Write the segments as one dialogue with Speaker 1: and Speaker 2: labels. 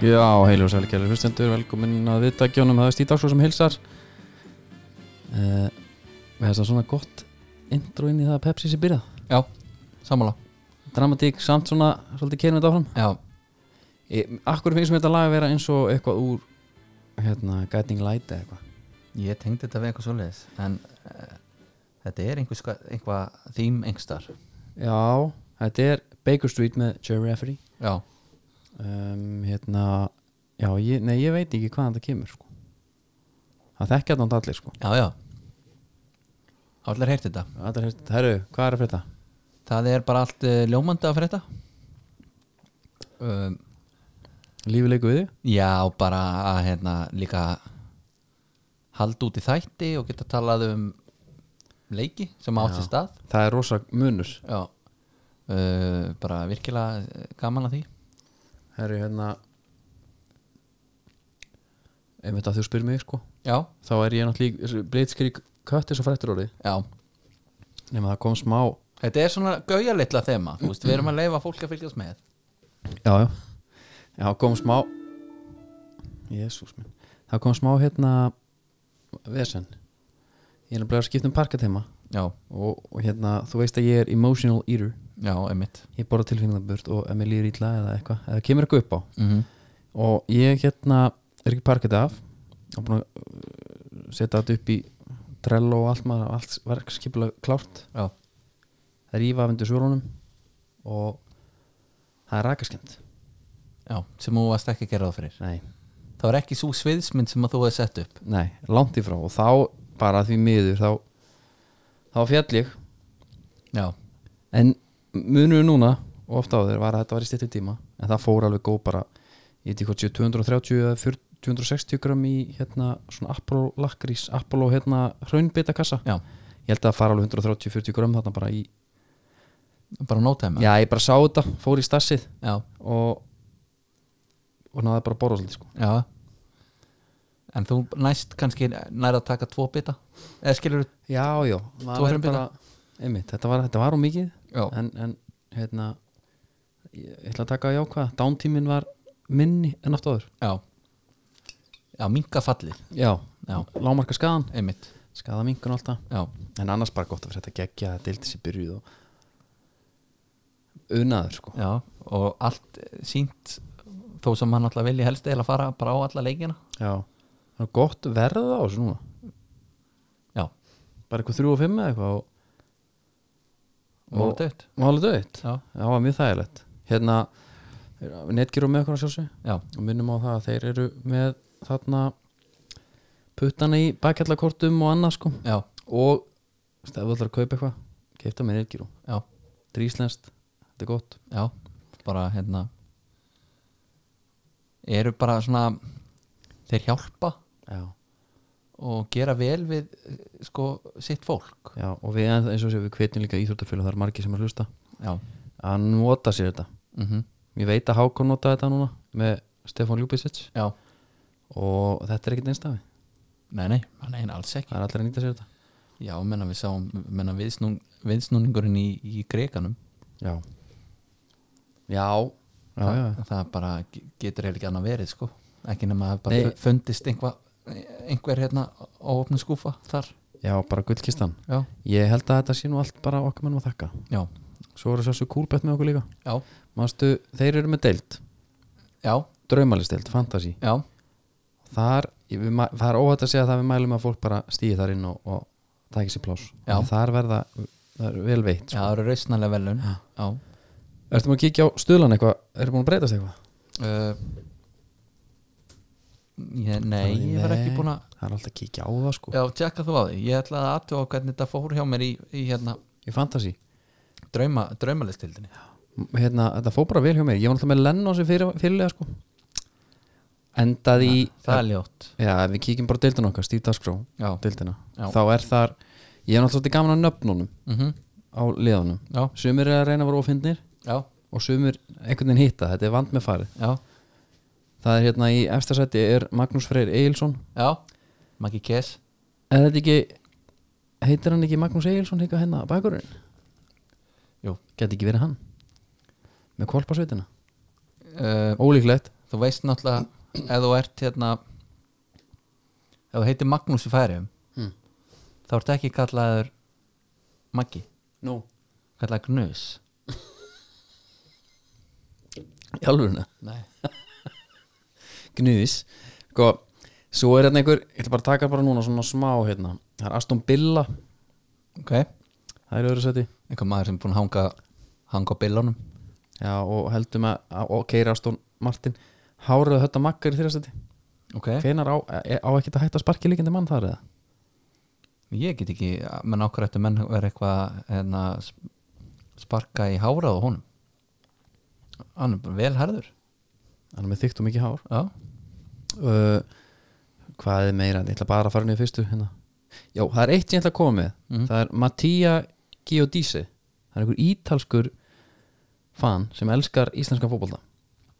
Speaker 1: Já, heilu og sæli kælir hlustendur, velkomin að viðtækjónum, það er Stíðdagsó sem hilsar uh, Við hefum svona gott intro inn í það að Pepsi sé byrjað
Speaker 2: Já, sammála
Speaker 1: Dramatík samt svona, svolítið kynum þetta áfram
Speaker 2: Já,
Speaker 1: Ég- Akkur finnst mér þetta lag að vera eins og eitthvað úr hérna, Guiding Light eða eitthvað
Speaker 2: ég tengdi þetta við eitthvað svoleiðis en uh, þetta er einhver, ska- einhvað þým engstar
Speaker 1: Já, þetta er Baker Street með Jerry Effery
Speaker 2: Já,
Speaker 1: um, Hérna, já, ég, nei, ég veit ekki hvaðan þetta kemur sko Það þekkja þetta allir sko
Speaker 2: já, já Allar heyrti þetta
Speaker 1: Þetta er hérna, herru, hvað er að frétta?
Speaker 2: Það er bara allt uh, ljómandi að frétta um,
Speaker 1: Lífið leikur við þig?
Speaker 2: Já, bara að hérna líka halda út í þætti og geta talað um leiki sem átt sér stað
Speaker 1: Það er rosa munur
Speaker 2: Já uh, bara virkilega eh, gaman að því
Speaker 1: Herri, hérna Ef þetta þú spyrir mig, sko
Speaker 2: Já,
Speaker 1: Þá er ég náttúrulega blitskri köttis og frættur orði
Speaker 2: já
Speaker 1: Nefnum það kom smá
Speaker 2: Þetta er svona gauja litla þema þú veist, Við erum að leifa fólk að fylgjast með
Speaker 1: Já, já Já, kom smá Jésús minn Það kom smá, hérna Vesen Ég er nefnilega að skipta um parket heima
Speaker 2: Já,
Speaker 1: og, og hérna, þú veist að ég er emotional eater
Speaker 2: já, emitt
Speaker 1: Ég borða tilfinningaburt og ef mér líður ítla eða eitthvað Eða kemur eitthvað upp á
Speaker 2: mm
Speaker 1: og ég hérna er ekki parkið af og búin að uh, setja þetta upp í Trello og allt maður allt verkskipulega klárt
Speaker 2: Já,
Speaker 1: það er ífa af undir svörunum og það er rakaskend
Speaker 2: já, sem þú varst ekki að gera það fyrir
Speaker 1: nei,
Speaker 2: Það var ekki svo sviðsmynd sem að þú hefði sett upp
Speaker 1: nei, langt í frá og þá bara því miður þá, þá fjall ég
Speaker 2: Já,
Speaker 1: en munur núna og ofta á þér var að þetta var í stittu tíma en það fór alveg góð bara ég veit ekki hvað 230 eða 40 260 gram í hérna svona Apollo lakrís, Apollo hérna hraunbita
Speaker 2: já,
Speaker 1: ég held að það fara alveg 130-40 grömm þarna bara í
Speaker 2: bara no time
Speaker 1: já ég bara sá þetta, fór í stassið
Speaker 2: já,
Speaker 1: og og náði bara að borða svolítið sko
Speaker 2: já. En þú næst kannski nær að taka tvo bita Eða skilur
Speaker 1: já já,
Speaker 2: Þú
Speaker 1: maður
Speaker 2: var
Speaker 1: er
Speaker 2: að byrja?
Speaker 1: bara einmitt, þetta var, þetta var um mikið
Speaker 2: Já,
Speaker 1: en, en hérna ég, ég ætla að taka að jákvæða, dántíminn var minni en oft áður
Speaker 2: já Já, minka fallið
Speaker 1: já,
Speaker 2: Já,
Speaker 1: lámarka skaðan,
Speaker 2: emitt
Speaker 1: skaða minkun alltaf
Speaker 2: Já,
Speaker 1: en annars bara gott að fyrir þetta geggja að deildi sér byrjuð og unaður sko
Speaker 2: já, og allt eh, sýnt þó sem hann alltaf vilji helst eða fara bara á alla leikina
Speaker 1: já, það er gott verð á þessu núna
Speaker 2: Já,
Speaker 1: bara eitthvað 3 og 5 eða eitthvað og
Speaker 2: voru dött
Speaker 1: Mála döitt?
Speaker 2: Já.
Speaker 1: Það var mjög þægilegt Hérna, netgir og með okkur að sjálfsög
Speaker 2: Já,
Speaker 1: og minnum á það að þeir eru með þarna puttana í bakkjallakortum og annað sko
Speaker 2: já,
Speaker 1: og ef þú ætlar að kaupa eitthvað keipta með netgir og
Speaker 2: já,
Speaker 1: dríslenskt, þetta er gott
Speaker 2: já bara hérna eru bara svona þeir hjálpa
Speaker 1: Já,
Speaker 2: og gera vel við eh, sko sitt fólk
Speaker 1: Já og við eins og séu við hvetjum líka íþjóttafélag það er margir sem er að hlusta
Speaker 2: Já,
Speaker 1: að nota sér þetta
Speaker 2: mm
Speaker 1: Ég veit að Hákon nota þetta núna með Stefán Ljúbisic
Speaker 2: já
Speaker 1: og þetta er ekkert einstafi
Speaker 2: Nei, nei, nei, nei, alls ekki
Speaker 1: það er allir að nýta sér þetta
Speaker 2: Já, menna við sáum, menna viðsnú, viðsnúningurinn í, í greikanum
Speaker 1: Já Já, já, já, já.
Speaker 2: það, það bara ge- getur eiginlega ekki annað verið sko ekki nema að bara
Speaker 1: Nei.
Speaker 2: fu- fundist einhva, einhver hérna óopnu skúfa þar
Speaker 1: Já, bara gullkistan
Speaker 2: Já,
Speaker 1: Ég held að þetta sé nú allt bara okkar mannum að þakka
Speaker 2: já,
Speaker 1: Svo eru sérstu kúlbett með okkur líka
Speaker 2: já,
Speaker 1: Manstu, þeir eru með deild
Speaker 2: já,
Speaker 1: Draumalisteild, fantasy
Speaker 2: já,
Speaker 1: Þar, ég- við, ma- það er óhætt að segja það við mælum að fólk bara stíði þar inn og, og tæki sér pláss
Speaker 2: Já.
Speaker 1: En Þar verða, það er vel veitt
Speaker 2: já það eru rausnalega velun
Speaker 1: Já.
Speaker 2: Já,
Speaker 1: Ertu maður að kíkja á stuðlan eitthvað? Ertu búin að breytast eitthvað?
Speaker 2: Uh, ég, nei,
Speaker 1: Nei,
Speaker 2: ég var ekki
Speaker 1: nei.
Speaker 2: búin að
Speaker 1: Það er alltaf að kíkja á það sko
Speaker 2: Já, tjekka þú á því Ég ætlaði að aðtjóða hvernig þetta fór hjá mér í, í hérna,
Speaker 1: Í fantasy
Speaker 2: drauma, draumalistildinni
Speaker 1: M- hérna, Þetta fór bara vel hjá mér Ég var alltaf með lenn á sér fyrir, fyrirlega sko Endaði í
Speaker 2: Það er ljótt
Speaker 1: Já, ef við kíkjum bara á deildina okkar, Steve Dasgró
Speaker 2: Já,
Speaker 1: deildina,
Speaker 2: Já.
Speaker 1: þá er þar ég er náttúrulega svolítið gaman að nöfnunum
Speaker 2: mm
Speaker 1: á liðunum,
Speaker 2: já,
Speaker 1: sumir er að reyna að vera ofindir
Speaker 2: já,
Speaker 1: og sumir einhvern veginn hitta, þetta er vand með farið
Speaker 2: já,
Speaker 1: það er hérna í efstasæti er Magnús Freyr Egilson
Speaker 2: já Maggi Kess
Speaker 1: eða þetta ekki, heitir hann ekki Magnús Egilson líka hérna á bakurinn
Speaker 2: Jú.
Speaker 1: geti ekki verið hann með kolpasveitina,
Speaker 2: uh,
Speaker 1: ólíklegt
Speaker 2: þú veist náttúrulega ef þú ert hérna ef þú heitir Magnús í færiðum
Speaker 1: Mm.
Speaker 2: þá ertu ekki kallaður Maggi,
Speaker 1: Nú,
Speaker 2: kallaður Gnus
Speaker 1: í alvöruna
Speaker 2: Nei.
Speaker 1: Gnuðis Sko, svo er hérna einhver Ég ætla bara að taka bara núna svona smá hérna Það er Aston Billa,
Speaker 2: ok,
Speaker 1: það er í öðru seti
Speaker 2: einhver maður sem er búin að hanga hanga á billunum
Speaker 1: Já, og heldum að, að og keira Aston Martin Hárið þetta makkar í þér seti
Speaker 2: ok,
Speaker 1: Hvenar á, eh, á ekki að hætta sparki líkandi mann þar eða?
Speaker 2: ég get ekki menn okkur eftir menn vera eitthvað hérna, sp- sparka í hárað á honum hann er bara vel herður
Speaker 1: Hann er með þykkt og mikið hár
Speaker 2: já,
Speaker 1: uh, Hvað er meira? Ég ætla bara að fara niður fyrstu hérna. Já, það er eitt sem ég ætla að koma með
Speaker 2: Mhm.
Speaker 1: Það er Mattia Giodisi Það er einhver ítalskur fan sem elskar íslenskan fótbolta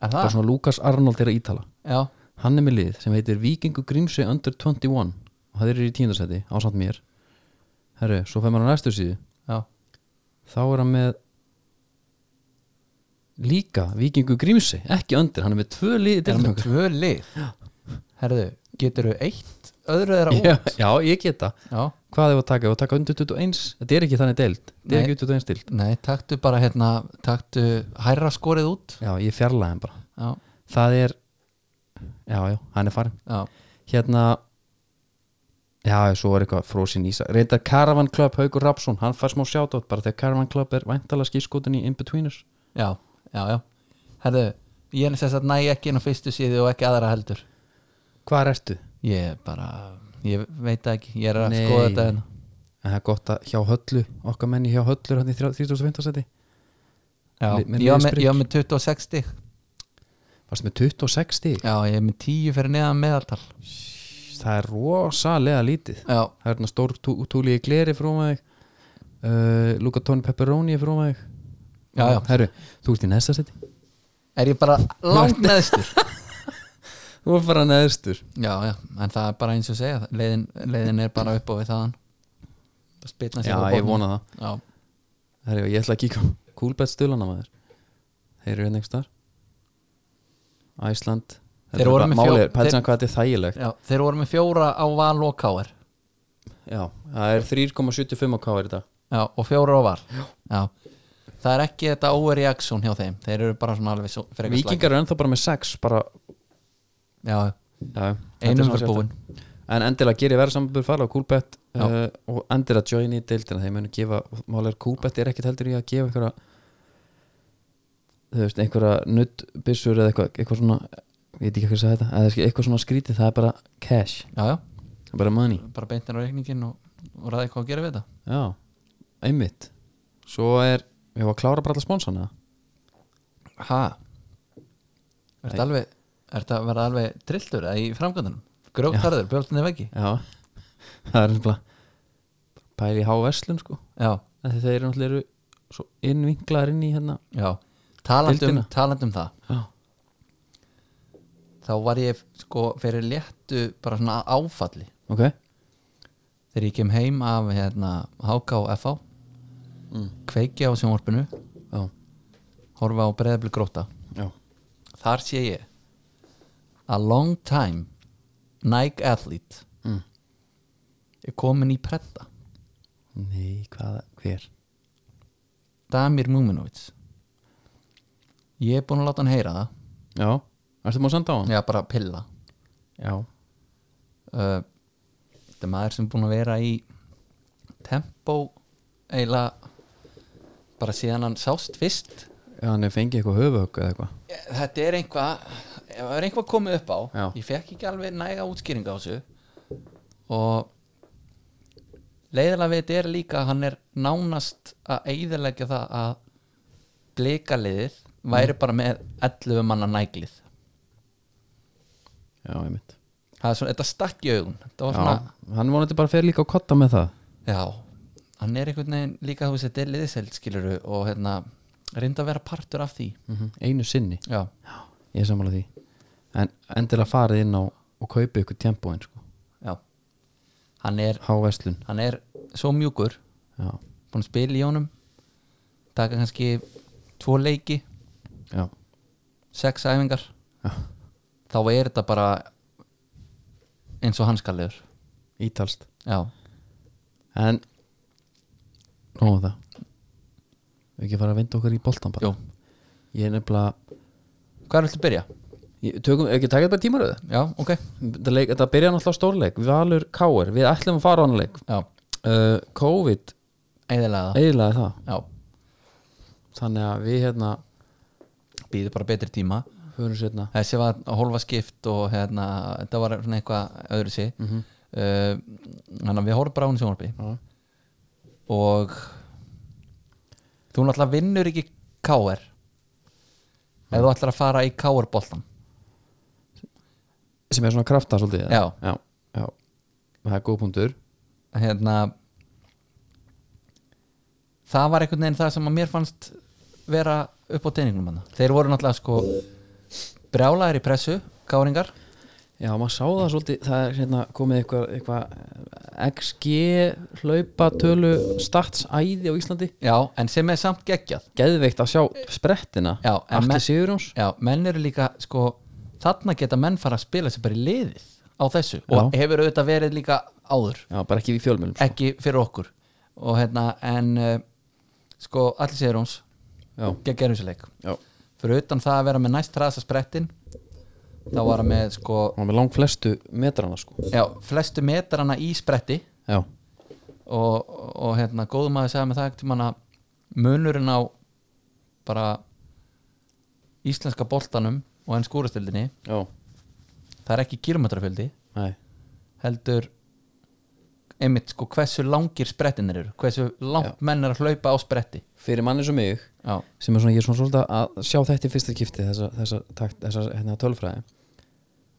Speaker 2: er
Speaker 1: Bara
Speaker 2: það?
Speaker 1: svona Lukas Arnold er að ítala
Speaker 2: já,
Speaker 1: Hann er með lið sem heitir Vikingu Grímsi Under 21 og það eru í tíundarsæti ásamt mér Herru, svo fer maður á næstu síðu
Speaker 2: já,
Speaker 1: þá er hann með líka Vikingu Grímsi ekki Under, hann er með tvö lið í
Speaker 2: er hann
Speaker 1: deildinni
Speaker 2: með tvö lið herðu, getur þau eitt öðru þeirra
Speaker 1: okkar.
Speaker 2: út
Speaker 1: já, já, ég geta
Speaker 2: já,
Speaker 1: Hvað er að taka? Ég var að taka Under 21 Þetta er ekki þannig deild Þetta er
Speaker 2: Nei.
Speaker 1: ekki 21 deild
Speaker 2: nei, taktu bara hérna taktu hærra skorið út
Speaker 1: Já, ég fjarlæði hann bara
Speaker 2: já,
Speaker 1: Það er Já, já, hann er farin
Speaker 2: já,
Speaker 1: Hérna Já, svo er eitthvað frósin ísa Reyndar Caravan Club, Haugur Rapsson Hann fær smá sjátátt bara þegar Caravan Club er væntalega skýrskotin í Inbetweeners
Speaker 2: já, já, já. herðu, ég er sess að næ ekki inn á fyrstu síðu og ekki aðra heldur
Speaker 1: Hvar ertu?
Speaker 2: ég er bara, ég veit það ekki ég er að
Speaker 1: Nei.
Speaker 2: skoða þetta hérna
Speaker 1: En það er gott að hjá höllu Okkar menni hjá höllu er hann í 35. seti
Speaker 2: Já,
Speaker 1: Li- með
Speaker 2: ég var með,
Speaker 1: liðsbrik.
Speaker 2: ég var með 26 stig
Speaker 1: Varstu með 26 stík?
Speaker 2: Já, ég er með 10 fyrir neðan meðaltal
Speaker 1: Það er rosalega lítið
Speaker 2: Já,
Speaker 1: Það er hérna stór tú, túli í gleri frá maður uh, Luca Toni Pepperoni frá maður
Speaker 2: já, já
Speaker 1: Herru, þú ert í næsta seti
Speaker 2: Er ég bara langt neðstur
Speaker 1: Þú er bara neðstur
Speaker 2: Já, já, en það er bara eins og segja leiðin, leiðin er bara upp á við þaðan Það spilna
Speaker 1: Já,
Speaker 2: sér á
Speaker 1: ég
Speaker 2: botnum.
Speaker 1: vona það
Speaker 2: Já,
Speaker 1: Herru, ég ætla að kíka Coolbet stölana maður Þeir eru hérna ekki star Æsland
Speaker 2: Þeir voru með
Speaker 1: Máli
Speaker 2: fjó-
Speaker 1: er, pælsan
Speaker 2: þeir-
Speaker 1: hvað þetta er þægilegt
Speaker 2: já, þeir voru með fjóra á val og káir
Speaker 1: Já, það er 3,75 á káir í dag
Speaker 2: Já, og fjóra á val Já, það er ekki þetta overreaction hjá þeim Þeir eru bara svona alveg svo frekar slækir.
Speaker 1: Víkingar eru ennþá bara með 6 bara,
Speaker 2: Já,
Speaker 1: já, þetta er
Speaker 2: einum
Speaker 1: svona
Speaker 2: fyrir
Speaker 1: sérstakt.
Speaker 2: búin
Speaker 1: En endilega gerir verið samanbúr fara á Coolbet
Speaker 2: Já.
Speaker 1: uh, og endilega join í deildina þeir munu gefa, máli er Coolbet er ekkit heldur í að gefa einhverja þú veist, einhverja nuttbissur eða eitthvað, eitthvað svona ég veit ekki hvað að segja þetta, eða eitthvað svona skrítið það er bara cash,
Speaker 2: Já, já,
Speaker 1: það er bara money
Speaker 2: bara beintin á reikningin og, og ræði hvað að gera við þetta
Speaker 1: Já, einmitt Svo er, við varum að klára bara alla sponsana
Speaker 2: Hæ? Er þetta alveg Er þetta að vera alveg trilltur eða í framgöndunum? Grótarður, bjóltinni veggi
Speaker 1: Já, það er nefnilega pæli í háverslun sko
Speaker 2: Já,
Speaker 1: Af því þeir eru náttúrulega eru svo innvinklaðar inn í hérna
Speaker 2: já Talandum,
Speaker 1: Deildina.
Speaker 2: talandum um það
Speaker 1: Já,
Speaker 2: Þá var ég sko fyrir léttu bara svona áfalli
Speaker 1: ok
Speaker 2: Þegar ég kem heim af hérna HK og FH
Speaker 1: Mm.
Speaker 2: Kveiki á sjónvarpinu
Speaker 1: Já,
Speaker 2: Horfa á breiðabli gróta
Speaker 1: já
Speaker 2: Þar sé ég A long time Nike athlete
Speaker 1: Mm.
Speaker 2: Er komin í pretta
Speaker 1: Nei, hvaða, hver?
Speaker 2: Damir Múminovits Ég er búin að láta hann heyra það
Speaker 1: Já, ertu maður að senda á hann?
Speaker 2: Já, bara pilla
Speaker 1: Já
Speaker 2: uh, Þetta er maður sem er búin að vera í tempo eiginlega bara síðan hann sást fyrst
Speaker 1: Já, hann er fengið eitthvað höfuhögg eða eitthvað
Speaker 2: Eh, Þetta er einhvað ef það er einhvað komið upp á
Speaker 1: Já.
Speaker 2: ég fekk ekki alveg næga útskýringa á þessu og leiðilega við þetta er líka að hann er nánast að eiðilegja það að blikaliðið væri bara með 11 manna næglið
Speaker 1: Já, einmitt
Speaker 2: það er svona, þetta stakk í augun þetta var
Speaker 1: Já,
Speaker 2: svona,
Speaker 1: hann vonandi bara fer líka á kotta með það
Speaker 2: Já, hann er einhvern veginn líka þú veist þetta er liðiselt skiluru og hérna reynda að vera partur af því
Speaker 1: Einu sinni
Speaker 2: Já,
Speaker 1: Mhm. Já, ég er sammála því En endilega farið inn á og kaupið ykkur tempóin sko
Speaker 2: já Hann er,
Speaker 1: Háverslun
Speaker 2: hann er svo mjúkur
Speaker 1: Já,
Speaker 2: búin að spila í honum taka kannski tvo leiki
Speaker 1: já,
Speaker 2: sex æfingar
Speaker 1: já
Speaker 2: þá er þetta bara eins og hanskallegur
Speaker 1: ítalst
Speaker 2: já,
Speaker 1: en nóðum það við ekki fara að vinda okkur í boltan bara
Speaker 2: jú,
Speaker 1: ég er nefnilega
Speaker 2: hvað viltu byrja?
Speaker 1: ég, tökum, ekki taka þetta bara tímaröðu
Speaker 2: já, ok,
Speaker 1: þetta, leik, þetta byrja náttúrulega á stórleik Valur Káir, við ætlum að fara á hann leik
Speaker 2: já,
Speaker 1: uh, COVID
Speaker 2: eðilega það
Speaker 1: eiginlega það
Speaker 2: já,
Speaker 1: þannig að við hérna
Speaker 2: býðu bara betri tíma
Speaker 1: höfum sérna
Speaker 2: þessi var hólfa skipt og hérna, þetta var svona eitthvað öðru sig mm -hmm. þannig að við horfum bara á hún í sjónvarpi
Speaker 1: Já.
Speaker 2: og þú náttúrulega vinnur ekki KR ef þú ætlar að fara í KR boltan
Speaker 1: sem er svona krafta svolítið eða?
Speaker 2: Já.
Speaker 1: já, já. það er góð punktur
Speaker 2: hérna það var einhvern veginn það sem að mér fannst vera upp á teiningnum hann þeir voru náttúrulega sko brjálaðir í pressu, káringar
Speaker 1: já, maður sá það svolítið það er hérna komið eitthvað, eh, eitthvað XG hlaupatölu statsæði á Íslandi
Speaker 2: já, en sem er samt geggjað
Speaker 1: geðveikt að sjá sprettina
Speaker 2: Já, en
Speaker 1: Atli
Speaker 2: menn-
Speaker 1: Sigurjóns
Speaker 2: Já, menn eru líka sko, þarna geta menn fara að spila sér bara í liðið á þessu og hefur auðvitað verið líka áður
Speaker 1: já, bara ekki í fjölmjölum sko.
Speaker 2: ekki fyrir okkur og hérna, en uh, sko, allir séður hans
Speaker 1: já,
Speaker 2: gegn leik
Speaker 1: já,
Speaker 2: fyrir utan það að vera með næst ræðsa sprettin þá var hann með sko
Speaker 1: hann var með lang flestu metrana sko
Speaker 2: já, flestu metrana í spretti
Speaker 1: já,
Speaker 2: og, og hérna, góðum að segja með það til manna munurinn á bara íslenska boltanum og enn skúrastildinni
Speaker 1: já,
Speaker 2: það er ekki kilometrafjöldi
Speaker 1: nei
Speaker 2: heldur einmitt sko hversu langir sprettinir eru hversu langt menn er að hlaupa á spretti
Speaker 1: fyrir manni sem mig
Speaker 2: já,
Speaker 1: sem er svona, ég er svona svolítið að sjá þetta í fyrsta kipti þessa, þessa, takt, þessa hérna, tölfræði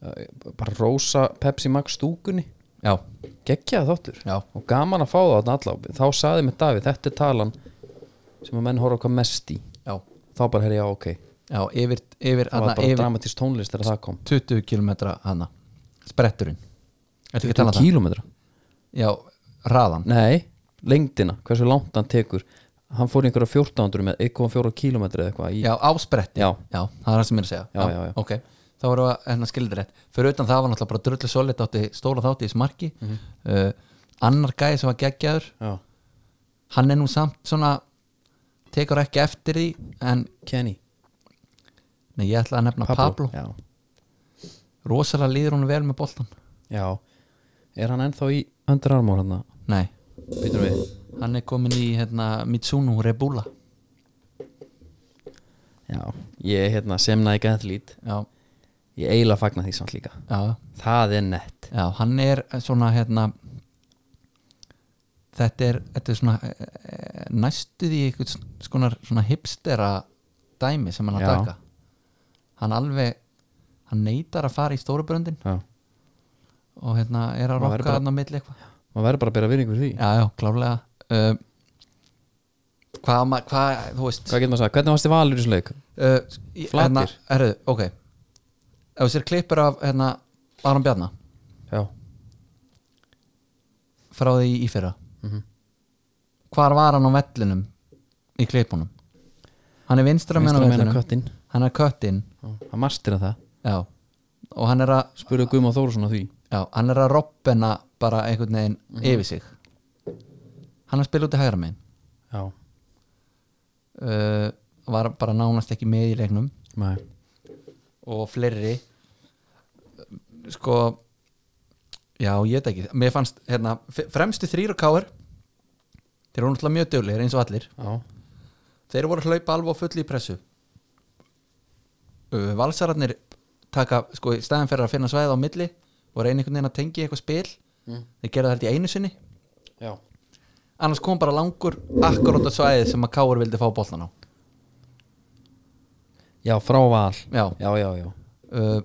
Speaker 1: Uh, bara rosa Pepsi Max stúkunni
Speaker 2: já,
Speaker 1: geggjað þáttur
Speaker 2: já,
Speaker 1: og gaman að fá það þarna allá þá saði mér Davíð, þetta er talan sem að menn horfa hvað mest í
Speaker 2: já,
Speaker 1: þá bara herri, já, ok,
Speaker 2: já yfir, yfir,
Speaker 1: það
Speaker 2: hana,
Speaker 1: var bara
Speaker 2: yfir
Speaker 1: dramatist tónlist þegar það kom
Speaker 2: 20 km hana spretturinn Ertu ekki að tala um það?
Speaker 1: kílómetra?
Speaker 2: Já, raðan
Speaker 1: Nei, lengdina, hversu langt hann tekur hann fór í einhverja 1400 með 1,4 kílómetra eða eitthvað í...
Speaker 2: Já, á spretti
Speaker 1: Já.
Speaker 2: það er það sem ég er að segja
Speaker 1: Já, já, já.
Speaker 2: Ok, þá voru að hérna, skildir rétt Fyrir utan það var náttúrulega bara drullu solid átti stóla þátti í smarki
Speaker 1: Mhm.
Speaker 2: uh, Annar gæði sem var geggjaður
Speaker 1: Já.
Speaker 2: Hann er nú samt svona tekur ekki eftir því en
Speaker 1: Kenny,
Speaker 2: Nei, ég ætla að nefna
Speaker 1: Pablo.
Speaker 2: Pablo,
Speaker 1: Já.
Speaker 2: Rosalega líður hún vel með boltan
Speaker 1: já, er hann ennþá í öndur armór hann
Speaker 2: Nei,
Speaker 1: býtum við
Speaker 2: hann er komin í hérna, Mitsuno Rebula
Speaker 1: Já, ég er hérna semna ekki aðlít
Speaker 2: já,
Speaker 1: ég eiginlega fagna því samt líka
Speaker 2: já,
Speaker 1: það er nett
Speaker 2: já, hann er svona hérna Þetta er, þetta er svona eh, næstu því einhvers konar svona hipstera dæmi sem hann er að
Speaker 1: Já.
Speaker 2: taka Hann alveg hann neitar að fara í stóru bröndin
Speaker 1: Já,
Speaker 2: og hérna er að
Speaker 1: Maður verður
Speaker 2: rokka
Speaker 1: bara-
Speaker 2: hann á milli eitthvað
Speaker 1: maður verður bara að bera virðingu fyrir því
Speaker 2: Já, já, klárlega uh, Hvað, ma- hvað, þú veist
Speaker 1: Hvað getur maður að segja, hvernig varst þið valur í þessu leik?
Speaker 2: uh, í-
Speaker 1: Flatir.
Speaker 2: hérna, herru, ok ef þú sér klippur af hérna, Aron Bjarnar
Speaker 1: Já,
Speaker 2: frá því í fyrra
Speaker 1: Mhm.
Speaker 2: hvar var hann á vellinum í klippunum hann er vinstra meina
Speaker 1: Vinstra megin
Speaker 2: á
Speaker 1: á
Speaker 2: vellinum
Speaker 1: köttinn.
Speaker 2: hann er köttin
Speaker 1: hann mastira það
Speaker 2: já. og hann er, að,
Speaker 1: Spurðu Guðmá Þórsson á því
Speaker 2: já, hann er að roppena bara einhvern veginn
Speaker 1: Mhm.
Speaker 2: yfir sig hann er að spila út í hægra megin
Speaker 1: Já,
Speaker 2: uh, var bara nánast ekki með í leiknum
Speaker 1: nei
Speaker 2: og fleiri sko já, ég veit ekki, mér fannst hérna, f- fremstu þrýr og káir þeir eru náttúrulega mjög döglegir eins og allir
Speaker 1: Já,
Speaker 2: þeir voru að hlaupa alveg á fulli í pressu Ö, valsararnir taka, sko, í staðan fyrir að finna svæðið á milli og reyna einhvern veginn að tengja í eitthvað spil þeir gerða þetta í einu sinni
Speaker 1: já
Speaker 2: annars kom bara langur akkurát á svæðið sem að káir vildi fá boltan á
Speaker 1: Já, frá val
Speaker 2: já,
Speaker 1: Já, já, já
Speaker 2: uh,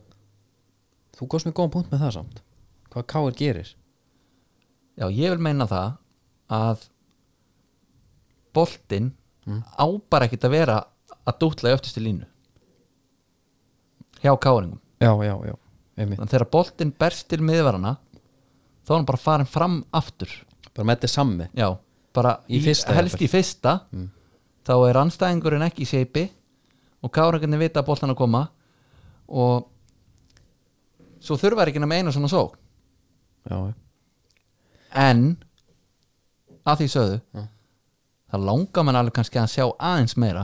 Speaker 1: Þú góðst mér góðan punkt með það samt Hvað Káir gerir
Speaker 2: Já, ég vil meina það að boltinn
Speaker 1: Mm.
Speaker 2: á bara ekkert að vera að dútla í öftustu línu hjá káringum
Speaker 1: Já, já, já Einmitt.
Speaker 2: þannig þegar boltinn berst til miðvarana þá er hann bara farin fram aftur
Speaker 1: Bara með þetta sammi
Speaker 2: já, bara
Speaker 1: Í fyrsta, Mm.
Speaker 2: helst í fyrsta þá er anstæðingurinn ekki í seipi og káringarnir vita að boltan að koma og svo þurfa er ekki nema eina svona sókn
Speaker 1: já, já.
Speaker 2: en að því sögðu það langar mann alveg kannski að sjá aðeins meira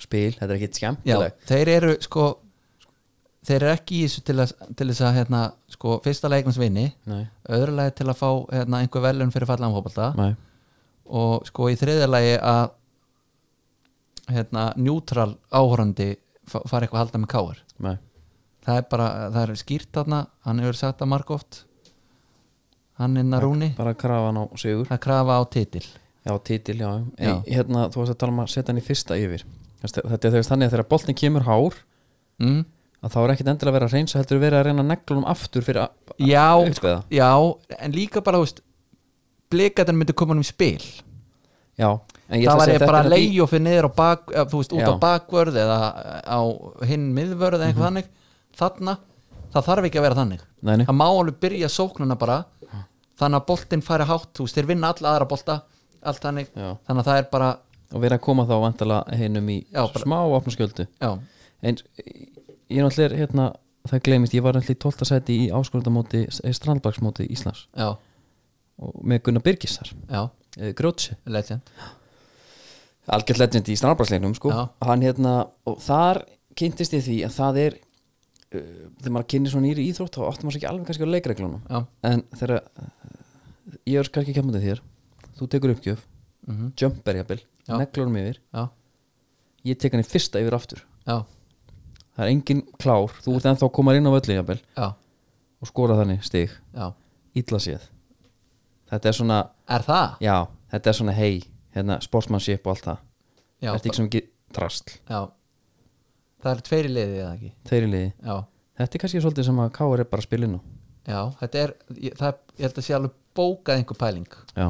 Speaker 1: spil, þetta er ekkit
Speaker 2: Já,
Speaker 1: skemmtileg
Speaker 2: þeir eru sko þeir eru ekki í þessu til, að, til þess að hérna, sko, fyrsta leiknans vinni
Speaker 1: Nei.
Speaker 2: öðru lagi til að fá hérna, einhver velun fyrir fallaðan fótbolta
Speaker 1: Nei.
Speaker 2: og sko í þriðja lagi að hérna, njútral áhorandi fa- fara eitthvað að halda með káir
Speaker 1: Nei.
Speaker 2: það er bara, það er skýrt þarna hann hefur sagt það margóft hann er Narúni,
Speaker 1: bara krafan á sigur
Speaker 2: það krafa á titil
Speaker 1: já, titil, já, já.
Speaker 2: Já.
Speaker 1: Hérna, þú varst að tala um að setja hann í fyrsta yfir Þess- þetta er þegar þannig að þegar boltin kemur hár
Speaker 2: mm?
Speaker 1: að þá er ekkit endilega að vera að reynsa heldur verið að reyna neglunum aftur fyrir að
Speaker 2: já,
Speaker 1: upp eða.
Speaker 2: já, en líka bara þú veist, blikaðan myndi koma hann í spil
Speaker 1: já, en ég ætla að
Speaker 2: það var
Speaker 1: segja
Speaker 2: ég
Speaker 1: þetta er
Speaker 2: bara að
Speaker 1: að bí-
Speaker 2: leiði og fyrir niður á bak, eða, þú veist, út
Speaker 1: Já. Mhm.
Speaker 2: á bakvörð eða á hinn miðvörð eða eitthvað þannig þarna, það þarf ekki að vera þannig
Speaker 1: Nei, nei.
Speaker 2: það má alveg byrja sóknuna bara þannig að boltinn færi hátt þú veist, þeir vinna alla aðra bolta allt þannig,
Speaker 1: Já.
Speaker 2: þannig að það er bara
Speaker 1: og verið að koma þá vantala heinum í
Speaker 2: Já, bara-
Speaker 1: smá opnaskjöldu
Speaker 2: já,
Speaker 1: en ég er náttúrulega hérna það glemist, ég var náttúrulega í 12. sæti í áskorundamóti strandbaksmóti Íslands
Speaker 2: já,
Speaker 1: og með Gunnar eh, Birgisar
Speaker 2: já,
Speaker 1: Grótsi,
Speaker 2: legend
Speaker 1: algjörð legend í strandbaksleiknum sko.
Speaker 2: Já.
Speaker 1: hann hérna, og þar kynntist ég því að það er uh, þegar maður kynni svona nýri íþrótt þá áttum maður sér ekki alveg kannski á leikreglunum
Speaker 2: já,
Speaker 1: en þegar uh, ég er kannski kemundið þér þú tekur uppgjöf,
Speaker 2: mm
Speaker 1: jumper jafnvel
Speaker 2: Já.
Speaker 1: neglunum yfir,
Speaker 2: já,
Speaker 1: ég tek hann í fyrsta yfir aftur
Speaker 2: já,
Speaker 1: það er engin klár, þú ert ennþá að koma inn á völlu jafnvel
Speaker 2: já,
Speaker 1: og skora þannig stig
Speaker 2: já
Speaker 1: illa séð þetta er svona,
Speaker 2: er það?
Speaker 1: já, þetta er svona hei, hérna, sportsmanship og allt það
Speaker 2: Já,
Speaker 1: þetta er ekki sem ekki trasl
Speaker 2: já, það er tveiri liðið eða ekki
Speaker 1: þeirri liði,
Speaker 2: já,
Speaker 1: þetta er kannski svolítið sem að Káar er bara að spila inn á
Speaker 2: já, þetta er ég, það, ég held að sé alveg bókað einhver pæling
Speaker 1: já,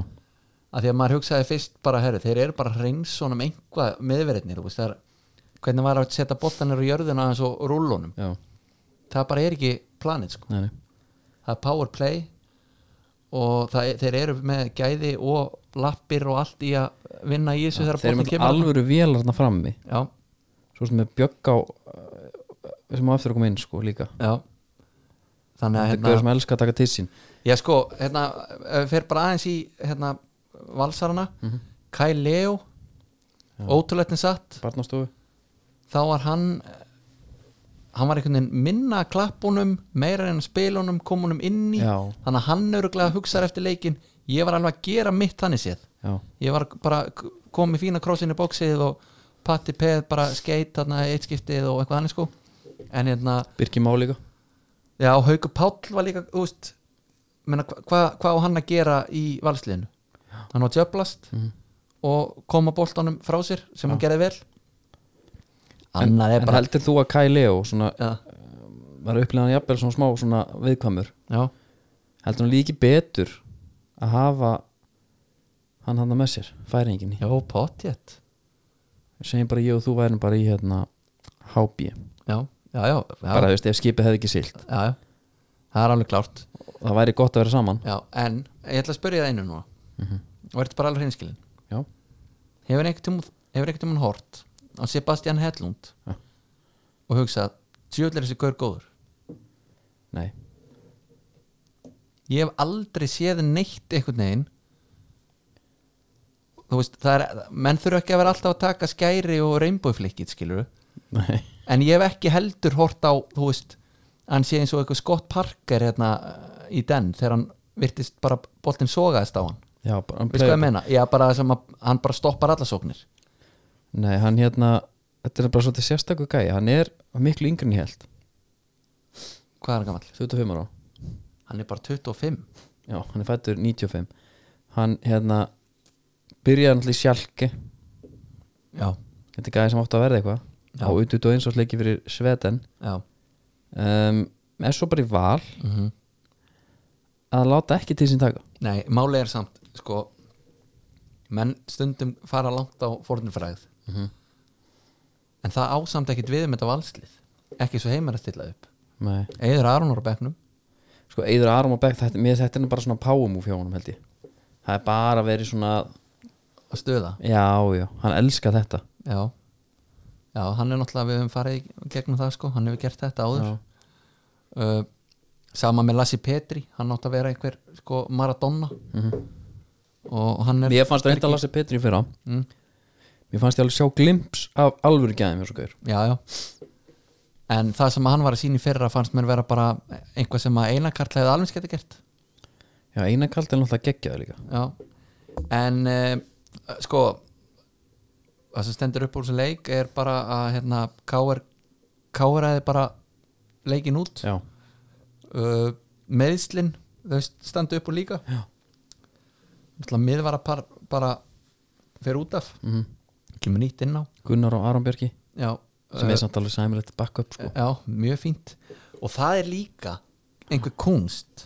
Speaker 2: að því að maður hugsaði fyrst bara herri, þeir eru bara hreins svona með einhvað meðverðinir er, hvernig var að setja boltanir á jörðina eins og rúllunum
Speaker 1: já,
Speaker 2: það bara er ekki planið sko.
Speaker 1: nei, nei
Speaker 2: það er power play og það, er- þeir eru með gæði og lappir og allt í að vinna í þessu þegar
Speaker 1: þeir eru
Speaker 2: boltin
Speaker 1: með
Speaker 2: kemur
Speaker 1: alvöru vélarna frammi
Speaker 2: já,
Speaker 1: svo sem er bjögg á uh, sem á eftir að koma inn sko líka
Speaker 2: já
Speaker 1: þetta
Speaker 2: þannig að
Speaker 1: er
Speaker 2: hérna,
Speaker 1: gauður sem elska að taka til sín
Speaker 2: Já sko, hérna, ef við fer bara aðeins í hérna, valsarana Kai Leo ótrúleitin satt
Speaker 1: barnastofu,
Speaker 2: þá var hann eh, hann var einhvern veginn minna að klappunum meira en að spilunum, komunum inn í
Speaker 1: Já.
Speaker 2: þannig að hann öruglega hugsaði eftir leikin ég var alveg að gera mitt þannig séð
Speaker 1: já,
Speaker 2: ég var bara komið fína krossin í bóksið og patti peð bara skeit þarna eitt skiptið og eitthvað annars sko en hérna
Speaker 1: Birki Má líka
Speaker 2: Já, Haukur Páll var líka úst, menna, hva, hva- hvað á hann að gera í valsliðinu hann á djöblast
Speaker 1: Mhm.
Speaker 2: og koma boltanum frá sér sem hann gerði vel annað er
Speaker 1: en
Speaker 2: bara
Speaker 1: heldur þú að Kai Leo svona,
Speaker 2: já,
Speaker 1: var upplýðan jafnvel svona smá svona viðkvæmur
Speaker 2: já,
Speaker 1: heldur hann líki betur að hafa hann hann með sér, færinginni
Speaker 2: já, potjett
Speaker 1: segjum bara ég og þú værum bara í hérna hábí,
Speaker 2: já, já, já, já,
Speaker 1: bara
Speaker 2: já,
Speaker 1: þú veist ef skipið hefði ekki silt
Speaker 2: já það er alveg klárt
Speaker 1: það væri gott að vera saman
Speaker 2: já, en ég ætla að spyrja það einu núna mm
Speaker 1: Mhm.
Speaker 2: -hmm. og ertu bara alveg hreinskilin
Speaker 1: já,
Speaker 2: hefur einhvern tímann hort á Sebastian Hedlund
Speaker 1: Já.
Speaker 2: og hugsað, djöðlega þessi gaur góður
Speaker 1: nei,
Speaker 2: ég hef aldrei séð neitt einhvern veginn þú veist, það er menn þurfa ekki að vera alltaf að taka skæri og rainbowflikkið, skilur
Speaker 1: nei
Speaker 2: en ég hef ekki heldur hort á, þú veist hann sé eins og eitthvað skott parker hérna í den, þegar hann virtist bara boltinn sogaðist á hann
Speaker 1: já, bara, hann
Speaker 2: veist
Speaker 1: play-
Speaker 2: hvað ég meina? Já, bara sem að hann bara stoppar allasóknir
Speaker 1: nei, hann hérna, þetta er bara svolítið sérstakur gæi hann er miklu yngri en ég held
Speaker 2: hvað er hann gamall?
Speaker 1: 25 ára,
Speaker 2: Hann er bara 25
Speaker 1: já, hann er fættur 95 hann hérna byrjaði náttúrulega í sjálki
Speaker 2: Já,
Speaker 1: þetta er gæi sem átti að verða eitthvað
Speaker 2: Já.
Speaker 1: á ututu eins og sleiki fyrir Sveten
Speaker 2: já,
Speaker 1: um, er svo bara í val
Speaker 2: mm
Speaker 1: að láta ekki til sín taka
Speaker 2: Nei, máli er samt sko, menn stundum fara langt á fornfræð en það ásamt ekkit við með þetta valslið ekki svo heimar að stilla upp
Speaker 1: Nei.
Speaker 2: Eður Aronar á bekknum
Speaker 1: sko Eður Arum og Beck þetta, mér, þetta er nú bara svona powermove hjá honum held ég það er bara verið svona
Speaker 2: að stöða
Speaker 1: já já, hann elskar þetta
Speaker 2: já. já, hann er náttúrulega við höfum farið í gegnum það sko, hann hefur gert þetta áður
Speaker 1: já,
Speaker 2: uh, sama með Lassi Petri hann átt að vera einhver sko, Maradona og hann er
Speaker 1: Mér fannst reynda að lasa Petri fyrir á
Speaker 2: Mm.
Speaker 1: Mér fannst ég alveg sjá glimps af alvöru gæðum hjá svo gaur
Speaker 2: já, já. en það sem hann var að sína í fyrra fannst mér vera bara einhvað sem að Einar Karl hefði alveg geti gert
Speaker 1: Já, eina kald er náttúrulega geggjaður líka
Speaker 2: já. en uh, sko það sem stendur upp úr þessu leik er bara að hérna, K.R. K.R. hefði bara leikin út
Speaker 1: Já,
Speaker 2: uh, meðslin þau standu upp úr líka
Speaker 1: Já.
Speaker 2: Náttúrulega miðvara par, bara fer út af
Speaker 1: mm
Speaker 2: kemur nýtt inn á
Speaker 1: Gunnar og Aron Björki
Speaker 2: já,
Speaker 1: sem er samt alveg sæmilegt backup sko.
Speaker 2: já, mjög fínt og það er líka einhver kunst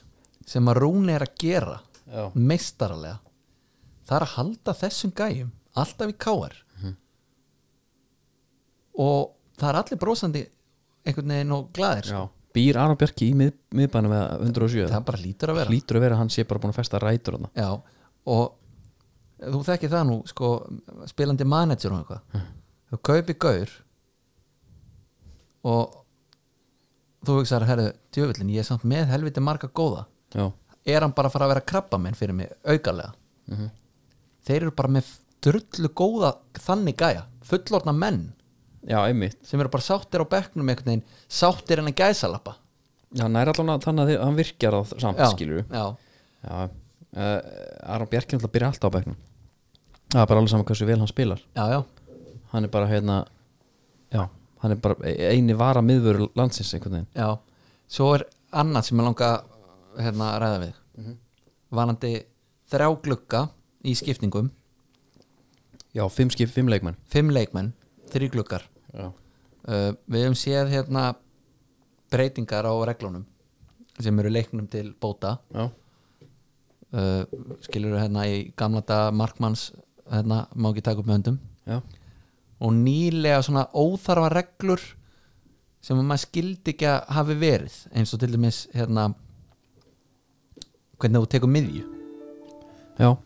Speaker 2: sem að Rúni er að gera
Speaker 1: Já.
Speaker 2: meistaralega það er að halda þessum gæjum alltaf í káar
Speaker 1: Mhm.
Speaker 2: og það er allir brosandi einhvern veginn og glaðir sko.
Speaker 1: Já. Býr Aron Björki í mið, miðbænum eða 107
Speaker 2: það bara lítur að vera
Speaker 1: Lítur að vera að hann sé bara búin að festa rætur þarna
Speaker 2: Já, og þú þekkir það nú sko, spilandi manager og eitthvað þú kaupir gaur og þú hugsaðar, herðu, djöfullin ég er samt með helviti marga góða
Speaker 1: Já,
Speaker 2: er hann bara að fara að vera krabba menn fyrir mig aukarlega
Speaker 1: Mhm.
Speaker 2: þeir eru bara með drullu góða þannig gæja, fullorna menn
Speaker 1: já einmitt
Speaker 2: sem eru bara sáttir á bekknum einhvern veginn, sáttir en að gæsalappa
Speaker 1: Já, hann er allan að þannig að þið- hann virkjar á samt skilur
Speaker 2: já,
Speaker 1: Já, uh, Aron Bjarki náttúrulega byrja alltaf á bekknum Það er bara alveg saman hversu vel hann spilar
Speaker 2: já, já,
Speaker 1: Hann er bara hérna Já, hann er bara e- eini vara miðvöru landsins einhvern veginn
Speaker 2: Já, svo er annað sem ég langa að, hérna, að ræða við mm varandi þrjá glugga í skiptingum
Speaker 1: Já, fimm skip, fimm leikmenn
Speaker 2: fimm leikmenn, þrjú gluggar
Speaker 1: Já,
Speaker 2: uh, við hefum séð hérna breytingar á reglunum sem eru leiknum til bóta
Speaker 1: já,
Speaker 2: uh, skilur hérna í gamla daga markmanns hérna, má ekki taka upp með höndum
Speaker 1: já.
Speaker 2: og nýlega svona óþarfa reglur sem að maður skildi ekki að hafi verið eins og til dæmis hérna hvernig þú tekur miðju
Speaker 1: já.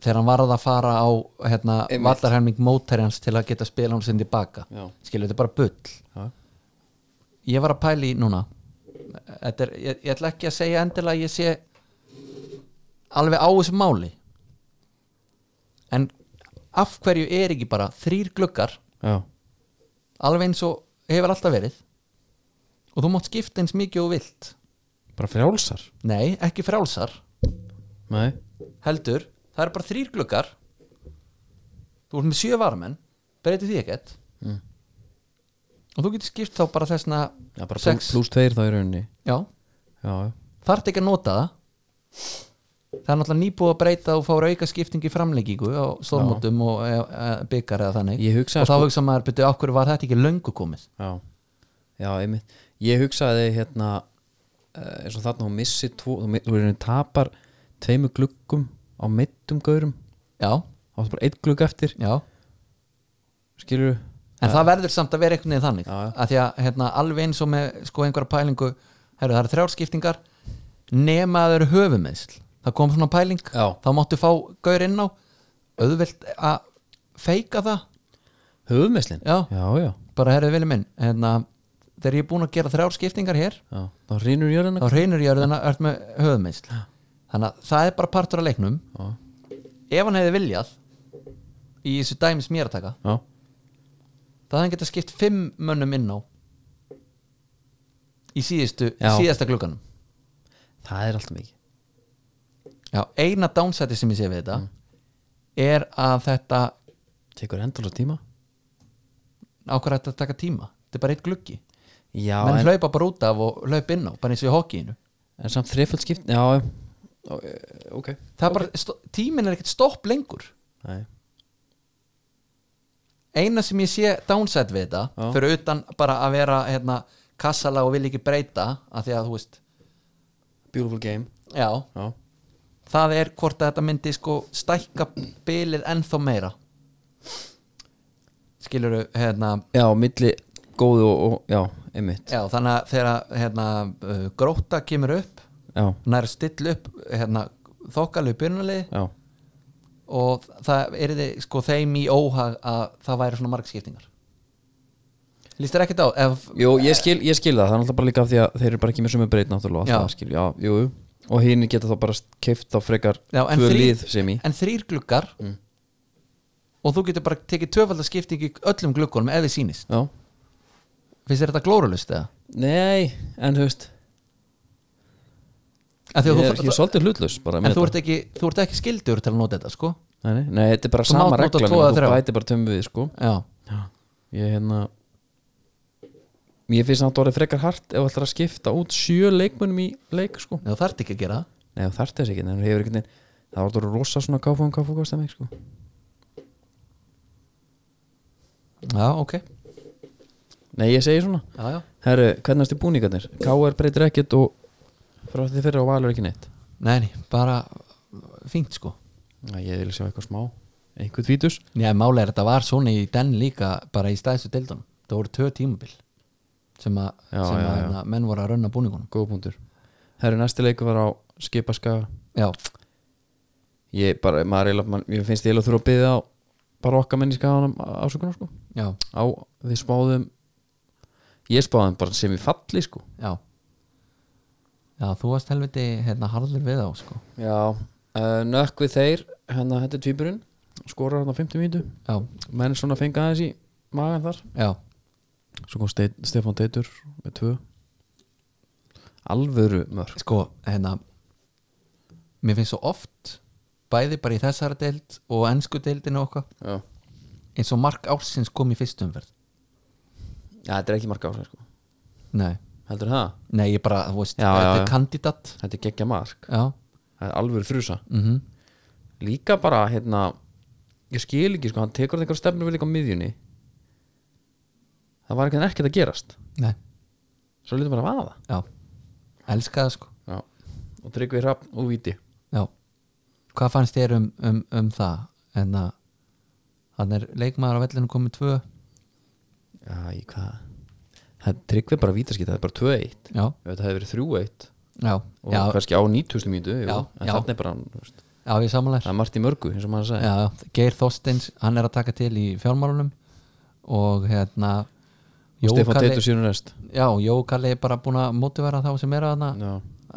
Speaker 2: þegar hann varð að fara á hérna,
Speaker 1: Einmitt.
Speaker 2: vallarhelming mótærians til að geta spila hann sinn tilbaka
Speaker 1: Já.
Speaker 2: skilur þetta er bara bull
Speaker 1: já.
Speaker 2: ég var að pæla í núna Þetta er, ég, ég ætla ekki að segja endilega að ég sé alveg á þessu máli en af hverju er ekki bara þrýr gluggar
Speaker 1: já.
Speaker 2: alveg eins og hefur alltaf verið og þú mátt skipta eins mikið og þú vilt
Speaker 1: Bara frjálsar
Speaker 2: nei, ekki frálsar,
Speaker 1: Nei,
Speaker 2: heldur það eru bara þrýr gluggar þú ert með sjö varamenn breytir því ekkert
Speaker 1: Mm.
Speaker 2: og þú getur skipt þá bara þessna
Speaker 1: já, bara
Speaker 2: sex,
Speaker 1: Sex. pluss tveir þá í rauninni
Speaker 2: já,
Speaker 1: Já, já.
Speaker 2: þarft ekki að nota það það er náttúrulega nýbúið að breyta og fára auka skipting í framleggingu á stórmótum og e, e, byggar eða þannig
Speaker 1: Ég hugsaði
Speaker 2: og þá
Speaker 1: sko-
Speaker 2: hugsa maður, betur, okkur var þetta ekki löngu komið
Speaker 1: já Já, einmitt Ég hugsaði hérna eh, eins og þarna hún missi tvo þú, mi- þú rauninni tapar tveimur gluggum á mittum gaurum
Speaker 2: já,
Speaker 1: þá er bara einn glugg eftir
Speaker 2: já
Speaker 1: skilur
Speaker 2: En það verður samt að vera einhvern veginn þannig
Speaker 1: Já, já.
Speaker 2: að því að hérna, alveg eins og með sko einhverja pælingu herru, það eru þrjárskiptingar nema að það eru höfumeðsl það kom svona pæling,
Speaker 1: Já.
Speaker 2: þá máttu fá gaur inn á auðvelt að feika það
Speaker 1: höfumesslin
Speaker 2: Já.
Speaker 1: já, já,
Speaker 2: bara herru vilja minn hérna, þegar ég er búin að gera þrjárskiptingar hér
Speaker 1: já. Þá rínur jörðina
Speaker 2: þá reynur ég að ört með höfumeðsl þannig að það er bara partur af leiknum
Speaker 1: Já,
Speaker 2: ef hann hefði viljað í þessu dæmis mér að taka
Speaker 1: já,
Speaker 2: það hann geta skipt fimm mönnum inn á í síðustu, í
Speaker 1: Já.
Speaker 2: síðasta glugganum
Speaker 1: það er alltaf mikið
Speaker 2: Já, eina downsæti sem ég sé við þetta
Speaker 1: Mm.
Speaker 2: er að þetta
Speaker 1: Tekur endalur tíma
Speaker 2: ákvæður þetta að taka tíma þetta er bara eitt gluggi,
Speaker 1: Já,
Speaker 2: menn
Speaker 1: en,
Speaker 2: hlaupa bara út af og hlaupa inn á, bara eins og í hokkíinu
Speaker 1: en samt þreiföld skipt Já, já. Ó, eh, ok
Speaker 2: það er bara, stó- tíminn er ekkert stopp lengur
Speaker 1: Nei.
Speaker 2: eina sem ég sé downside við þetta
Speaker 1: Já.
Speaker 2: fyrir utan bara að vera hérna, kassala og vil ekki breyta að því að þú veist,
Speaker 1: Beautiful game
Speaker 2: já,
Speaker 1: Já,
Speaker 2: það er hvort að þetta myndi sko stækka bilið ennþá meira skilur hérna
Speaker 1: já milli góðu og, og já, einmitt
Speaker 2: já, þannig að þegar hérna, uh, gróta kemur upp
Speaker 1: Já,
Speaker 2: nær still upp hérna, þokkalegu byrjunalið
Speaker 1: já,
Speaker 2: og það er sko þeim í óhag að það væri svona margskiptingar líst þér ekkert á ef,
Speaker 1: Jú, ég skil, ég skil það, það er náttúrulega bara líka af því að þeir eru bara ekki með sömu breyt náttúrulega
Speaker 2: Já.
Speaker 1: já. Skil, já, jú, jú. og hinn geta þá bara keift á frekar
Speaker 2: já, en,
Speaker 1: tvö
Speaker 2: þrír-
Speaker 1: lið Mm. sem í
Speaker 2: en þrýr gluggar og þú getur bara tekið tvöfaldaskipting í öllum gluggunum ef þið sýnist
Speaker 1: Já,
Speaker 2: finnst þér þetta glóralust eða?
Speaker 1: nei, en þú veist
Speaker 2: Af
Speaker 1: Ég
Speaker 2: því að þú-
Speaker 1: er, ég er svolítið hlutlaus bara
Speaker 2: en þú ert, ekki, þú ert ekki skildur til að nota þetta sko
Speaker 1: Nei, nei, nei, þetta er bara
Speaker 2: Þú
Speaker 1: sama
Speaker 2: mátt nota
Speaker 1: reglan
Speaker 2: tvo
Speaker 1: en
Speaker 2: eða
Speaker 1: Þú
Speaker 2: þrjá.
Speaker 1: bæti bara tömmu við, sko
Speaker 2: já,
Speaker 1: Ég hérna Mér finnst að það orðið frekar hart ef þú ætlar að skipta út sjö leikmunum í leik, sko
Speaker 2: þú þarft ekki að gera það.
Speaker 1: Nei, það þarf þess ekki, en þú hefur ekki Það var það rosa svona káfum káfum kostum, sko
Speaker 2: já, ok já,
Speaker 1: Nei, ég segi svona
Speaker 2: já.
Speaker 1: Herru, hvernig erstu búningarnir? K.R. breytir ekkert og frá því fyrir og valur ekki neitt
Speaker 2: Nei, nei, bara fínt sko
Speaker 1: Næ, ég vil sjá eitthvað smá Einhvern vítus
Speaker 2: Já, málega er þetta var svona í den líka bara í stæðstu deildunum það voru tvö tímabil sem að,
Speaker 1: Já,
Speaker 2: sem
Speaker 1: já,
Speaker 2: að
Speaker 1: já.
Speaker 2: hérna, menn voru að rönna búningunum
Speaker 1: Góða punktur Herru, næsti leikur var á skipaska
Speaker 2: já,
Speaker 1: Ég bara, maður eiginlega, man, ég finnst ég eiginlega þurfa að byggja á bara okkar menniska ásökunar, sko
Speaker 2: já,
Speaker 1: Á, við spáðum Ég spáðum bara sem í falli, sko
Speaker 2: já já, þú varst helviti hérna harður við á sko
Speaker 1: Já uh, Nökk við þeir, hérna, þetta er tvíburinn Skorar hann á 50 mínútu
Speaker 2: já,
Speaker 1: Menn svona fengi aðeins í magan þar
Speaker 2: já,
Speaker 1: Svo kom Ste Stefán Teitur með tvö Alvöru mörg
Speaker 2: sko hérna mér finnst svo oft bæði bara í þessari deild og ennsku deildinu okkar
Speaker 1: Já,
Speaker 2: eins og Mark Ársins kom í fyrstu umferð
Speaker 1: þetta er ekki marga ásæð sko
Speaker 2: nei,
Speaker 1: Heldur það?
Speaker 2: nei, ég bara, þú veist
Speaker 1: Já,
Speaker 2: þetta
Speaker 1: já,
Speaker 2: er
Speaker 1: já.
Speaker 2: kandidat
Speaker 1: Þetta er geggja mark
Speaker 2: já,
Speaker 1: Það er alvöru þrjusa
Speaker 2: mhm
Speaker 1: Líka bara, hérna Ég skil ekki sko, hann tekur þetta einhver stefnur vel líka á miðjunni Það var einhvern ekkert að gerast
Speaker 2: nei,
Speaker 1: Svo lítum bara að vaða
Speaker 2: já elska það sko
Speaker 1: Já Og tryggvi hrapp og viti
Speaker 2: Já Hvað fannst þér um, um, um það en að hann er leikmaður á vellinu komið tvö
Speaker 1: Já, í hvað Það tryggvi bara vítaskita, það er bara 2-1
Speaker 2: Já,
Speaker 1: Ef Þetta hefði verið 3-1
Speaker 2: já,
Speaker 1: Og
Speaker 2: já,
Speaker 1: kannski á 90.000 mínútu jú,
Speaker 2: Já,
Speaker 1: En
Speaker 2: já.
Speaker 1: þarna er bara, þú veist,
Speaker 2: já, ég samanlega
Speaker 1: það er margt í mörgu eins og maður sagði
Speaker 2: já, já, Geir Þorsteins, hann er að taka til í fjármálunum og hérna
Speaker 1: Og
Speaker 2: Jói
Speaker 1: Stefán
Speaker 2: Kalli-
Speaker 1: Teitur síðan rest
Speaker 2: Já, Jókalli er bara búin að mótivera þá sem er að hana
Speaker 1: Já.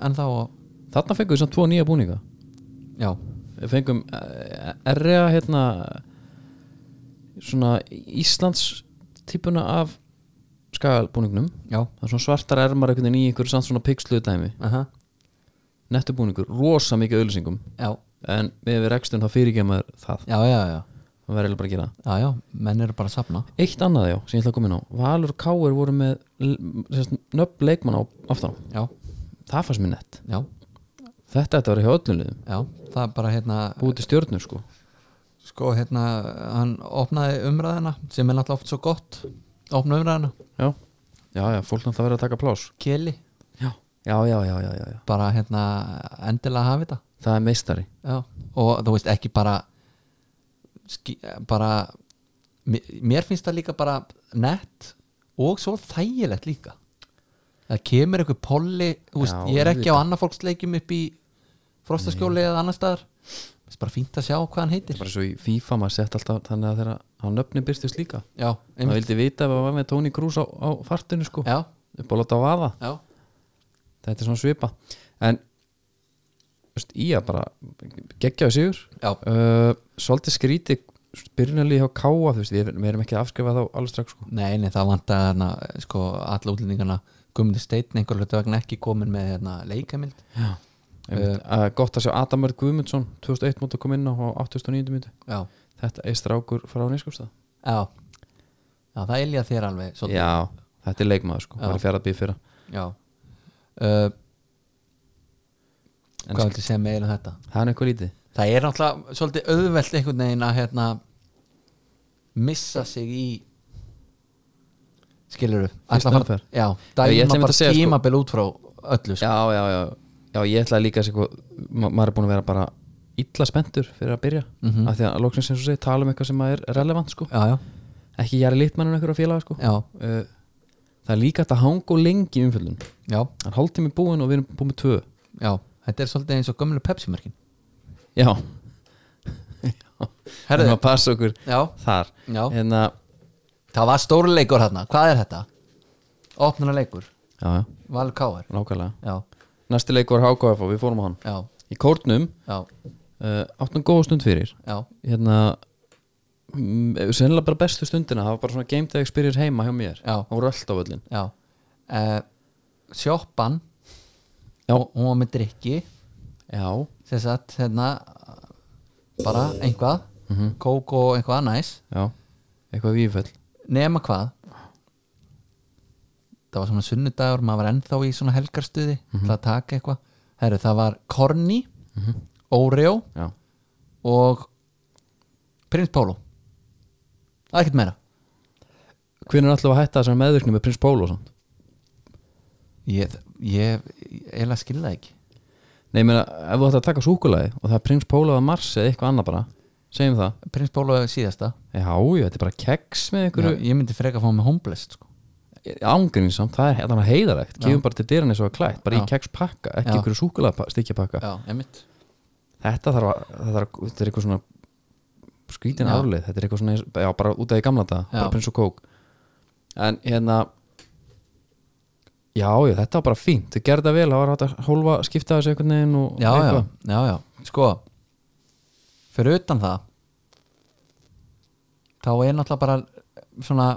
Speaker 2: en þá og,
Speaker 1: Þarna fengum við samt tvo nýja búninga
Speaker 2: já,
Speaker 1: Við fengum erja hérna svona Íslands típuna af skagalbúningnum
Speaker 2: já
Speaker 1: það er svona svartar ermar einhvern veginn í einhverju samt svona pixluðu dæmi
Speaker 2: aha,
Speaker 1: nettubúningur, rosa mikið auðlýsingum
Speaker 2: já,
Speaker 1: en með við rekstum þá fyrirgemaður það
Speaker 2: já, já, já,
Speaker 1: það verður eiginlega bara að gera það
Speaker 2: já, já menn eru bara að safna
Speaker 1: Eitt annað já, sem ég ætla að koma inn á Valur og Káur voru með l- sem sagt, nöfn leikmann á aftan á.
Speaker 2: Já,
Speaker 1: það fannst mér nett
Speaker 2: já,
Speaker 1: þetta þetta var hjá öllum liðum,
Speaker 2: já, það er bara hérna
Speaker 1: búið til stjörnur sko
Speaker 2: sko hérna hann opnaði umræðina sem er náttúrulega oft svo gott opna umræðina,
Speaker 1: já, já, já, fólk náttúrulega verður að taka plás
Speaker 2: keli
Speaker 1: já, já, já, já, já, já, já.
Speaker 2: bara hérna endilega hafi þetta
Speaker 1: það er meistari
Speaker 2: já. og þú veist ekki bara ski, bara mér- mér finnst það líka bara nett og svo þægilegt líka það kemur einhver polli þú veist,
Speaker 1: Já,
Speaker 2: ég er ekki á annað fólksleikjum upp í frostaskjóli eða annar staðar það er bara fínt að sjá hvað hann heitir
Speaker 1: bara svo í FIFA maður sett alltaf þannig að þeirra á nöfni byrstist líka
Speaker 2: já,
Speaker 1: maður
Speaker 2: einmitt.
Speaker 1: vildi vita ef að var með Tony Cruz á, á fartinu sko
Speaker 2: já,
Speaker 1: upp á láta á aða,
Speaker 2: já,
Speaker 1: þetta er svona svipa en veist, í að bara geggjaði sigur
Speaker 2: já,
Speaker 1: uh, svolítið skríti byrjunarlið hjá Káa þú veist, við, við erum ekki að afskrifa þá alveg strax sko
Speaker 2: Nei, nei, það vantaði hérna sko, alla útlendingana Guðmundur Steinn einhver hlutu vegna ekki komin með hérna, leikamild
Speaker 1: já Uh, gott að sjá Adam Örd Guðmundsson 2001 mútu að koma inn á á 89. mútu
Speaker 2: Já,
Speaker 1: þetta er strákur frá Nýskupstað
Speaker 2: já, já það elja þér alveg svolítið.
Speaker 1: já, þetta er leikmaður sko,
Speaker 2: Já.
Speaker 1: var í fjaraðbíð fyrra
Speaker 2: Já, Uh,
Speaker 1: En
Speaker 2: Hvað viltu segja með eiginlega þetta?
Speaker 1: það er eitthvað lítið
Speaker 2: Það er náttúrulega svolítið auðvelt einhvern veginn að hérna, missa sig í skiluru
Speaker 1: Fyrstu umferð.
Speaker 2: Já,
Speaker 1: Ég ætla
Speaker 2: dæma
Speaker 1: einmitt að
Speaker 2: bara
Speaker 1: segja, sko-
Speaker 2: tímabil út frá öllu sko.
Speaker 1: já, já, já, já, ég ætlaði líka að segja hvað- ma maður er búin að vera bara illa spendur fyrir að byrja, af því að loksins eins og segi, tala um eitthvað sem er relevant sko
Speaker 2: Já, já,
Speaker 1: ekki jæri litmann en einhverja félaga sko
Speaker 2: já,
Speaker 1: uh, það er líka hægt að hanga og lengi í umfjöldun
Speaker 2: já,
Speaker 1: hann hálfti mig búin og við erum búin með tvö
Speaker 2: já Þetta er svolítið eins og gömlu Pepsi-merkin
Speaker 1: já,
Speaker 2: Herðu,
Speaker 1: það passa okkur
Speaker 2: já,
Speaker 1: þar Hérna,
Speaker 2: já
Speaker 1: en að
Speaker 2: það var stórleikur hérna, hvað er þetta? opnuna leikur,
Speaker 1: já, já,
Speaker 2: Valur Káar
Speaker 1: nákvæmlega
Speaker 2: já,
Speaker 1: næsti leik var HKF og við fórum á hann
Speaker 2: já,
Speaker 1: í kórnum,
Speaker 2: já,
Speaker 1: uh, áttum góða stund fyrir
Speaker 2: já
Speaker 1: hérna mm, sennilega bara bestu stundina það var bara svona game day experience heima hjá mér
Speaker 2: Já.
Speaker 1: það voru allt á völlin
Speaker 2: já uh, sjoppan
Speaker 1: Já.
Speaker 2: hún hún var með drikki
Speaker 1: já,
Speaker 2: sem sagt hérna bara einhvað kók og einhvað næs
Speaker 1: já, eitthvað vífell
Speaker 2: nema hvað það var svona sunnudagur maður var ennþá í svona helgarstuði til að taka eitthvað Herru, það var Korni Mhm. Oreo
Speaker 1: já,
Speaker 2: og Prins Pólo það er ekkert meira
Speaker 1: hvernig er alltaf að hætta þessar meðvirkni með prins Pólo og svona
Speaker 2: ég, ég, ég eiginlega skil það ekki
Speaker 1: nei, ég meina, ef þú ætti að taka súkulagi og það er prins Pólo að Mars eða eitthvað annað bara segjum það,
Speaker 2: Prins Pólo er síðasta
Speaker 1: já, ég þetta er bara keks með
Speaker 2: Já,
Speaker 1: einhverju,
Speaker 2: ég myndi freka að fá mig homeless sko.
Speaker 1: ángrinsamt, það er hérna heiðarlegt gefum bara til dyrann eins og að klætt, bara í
Speaker 2: Já.
Speaker 1: kekspakka ekki
Speaker 2: Já.
Speaker 1: einhverju súkulaga stikkjapakka
Speaker 2: já, einmitt
Speaker 1: þetta þarf að, það þarf, þetta er eitthvað svona skrítin
Speaker 2: Já.
Speaker 1: aflið, þetta er eitthvað svona eins- já, bara út af í gamla dag,
Speaker 2: Já.
Speaker 1: bara prins og kók en hérna já, já, þetta var bara fínt þau gerði það vel, það var hægt að hólfa skipta þessu einhvern veginn og
Speaker 2: já, já,
Speaker 1: eitthvað
Speaker 2: já, já, sko fyrir utan það þá er náttúrulega bara svona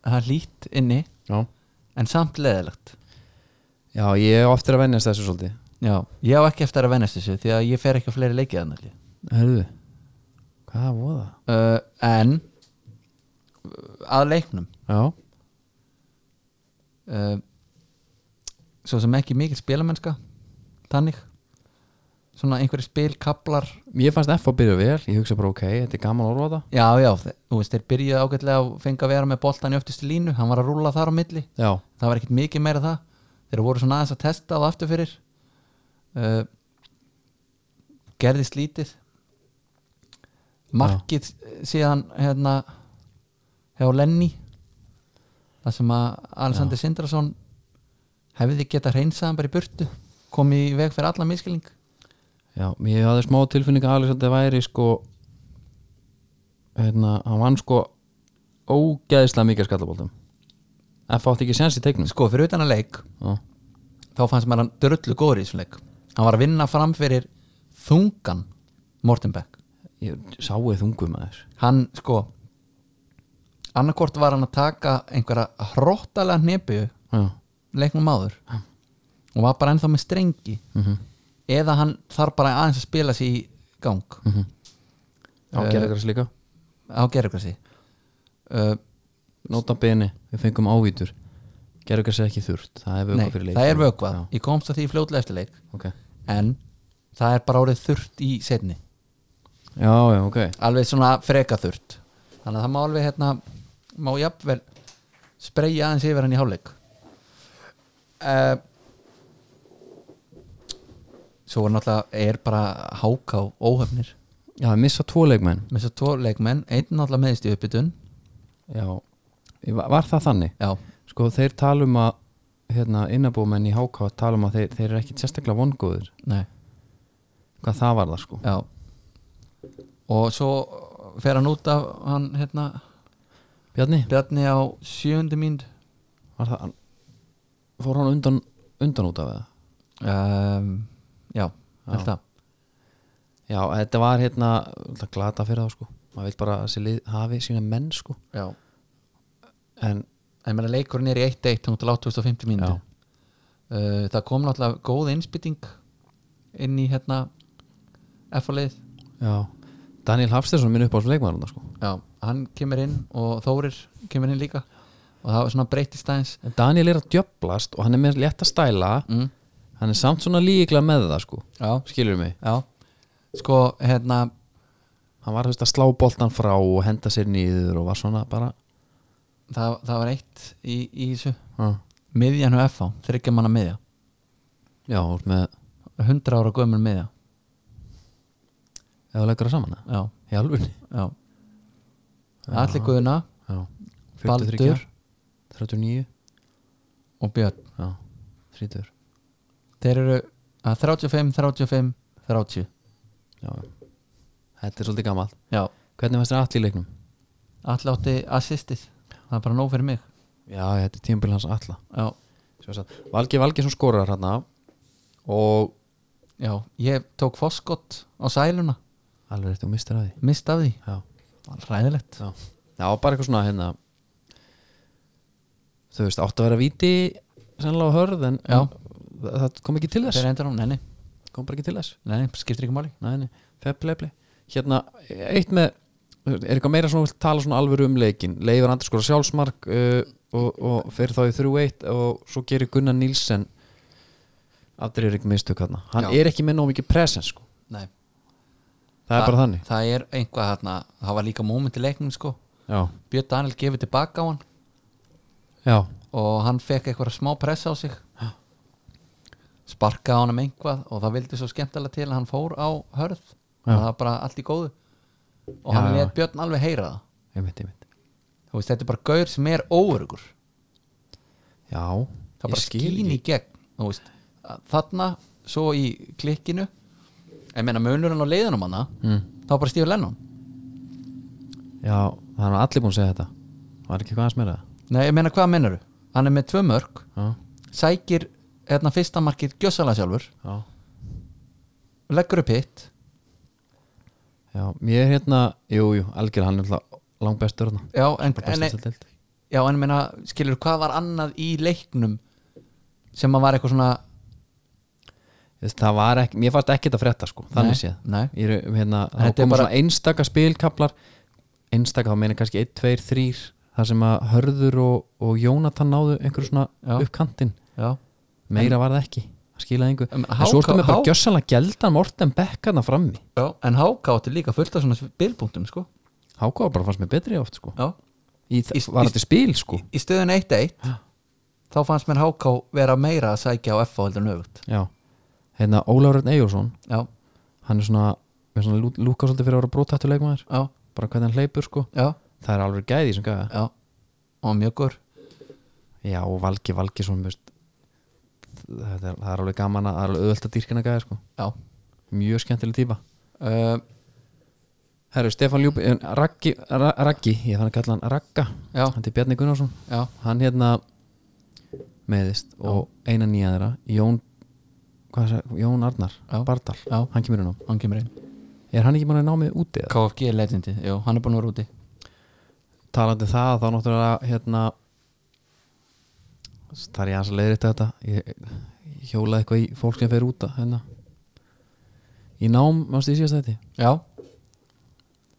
Speaker 2: það er lít inni
Speaker 1: já.
Speaker 2: en samt leðilegt
Speaker 1: já, ég á eftir að venjast þessu svolítið
Speaker 2: já, ég á ekki eftir að vennast þessu því að ég fer ekki á fleiri leikið þannig uh,
Speaker 1: herðu, hvað voða
Speaker 2: en uh, að leiknum
Speaker 1: já,
Speaker 2: uh, svo sem ekki mikil spilamennska þannig svona einhverju spilkablar
Speaker 1: ég fannst F að byrja vel ég hugsa bara ok, þetta er gaman að orfa það
Speaker 2: já, já, þe- þú veist, þeir byrjuðu ágætlega að fengi að vera með boltan í öftustu línu hann var að rúla þar á milli
Speaker 1: já,
Speaker 2: það var ekkert mikið meira það þeir voru svona aðeins að testa það aftur fyrir uh, gerðist lítið markið síðan hérna hjá Lenny það sem að Alexander Sindrason hefði geta hreinsaðan bara í burtu komið í veg fyrir alla miskilning
Speaker 1: já, ég hafði smá tilfinning að Alexander væri sko hérna, hann vann sko ógeðislega mikið skallabóltum F átti ekki sens í teiknum
Speaker 2: sko fyrir utan að leik
Speaker 1: Já,
Speaker 2: þá fannst maður hann drullu góður í þessum leik hann var að vinna fram fyrir þungan Mortenbeck
Speaker 1: ég sáu þungum aðeins
Speaker 2: hann sko annarkort var hann að taka einhverja hróttalega hnepu
Speaker 1: Já,
Speaker 2: leiknum áður og var bara ennþá með strengi
Speaker 1: Mhm.
Speaker 2: eða hann þarf bara aðeins að spila sér í gang
Speaker 1: Mhm. já uh, gerði þessu líka
Speaker 2: á gerðugrassi uh,
Speaker 1: Nota beni, við fengum ávítur Gerði þessu ekki þurft, það er
Speaker 2: nei,
Speaker 1: vöka fyrir leik
Speaker 2: það er vökvað
Speaker 1: Já,
Speaker 2: ég komst að því fljótlega eftir leik
Speaker 1: ok,
Speaker 2: en það er bara orðið þurrt í setni
Speaker 1: já, já, ok
Speaker 2: alveg svona freka þurrt þannig að það má alveg hérna má jafnvel spreyja aðeins yfir hann í hálfleik uh, svo er náttúrulega er bara háká óhefnir
Speaker 1: Já, að missa tvo leikmenn
Speaker 2: með þess að tvo leikmenn, einn náttúrulega meðist í uppbytun
Speaker 1: Já, ég va- var það þannig
Speaker 2: já,
Speaker 1: Sko, þeir talum að hérna, innabúmenn í HK talum um að þeir, þeir eru ekki sérstaklega vongóður
Speaker 2: nei,
Speaker 1: Hvað það var það, sko
Speaker 2: já og svo fer hann út af hann hérna,
Speaker 1: Bjarni,
Speaker 2: Bjarni á sjöundu mínd
Speaker 1: var það Fór hann undan, undan út af það?
Speaker 2: um, já, held það
Speaker 1: Já, þetta var hérna náttúrulega glata fyrir þá sko maður vil bara að þessi lið hafi sína menn sko
Speaker 2: já,
Speaker 1: en
Speaker 2: en meðan leikurinn er í 1-1 þannig til 8.50 mínu
Speaker 1: Já.
Speaker 2: uh, það kom náttúrulega góð innspýting inn í hérna F-leið
Speaker 1: já, Daniel Hafstæðsson minn upp á leikmæðurna sko
Speaker 2: já, hann kemur inn og Þórir kemur inn líka og það var svona breytist aðeins
Speaker 1: en Daniel er að djöblast og hann er með létt að stæla
Speaker 2: mm.
Speaker 1: hann er samt svona líkla með það sko
Speaker 2: já,
Speaker 1: skilur mig,
Speaker 2: já sko, hérna
Speaker 1: hann var þú veist, að slá boltan frá og henda sér nýður og var svona bara
Speaker 2: það, það var eitt í, í þessu
Speaker 1: já,
Speaker 2: miðjan og FH, þryggja manna miðja
Speaker 1: já þú ert með
Speaker 2: 100 ára gömur miðja
Speaker 1: eða leikur að saman það,
Speaker 2: já,
Speaker 1: í alvunni
Speaker 2: já Alli Guðna,
Speaker 1: já, 43
Speaker 2: Baldur
Speaker 1: ár, 39,
Speaker 2: og Björn
Speaker 1: já, 30
Speaker 2: þeir eru að 35, 35, 30
Speaker 1: já, þetta er svolítið gammal
Speaker 2: já,
Speaker 1: hvernig fannst þér allir leiknum?
Speaker 2: Alli átti assistið það er bara nóg fyrir mig
Speaker 1: já, þetta er tímabil hans alla
Speaker 2: já,
Speaker 1: Valgi Valgesson skorar hann hérna og
Speaker 2: já, ég tók foskott á sæluna
Speaker 1: alveg rétt og mistur að því
Speaker 2: mist af því,
Speaker 1: já,
Speaker 2: Það var ræðilegt
Speaker 1: já. já bara eitthvað svona hérna þú veist, áttu að vera víti sannlega á hörð en
Speaker 2: Já.
Speaker 1: það það kom ekki til
Speaker 2: þeir
Speaker 1: þess
Speaker 2: reyndar á, nei, nei,
Speaker 1: kom bara ekki til þess
Speaker 2: nei, nei, skiptir ekki máli
Speaker 1: nei, nei, fair play, play. hérna, eitt með þú veist, er eitthvað meira svona, vilt tala svona alveg um leikin leifur andri skora sjálfsmark uh, og, og fyrir þá í 3-1 og svo gerir Gunnar Nílsen aldrei er ekki mistök hann hann
Speaker 2: Já.
Speaker 1: er ekki með nóg mikið presens sko.
Speaker 2: nei,
Speaker 1: það er bara þannig
Speaker 2: það er einhvað hérna, það var líka moment í leiknum sko,
Speaker 1: já,
Speaker 2: Björn Daniel gefið tilbaka á hann
Speaker 1: já,
Speaker 2: og hann fekk eitthvað smá pressa á sig sparkaði á hann um einhvað og það vildi svo skemmtilega til að hann fór á hörð
Speaker 1: Já.
Speaker 2: það var bara allt í góðu og
Speaker 1: Já,
Speaker 2: hann
Speaker 1: já.
Speaker 2: let Björn alveg heyra það
Speaker 1: einmitt, einmitt
Speaker 2: þú veist, þetta er bara gaur sem er óörugur
Speaker 1: já, ég
Speaker 2: það er bara
Speaker 1: skil
Speaker 2: skín í
Speaker 1: ekki.
Speaker 2: gegn þú veist, þarna svo í klikkinu en meina munurinn á leiðinum hana
Speaker 1: mm.
Speaker 2: þá var bara Stífi Lennon
Speaker 1: já, það er allir búin að segja þetta var ekki hvað að smera
Speaker 2: nei, ég meina hvað menuru, hann er með tvö mörg
Speaker 1: það já,
Speaker 2: sækir hérna fyrsta markið gjössalega sjálfur
Speaker 1: já,
Speaker 2: leggur upp hitt
Speaker 1: já mér er hérna, jú, jú, algjör hann er náttúrulega langbestur hann
Speaker 2: já, en,
Speaker 1: bara
Speaker 2: en,
Speaker 1: bestast að deild
Speaker 2: Já, en ég meina, skilur, hvað var annað í leiknum sem að var eitthvað svona
Speaker 1: Þess, það var ekki, mér fannst ekki þetta frétta sko, þannig
Speaker 2: Nei,
Speaker 1: séð
Speaker 2: nei.
Speaker 1: Ég er, hérna,
Speaker 2: En
Speaker 1: þá
Speaker 2: þetta er
Speaker 1: komum
Speaker 2: bara-
Speaker 1: svona einstaka spilkaplar einstaka, þá meina ég kannski 1, 2, 3 þar sem að Hörður og, og Jónatan náðu einhverju svona
Speaker 2: Já.
Speaker 1: upp kantinn
Speaker 2: Já,
Speaker 1: meira var það ekki, það skilaði einhver
Speaker 2: Um,
Speaker 1: en svo
Speaker 2: HK
Speaker 1: ertu með bara gjössalega gældan Morten Beckarna frammi,
Speaker 2: já. en Háka átti líka fullt af svona bilpunktum, sko
Speaker 1: hákáða bara fannst mér betri oft sko,
Speaker 2: Já,
Speaker 1: í, í,
Speaker 2: Í-
Speaker 1: var
Speaker 2: í-
Speaker 1: þetta spil sko
Speaker 2: í stöðun 1-1 þá fannst mér Háka vera meira að sækja á F.A. heldur nögut
Speaker 1: já, hérna Ólafur Örn Eyjólfsson
Speaker 2: Já,
Speaker 1: hann er svona, með svona lú- lúka svolítið fyrir að vera brótættu leikmaður,
Speaker 2: já,
Speaker 1: bara hvernig hann hleypur sko
Speaker 2: já,
Speaker 1: það er alveg gæði sem gæða
Speaker 2: já og mjög gór
Speaker 1: Já, og Valgi Valgisson veist, það, er, það er alveg gaman að það er alveg auðvelt að dýrkina gæða sko.
Speaker 2: Já,
Speaker 1: mjög skemmtileg típa
Speaker 2: uh,
Speaker 1: Herru, Stefán Ljúbi, en Raggi, Ra- Raggi ég fann að kalla hann Ragga
Speaker 2: Já.
Speaker 1: hann til Bjarni Gunnarsson
Speaker 2: já,
Speaker 1: hann hérna meðist og eina nýja þeirra Jón, hvað er, það- Jón Arnar
Speaker 2: Já.
Speaker 1: Bardal,
Speaker 2: Já.
Speaker 1: hann kemur inn á
Speaker 2: hann kemur inn
Speaker 1: er hann ekki mann að námið úti eða?
Speaker 2: KFG er legendi, já, hann er búin að vera úti
Speaker 1: talandi um það þá náttúrulega hérna það er ég aðeins að leiðrita þetta ég, ég hjólaði eitthvað í fólk sem fer út að hérna í nám, mástu ég síðast þetta
Speaker 2: Já,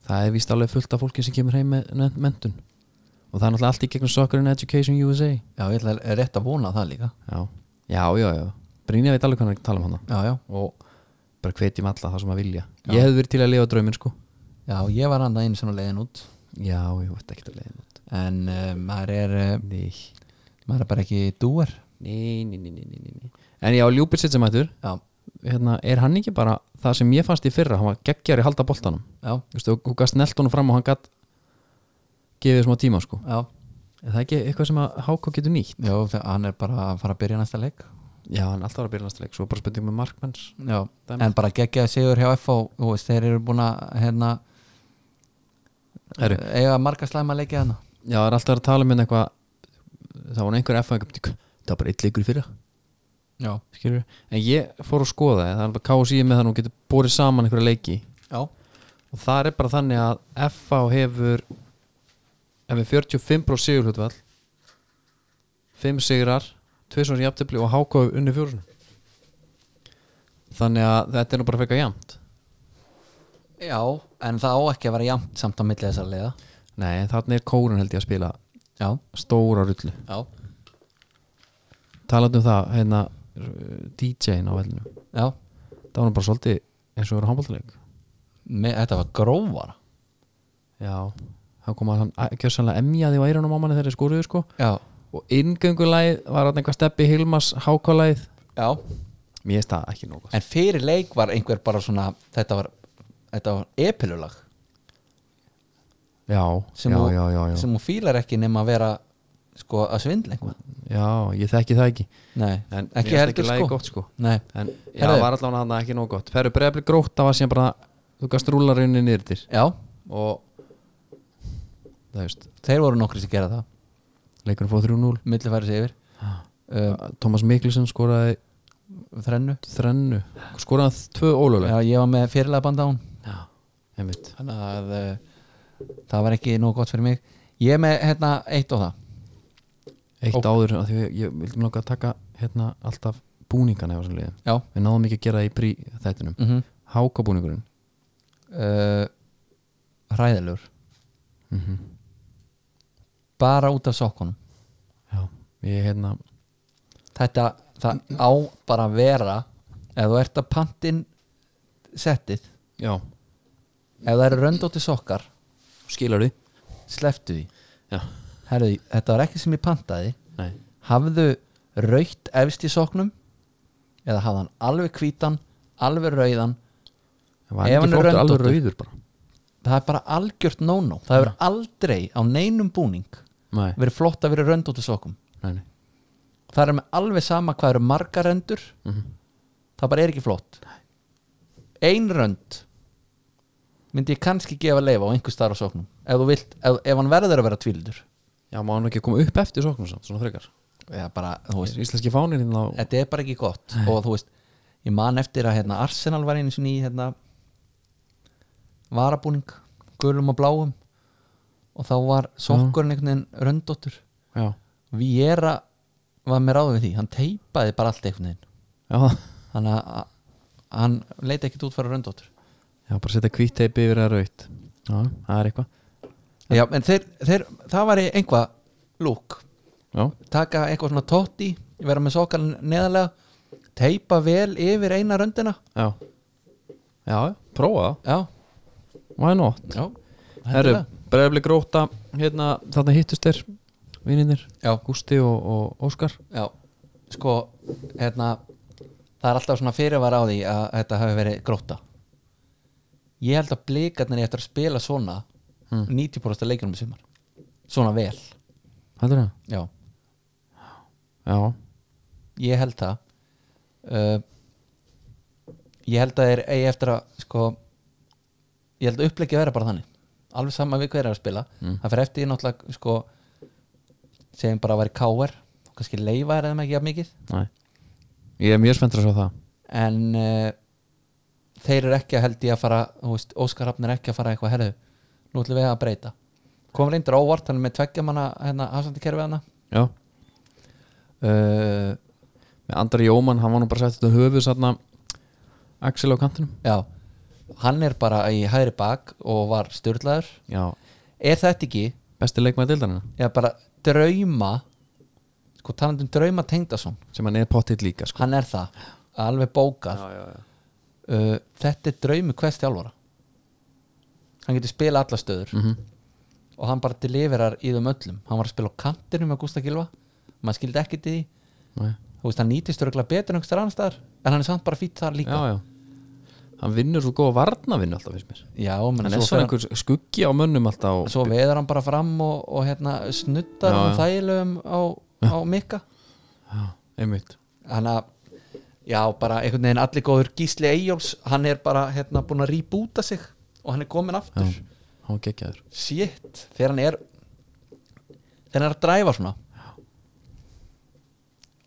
Speaker 1: það er víst alveg fullt af fólki sem kemur heim með men- menntun og það er náttúrulega allt í gegnum Soccer and Education USA
Speaker 2: já, ég ætla er rétt að vona það líka
Speaker 1: já, já, já, já Brynja veit alveg hvað hann er að tala um hana
Speaker 2: Já, já,
Speaker 1: og bara hvetjum alla það sem að vilja
Speaker 2: Já.
Speaker 1: ég hefði verið til að lifa drauminn sko
Speaker 2: já, ég var annað einu svona leiðin út
Speaker 1: já, ég veit ekki að leiðin út
Speaker 2: en uh, maður er uh,
Speaker 1: nei,
Speaker 2: maður er bara ekki dúar
Speaker 1: nei, nei, nei, nei, nei, nei. en já, Ljúbisitt sem ættur
Speaker 2: já,
Speaker 1: hérna, er hann ekki bara það sem ég fannst í fyrra, hann var geggjari halda boltanum
Speaker 2: já,
Speaker 1: Þú veist, og hún gast nelt honum fram og hann gatt gefið smá tíma sko
Speaker 2: já,
Speaker 1: er það ekki eitthvað sem að Háko getur nýtt
Speaker 2: já þa- hann er bara að fara að byrja næsta leik
Speaker 1: já, hann er alltaf að byrja næsta leik, svo bara spurning um með markmanns
Speaker 2: já,
Speaker 1: Dæmi.
Speaker 2: en bara geggja að sigur hjá FH þú veist, þeir eru búin að hérna,
Speaker 1: Heru,
Speaker 2: eiga marga slæma leikið hana
Speaker 1: já, það er alltaf að tala með eitthvað það var einhver FA -ingar, það var bara eitt leikur í fyrra
Speaker 2: já,
Speaker 1: skilur. en ég fór að skoða það það er bara KSI með það að hún getur borið saman einhverja leiki
Speaker 2: já,
Speaker 1: og það er bara þannig að FA hefur ef við 45% sigurhlutvall 5 sigrar 2 svona jafntefli og HK hefur unni fjórun þannig að þetta er nú bara fekka jæmt
Speaker 2: já en það á ekki að vera jæmt samt á milli þessar leiða
Speaker 1: nei, þannig er kórun held ég að spila
Speaker 2: já,
Speaker 1: stóra rullu
Speaker 2: já,
Speaker 1: talandi um það, hérna uh, DJ-in á vellinu
Speaker 2: já
Speaker 1: það var nú bara svolítið eins og verið handbóltaleik
Speaker 2: Me, þetta var grófara
Speaker 1: já, þá kom að hann kjössanlega emjaði á eirunum á manni þegar þeir skoruðu sko
Speaker 2: já,
Speaker 1: og inngöngulæð var hann eitthvað steppi Hilmas hákálæð
Speaker 2: já,
Speaker 1: mér finnst það ekki nóg gott.
Speaker 2: en fyrir leik var einhver bara svona, þetta var þetta var epilulag
Speaker 1: já,
Speaker 2: sem,
Speaker 1: já,
Speaker 2: hún,
Speaker 1: já, já, já.
Speaker 2: sem hún fílar ekki nema að vera sko að svindla einhvað
Speaker 1: já, ég þekki það ekki
Speaker 2: nei,
Speaker 1: en mér
Speaker 2: ekki
Speaker 1: finnst
Speaker 2: heldur
Speaker 1: lagið
Speaker 2: sko
Speaker 1: gott, sko.
Speaker 2: nei,
Speaker 1: en já,
Speaker 2: Herðu.
Speaker 1: var allavega hann ekki nóg gott ferðu breyfli grótt, það var síðan bara þú gast rúlarunni niður til
Speaker 2: já,
Speaker 1: og það veist,
Speaker 2: þeir voru nokkri sem gera það
Speaker 1: leikurinn fóð 3-0
Speaker 2: milli færi sig yfir uh,
Speaker 1: Eh, Thomas Mikkelsen skoraði
Speaker 2: þrennu
Speaker 1: þrennu skoraði hann tvö óluleg
Speaker 2: Já, ég var með fyrirlega banda á hún
Speaker 1: já, einmitt
Speaker 2: þannig að uh, það var ekki nóg gott fyrir mig ég er með hérna eitt og það
Speaker 1: eitt
Speaker 2: Ó.
Speaker 1: áður af því ég, ég vildi mig langa að taka hérna alltaf búningana hjá þessum liðum
Speaker 2: já,
Speaker 1: við náðum ekki að gera það í prí þættinum
Speaker 2: mm -hmm.
Speaker 1: hákabúningurinn
Speaker 2: Eh, hræðilur
Speaker 1: mm -hmm.
Speaker 2: bara út af sokkunum
Speaker 1: já, ég hérna
Speaker 2: þetta, það á bara að vera ef þú ert að pantin settið,
Speaker 1: já,
Speaker 2: ef það eru röndótti sokkar
Speaker 1: skilar því
Speaker 2: sleftu því,
Speaker 1: já,
Speaker 2: herðu, þetta var ekki sem ég pantaði
Speaker 1: nei,
Speaker 2: hafðu raukt efst í soknum eða hafðu hann alveg hvítan alveg rauðan,
Speaker 1: það var
Speaker 2: Ef
Speaker 1: ekki
Speaker 2: hann er
Speaker 1: flottur alveg
Speaker 2: röndóttur.
Speaker 1: rauður bara
Speaker 2: það er bara algjört no-no, það hefur aldrei á neinum búning
Speaker 1: nei,
Speaker 2: verið flott að vera röndótti sokkum
Speaker 1: nei, nei.
Speaker 2: það er með alveg sama hvað eru marga röndur það bara er ekki flott ein rönd myndi ég kannski gefa leifa á einhver starf á sóknum ef, þú vilt, ef, ef hann verður að vera tvíldur
Speaker 1: já, má hann ekki koma upp eftir sóknum samt, svona frekar
Speaker 2: eða bara, þú veist,
Speaker 1: íslenski fáninn hérna á
Speaker 2: þetta er bara ekki gott og þú veist, ég man eftir að hérna, Arsenal var einu sinni í hérna, varabúning gulum og bláum og þá var sokkurinn einhvern veginn röndóttur
Speaker 1: já,
Speaker 2: Viera var með ráðum við því hann teipaði bara allt einhvern veginn
Speaker 1: já,
Speaker 2: þannig að að- hann leita ekkit út fyrir röndóttur
Speaker 1: já, bara setja kvítteipi yfir að raut já, það er eitthvað
Speaker 2: Já, en þeir, þeir, það var einhvað lúk,
Speaker 1: já,
Speaker 2: taka eitthvað svona totti vera með sokkan neðarlega teipa vel yfir eina röndina
Speaker 1: já já, prófa það,
Speaker 2: Já,
Speaker 1: why not
Speaker 2: já
Speaker 1: Herru,
Speaker 2: hendilega.
Speaker 1: breyðarlega gróta hérna, þarna hittust þér vinninir,
Speaker 2: Já,
Speaker 1: Gústi og, og Óskar
Speaker 2: já, sko hérna, það er alltaf svona fyrirvar á því að þetta hafi verið gróta Ég held að blikarnir eftir að spila svona Hmm. 90% af leikunum í sumar svona vel,
Speaker 1: heldur það?
Speaker 2: já
Speaker 1: Já,
Speaker 2: ég held það uh, ég held að þeir eigi eftir að sko ég held að upplegið vera bara þannig alveg sama við hver er að spila það fer eftir í náttúrulega sko segjum bara að væri káver kannski leifa er þeim ekki að mikið
Speaker 1: næ Ég er mjög spenntur að sjá það
Speaker 2: en uh, þeir eru ekki að held ég að fara þú veist, Óskar Hafn er ekki að fara eitthvað herðu nú ætlum við að breyta kom reyndur á óvart, hann er með tveggja manna hérna, afsandikerfið hana
Speaker 1: Já, Eh,
Speaker 2: uh,
Speaker 1: með Andri Jóman, hann var nú bara sett þetta höfuð sann Axel á kantinum
Speaker 2: Já, hann er bara í hægri bak og var styrlaður
Speaker 1: Já,
Speaker 2: Er þetta ekki,
Speaker 1: besti leikmaði dildarina
Speaker 2: eða bara drauma sko talandum drauma Tengdason
Speaker 1: sem hann er pottitt líka sko.
Speaker 2: hann er það, alveg bókað
Speaker 1: já, já.
Speaker 2: uh, Þetta er draumi hvers þjálfara Hann getur spila alla stöður
Speaker 1: Mm
Speaker 2: og hann bara deliverar í þeim öllum Hann var að spila á kantinu með Gústa Gilva maður skildi ekkit í því Þú veist, hann nýtist örgulega betur en einhverstaðar annars staðar en hann er samt bara fýtt þar líka
Speaker 1: já, já Hann vinnur svo góða varnavinnu alltaf finnst mér
Speaker 2: Já, menn
Speaker 1: Hann
Speaker 2: svo
Speaker 1: er
Speaker 2: fer
Speaker 1: svona einhver skuggi á mönnum alltaf og...
Speaker 2: svo veður hann bara fram og, og hérna, snuttar
Speaker 1: Já,
Speaker 2: hann
Speaker 1: já.
Speaker 2: þægilegum á, á mikka
Speaker 1: Já, einmitt
Speaker 2: þannig að já, bara einhvern veginn allir góður Gísli Eyjóls hann er bara hérna, búin að rýbúta sig og hann er komin aftur
Speaker 1: Já, hann gekkjaður
Speaker 2: shit, þegar hann er þegar hann er að dræfa svona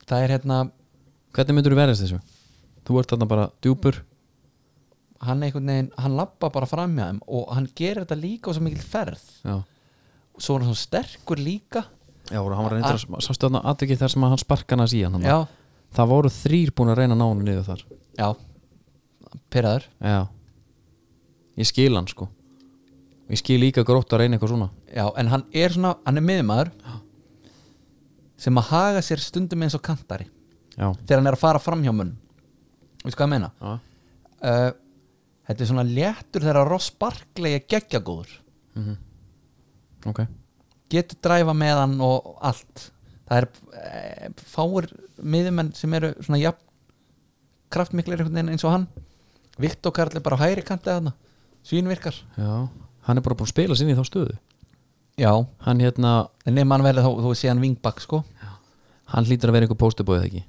Speaker 2: það er hérna
Speaker 1: Hvernig myndur þú verðast þessu? Þú ert þarna bara djúpur
Speaker 2: hann einhvern veginn, hann lappa bara fram hjá þeim og hann gerir þetta líka og svo mikil ferð
Speaker 1: Já
Speaker 2: svo er hann svo sterkur líka
Speaker 1: Já, og hann var reyndar að sástu þarna aðvikið þar sem að hann sparkan að síðan hann
Speaker 2: já,
Speaker 1: Það voru þrýr búin að reyna að ná hann niður þar
Speaker 2: já pyrraður,
Speaker 1: Já Ég skil hann sko Ég skil líka grótt að reyna eitthvað svona
Speaker 2: já, en hann er svona hann er miðmaður sem að haga sér stundum eins og kantari
Speaker 1: Já,
Speaker 2: þegar hann er að fara fram hjá munn veistu hvað ég meina
Speaker 1: já.
Speaker 2: uh, þetta er svona léttur þegar Ross Barkley er geggjagóður
Speaker 1: ok
Speaker 2: getur dræfa með hann og allt það er eh, fáir miðumenn sem eru svona jafn kraftmiklir einhvern veginn eins og hann Viktor Karl er bara á hægri kantið hann svínvirkar
Speaker 1: Já, hann er bara búin að spila sinni í þá stöðu
Speaker 2: já,
Speaker 1: Hann hérna,
Speaker 2: en nema hann verið þá þú sé hann vingbak sko
Speaker 1: hann hlýtur að vera einhver póstubóðið ekki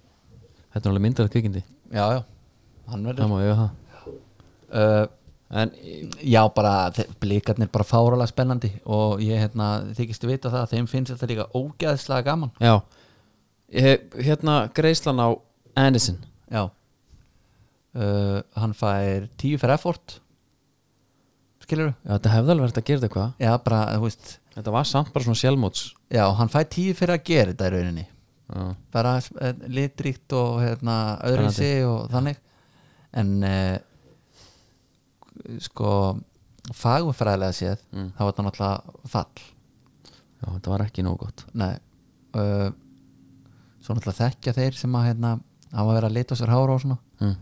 Speaker 1: Þetta er alveg myndarlega kvikindi
Speaker 2: já, já, hann verður
Speaker 1: Það má við það
Speaker 2: uh,
Speaker 1: en
Speaker 2: Já, bara þe- blikarnir bara fáralega spennandi og ég hérna, þykist vita það að þeim finnst þetta líka ógeðslega gaman
Speaker 1: já Ég- hérna greiðslan á Anderson
Speaker 2: Já uh, Hann fær tíu fyrir effort Skilur
Speaker 1: já, þetta hefði alveg verið að gera þetta eitthvað
Speaker 2: Já, bara, þú veist
Speaker 1: þetta var samt bara svona sjálfmóts
Speaker 2: Já, hann fær tíu fyrir að gera þetta í rauninni
Speaker 1: já,
Speaker 2: bara eh, litríkt og hérna, öðruvísi og þannig en eh, sko fagurfræðilega séð
Speaker 1: Mm.
Speaker 2: þá var þetta náttúrulega fall
Speaker 1: já þetta var ekki nóg gott
Speaker 2: Nei uh, Svo náttúrulega þekkja þeir sem að hérna, hafa verið að lita á sér hára og svona
Speaker 1: hm.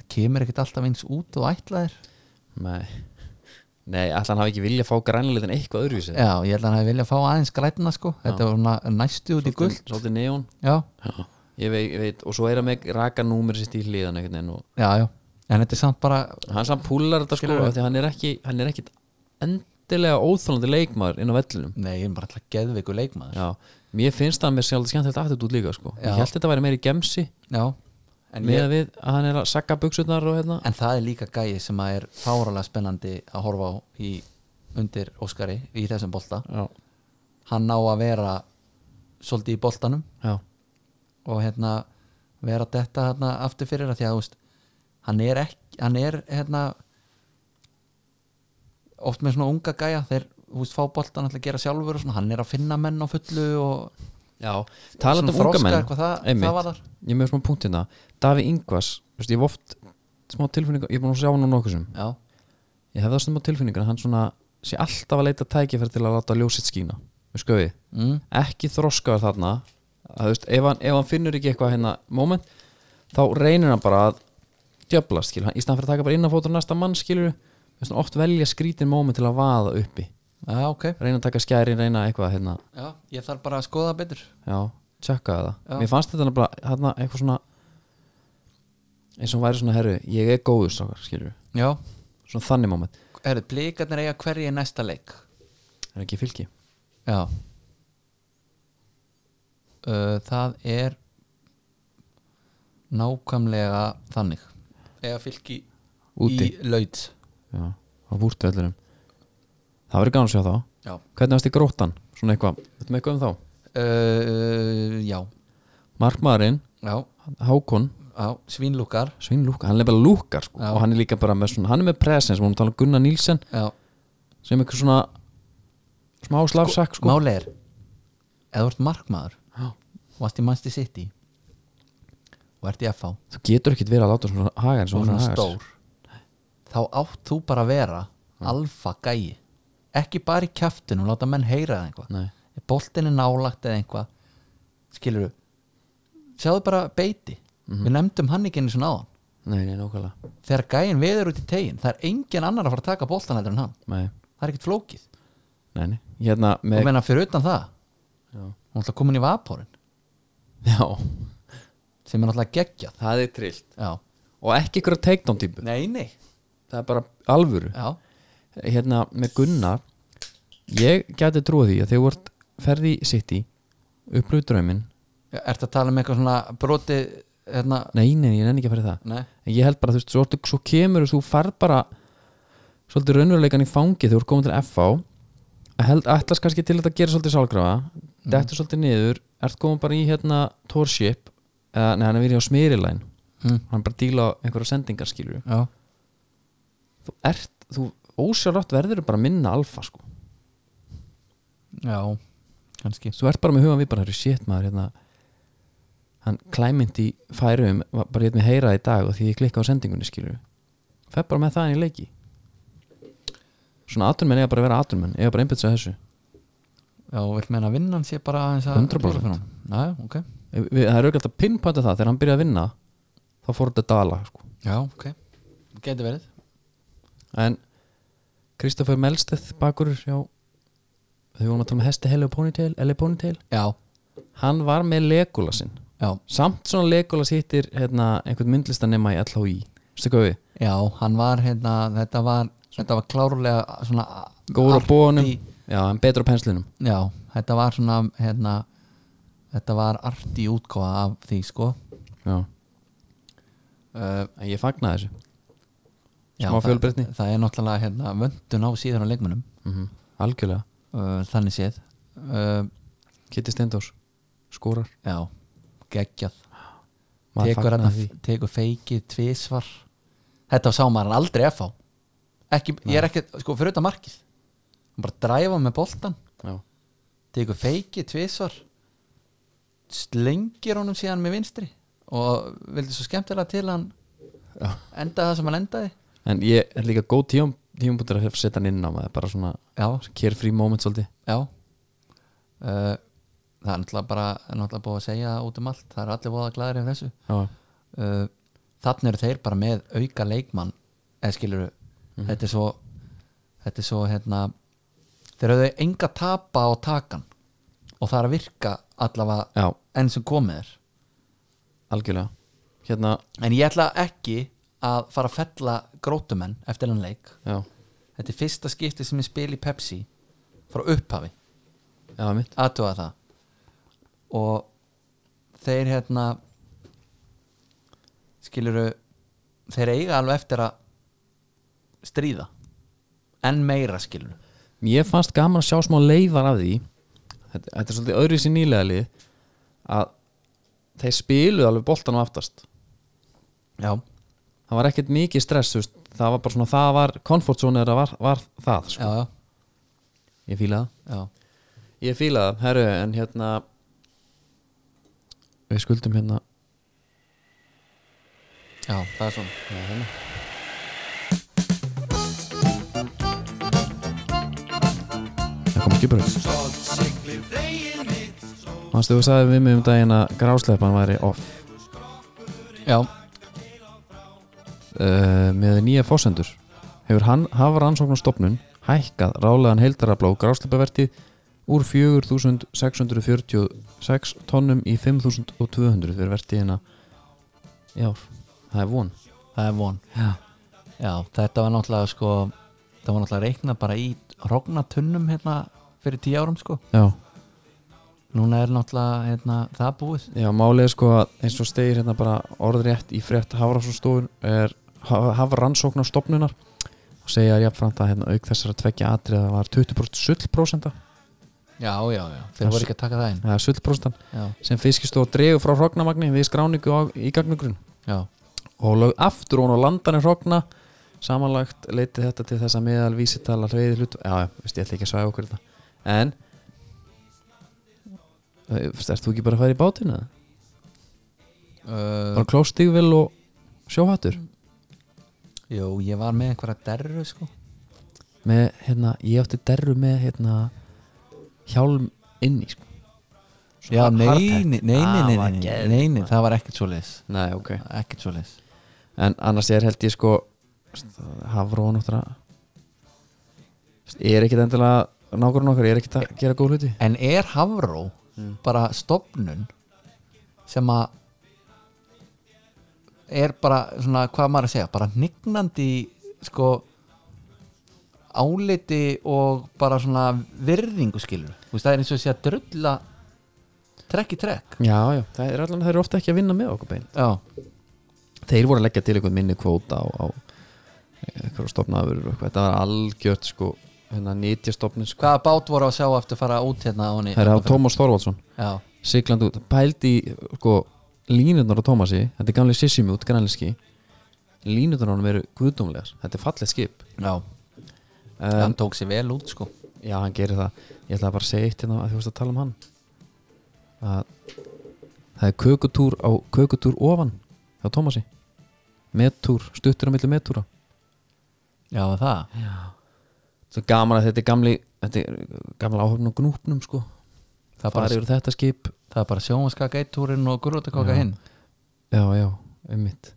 Speaker 2: það kemur ekkert alltaf eins út og ætlaðir
Speaker 1: nei nei, alltaf hann hafi ekki viljað fá grænleitin eitthvað öðruvísi
Speaker 2: Já, ég held að hann hefði viljað fá aðeins grætina sko þetta var svona næstu út í gull
Speaker 1: Svolítið- svolítið neón
Speaker 2: Já,
Speaker 1: ég veit, ég veit, og svo er hann með raka númer sitt í hliðan einhvern veginn og
Speaker 2: já, já En þetta er samt bara,
Speaker 1: hann samt púlar þetta sko
Speaker 2: Skilurðu?
Speaker 1: af því hann er ekki, hann er ekki endilega óþólandi leikmaður inn á vellinum
Speaker 2: nei, ég er bara alltaf geðveiku leikmaður
Speaker 1: já, mér finnst það að mér sé alveg skemmtilegt aftur út líka sko,
Speaker 2: Já.
Speaker 1: ég held þetta væri meiri gemsi
Speaker 2: Já, en,
Speaker 1: með
Speaker 2: ég,
Speaker 1: að við að hann er að sakka buksutnar og hérna
Speaker 2: en það er líka gæi sem að er fáralega spennandi að horfa á í, undir Óskari í þessum bolta
Speaker 1: já,
Speaker 2: Hann ná að vera svolítið í boltanum
Speaker 1: já,
Speaker 2: og hérna vera detta hérna aftur fyrir að því að þú veist, hann er ekki hann er hérna oft með svona unga gæja þeir þú veist, fá boltan alltaf að gera sjálfur og svona, hann er að finna menn á fullu og
Speaker 1: já. talað um
Speaker 2: Svona
Speaker 1: unga
Speaker 2: þroska
Speaker 1: menn
Speaker 2: eitthvað það-
Speaker 1: einmitt.
Speaker 2: það varðar.
Speaker 1: ég er með smá punkt hérna, Davi Ingvars þú veist, ég hef oft smá tilfinningar ég er búin að sjá hann á nokkuð sem
Speaker 2: já,
Speaker 1: ég hef það smá tilfinningar, að hann svona sé alltaf að leita tækifæri til að láta ljósitt skína við skoði,
Speaker 2: mm,
Speaker 1: ekki þroskaður þarna að, þú veist, ef, hann, ef hann finnur ekki eitthvað hérna moment, þá reynir hann bara að djöfla skilur, hann, í stand fyrir að taka bara innanfótur næsta mann skilur veist, oft velja skrítin moment til að vaða uppi
Speaker 2: já, ok
Speaker 1: reyna að taka skærin, reyna eitthvað hérna
Speaker 2: já, ég þarf bara að skoða betur
Speaker 1: já, tjekkaði það,
Speaker 2: Já.
Speaker 1: mér fannst þetta bara hérna eitthvað svona eins og hún væri svona herru, ég er góður strákar skilur,
Speaker 2: já,
Speaker 1: svona þannig moment
Speaker 2: herru, blíkarnir eiga hverju í næsta leik
Speaker 1: er ekki fylki
Speaker 2: já uh, það er nákvæmlega þannig eða fylki
Speaker 1: úti,
Speaker 2: í laut
Speaker 1: já, á vúrtveldurum það verður gaman að sjá þá
Speaker 2: já
Speaker 1: hvernig varst í gróttan, svona eitthvað veitum eitthvað um þá,
Speaker 2: uh, já,
Speaker 1: markmaðurinn
Speaker 2: já,
Speaker 1: Hákon,
Speaker 2: já, svínlúkar
Speaker 1: Svein Lúkar, hann er bara Lúkar sko.
Speaker 2: Já.
Speaker 1: og hann er líka bara með svona, hann er með presens hún tala um Gunnar Nílsen
Speaker 2: já,
Speaker 1: sem eitthvað svona smá slafsak sko,
Speaker 2: máli er eða þú ert markmaður
Speaker 1: Já.
Speaker 2: og varst í Manchester City og ert í FH
Speaker 1: þú getur ekkit verið að láta svona haga eins
Speaker 2: og
Speaker 1: og hann
Speaker 2: svona
Speaker 1: hagar sér.
Speaker 2: stór þá átt þú bara að vera alfa gæi ekki bara í kjaftin og láta menn heyra það einhvað
Speaker 1: Nei.
Speaker 2: er boltin er nálagt eða einhvað skilur þú sjáðu bara beiti
Speaker 1: Mhm.
Speaker 2: við nefndum hann ekki einu svona áðan
Speaker 1: nei, nei, nákvæmlega
Speaker 2: þegar gæin veður út í tegin það er engin annar að fara að taka boltan heldur en hann
Speaker 1: nei,
Speaker 2: það er ekkert flókið
Speaker 1: nei, nei. hérna
Speaker 2: og
Speaker 1: með
Speaker 2: meina fyrir utan það
Speaker 1: Já.
Speaker 2: hún er alltaf komin í vaporin
Speaker 1: já,
Speaker 2: sem er alltaf geggjað
Speaker 1: það er trillt
Speaker 2: já.
Speaker 1: og ekki ykkur takedown típu,
Speaker 2: nei, nei
Speaker 1: það er bara alvöru
Speaker 2: já.
Speaker 1: hérna með Gunnar ég geti trúið því að þegar þú ert ferði sitt í upplöðu drauminn,
Speaker 2: Já, ertu að tala um eitthvað svona broti hérna,
Speaker 1: nei, nei, ég nenni ekki að fara í það
Speaker 2: nei,
Speaker 1: en ég held bara, þú veist, svo, ertu- svo kemur þú færð bara svolítið raunveruleikan í fangi þegar þú ert komin til FH að held, ætlast kannski til þetta að gera svolítið sálgrafa dettur svolítið niður, ert komin bara í hérna Torship, eða nei, hann er verið á Smyrilæn,
Speaker 2: Mm.
Speaker 1: hann er bara að díla á einhverja sendingar skilur,
Speaker 2: já,
Speaker 1: þú ert, þú ósjálfrátt verður bara minna alfa, sko
Speaker 2: já kannski,
Speaker 1: þú ert bara með hugan við bara, shit maður hérna, hann klæmint í færum, var bara ég með heyra í dag og því ég klikka á sendingunni skilur fer bara með það inn í leiki svona aturmenn eiga bara að vera aturmenn eiga bara einbjöðs að þessu
Speaker 2: já, vill meina að vinnan sé bara aðeins að
Speaker 1: 100%.
Speaker 2: fyrir hann. já, já, ok,
Speaker 1: Við- við- það er auðvitað að pinpointa það þegar hann byrjaði að vinna þá fór þetta að dala sko.
Speaker 2: já, ok geti verið,
Speaker 1: en Kristoffer Melsteð bakur já, þau vorum að tala með hesti Hello Ponytail, LA Ponytail
Speaker 2: já,
Speaker 1: hann var með Legolasinn
Speaker 2: já
Speaker 1: samt svona Legolas hittir hérna, einhvern myndlistanema í LHI veistu hvað við
Speaker 2: já, hann var hérna, þetta var þetta var klárlega svona
Speaker 1: góður á
Speaker 2: arty-
Speaker 1: bónum já, en betur á penslinum
Speaker 2: já, þetta var svona hérna, þetta var arti útkóða af því, sko
Speaker 1: já.
Speaker 2: uh,
Speaker 1: en ég fagnaði þessu Eh, Smá
Speaker 2: það-
Speaker 1: fjölbreytni.
Speaker 2: það er náttúrulega hérna, vöndun á síðan á leikmunum
Speaker 1: Mhm. algjörlega,
Speaker 2: uh, þannig séð uh,
Speaker 1: Kitty Steindors skórar,
Speaker 2: já, geggjað
Speaker 1: maður
Speaker 2: tekur,
Speaker 1: fagnaði því
Speaker 2: hérna, tekur feikið tvisvar þetta sá maður aldrei að fá ekki, ég er ekki, sko, fyrir auðvitað markið hann bara dræfa með boltan
Speaker 1: já,
Speaker 2: tekur feikið tvisvar slengir honum síðan með vinstri og vildi svo skemmtilega til að hann
Speaker 1: já.
Speaker 2: endaði það sem hann endaði
Speaker 1: en ég er líka góð tíum tíumbútur að setja hann inn á maður bara svona
Speaker 2: já,
Speaker 1: carefree moment svolítið
Speaker 2: Já uh, Það er náttúrulega bara er náttúrulega búið að segja það út um allt Það eru allir voða glæðir ef þessu
Speaker 1: já,
Speaker 2: uh, Þannig eru þeir bara með auka leikmann eða skilur þetta er svo þetta er svo hérna þeir eru enga tapa á takan og það er að virka allavega
Speaker 1: já,
Speaker 2: enn sem komið er
Speaker 1: algjörlega hérna,
Speaker 2: En ég ætla ekki að fara að fella grótumenn eftir enn leik
Speaker 1: já,
Speaker 2: Þetta er fyrsta skipti sem ég spil í Pepsi frá upphafi
Speaker 1: já, mitt
Speaker 2: aðtuga það og þeir hérna skiluru þeir eiga alveg eftir að stríða en meira skiluru
Speaker 1: Mér fannst gaman að sjá smá leifar af því Þetta, þetta er svolítið öðru sér nýlega lið að þeir spiluðu alveg boltan á aftast
Speaker 2: já,
Speaker 1: það var ekkert mikið stress þú veist, það var bara svona, það var comfort zone þeirra var, var það, sko.
Speaker 2: já, já,
Speaker 1: ég fíla það
Speaker 2: já
Speaker 1: Ég fíla það, herru, en hérna Við skuldum hérna
Speaker 2: já, það er svona
Speaker 1: Það kom ekki bröð Manstu þú sagði við mig um daginn að grásleppan væri off
Speaker 2: já,
Speaker 1: uh, Með nýja fósendur Hefur hann, hafa rannsóknarstofnun hækkað rálegan heildarabló grásleppavertið úr 4.646 tonnum í 5.200 fyrir vertið hérna í ár Það er von
Speaker 2: það er von
Speaker 1: Já,
Speaker 2: já, þetta var náttúrulega sko það var náttúrulega reiknað bara í rognatunnum hérna fyrir tíu árum sko
Speaker 1: já
Speaker 2: núna er náttúrulega hérna, það búið
Speaker 1: Já, málið er sko að eins og stegir hérna bara orðrétt í frétt hafrannsóknastofun er hafrannsóknastofnunar og segja jafnframt að hérna, auk þessara tvekja atriða var 20% sullprósenta
Speaker 2: já, já, já, þeir voru ekki að taka það inn
Speaker 1: eða sullprósentan
Speaker 2: já,
Speaker 1: sem fiskistofa dregur frá hrognamagni við skráningu á, í gagnugrun
Speaker 2: já,
Speaker 1: og lög aftur hún á landanir hrogna samanlagt leiti þetta til þess að meðal vísitala hreiði hlut já, já, veist, ég ætla ekki að svæða okkur þetta en Erst þú ekki bara að fara í bátinu?
Speaker 2: uh,
Speaker 1: Var klóstígvel og sjóhattur?
Speaker 2: Jú, ég var með einhverja derru sko
Speaker 1: með, hérna, ég átti derru með hérna, hjálm inni sko. Svo har- hardhat.
Speaker 2: nei, nei,
Speaker 1: Ah,
Speaker 2: nei,
Speaker 1: var
Speaker 2: nei, nei,
Speaker 1: geðveikt,
Speaker 2: nei, nei,
Speaker 1: maður.
Speaker 2: það var ekkert svo leis
Speaker 1: nei, ok
Speaker 2: Ekkert svo leis
Speaker 1: en annars er held ég sko hafrón og það ég er ekkit endilega nákvæmur okkar, ég er ekkit að gera góð hluti
Speaker 2: En er Hafró bara stopnun sem að er bara svona, hvað á maður að segja bara hnignandi sko áliti og bara svona virðingu skilur Þú veist, það er eins og sé að drulla trekk í trekk
Speaker 1: já, já, það er allan, þeir eru ofta ekki að vinna með okkur bein
Speaker 2: Já,
Speaker 1: þeir voru að leggja til einhvern minni kvóta á, á eitthvað stofnaður og eitthvað, þetta var algjört sko hérna nýtjastofnin sko
Speaker 2: hvaða bát voru að sjá eftir að fara út hérna á henni
Speaker 1: það er á Tómas Þorvaldsson
Speaker 2: Já,
Speaker 1: siglandi út, pældi í, sko, línunar á Tómasi, þetta er gamlega sissimi út grænlíski línunar á hann eru guðdómlegar, þetta er fallegt skip
Speaker 2: já
Speaker 1: um,
Speaker 2: hann tók sér vel út sko
Speaker 1: já, hann gerir það, ég ætla að bara segja eitt hérna að þú veist að tala um hann að það er kökutúr á kökutúr ofan á Tómasi mettúr, stuttur á milli mettúra
Speaker 2: já það
Speaker 1: svo gaman að þetta er gamli þetta er gamla áhöfn á gnúpnum sko
Speaker 2: það er
Speaker 1: farið
Speaker 2: bara,
Speaker 1: yfir þetta skip
Speaker 2: það er bara sjómaskaka eitt túrin og gulrótakaka hinn
Speaker 1: já, já, einmitt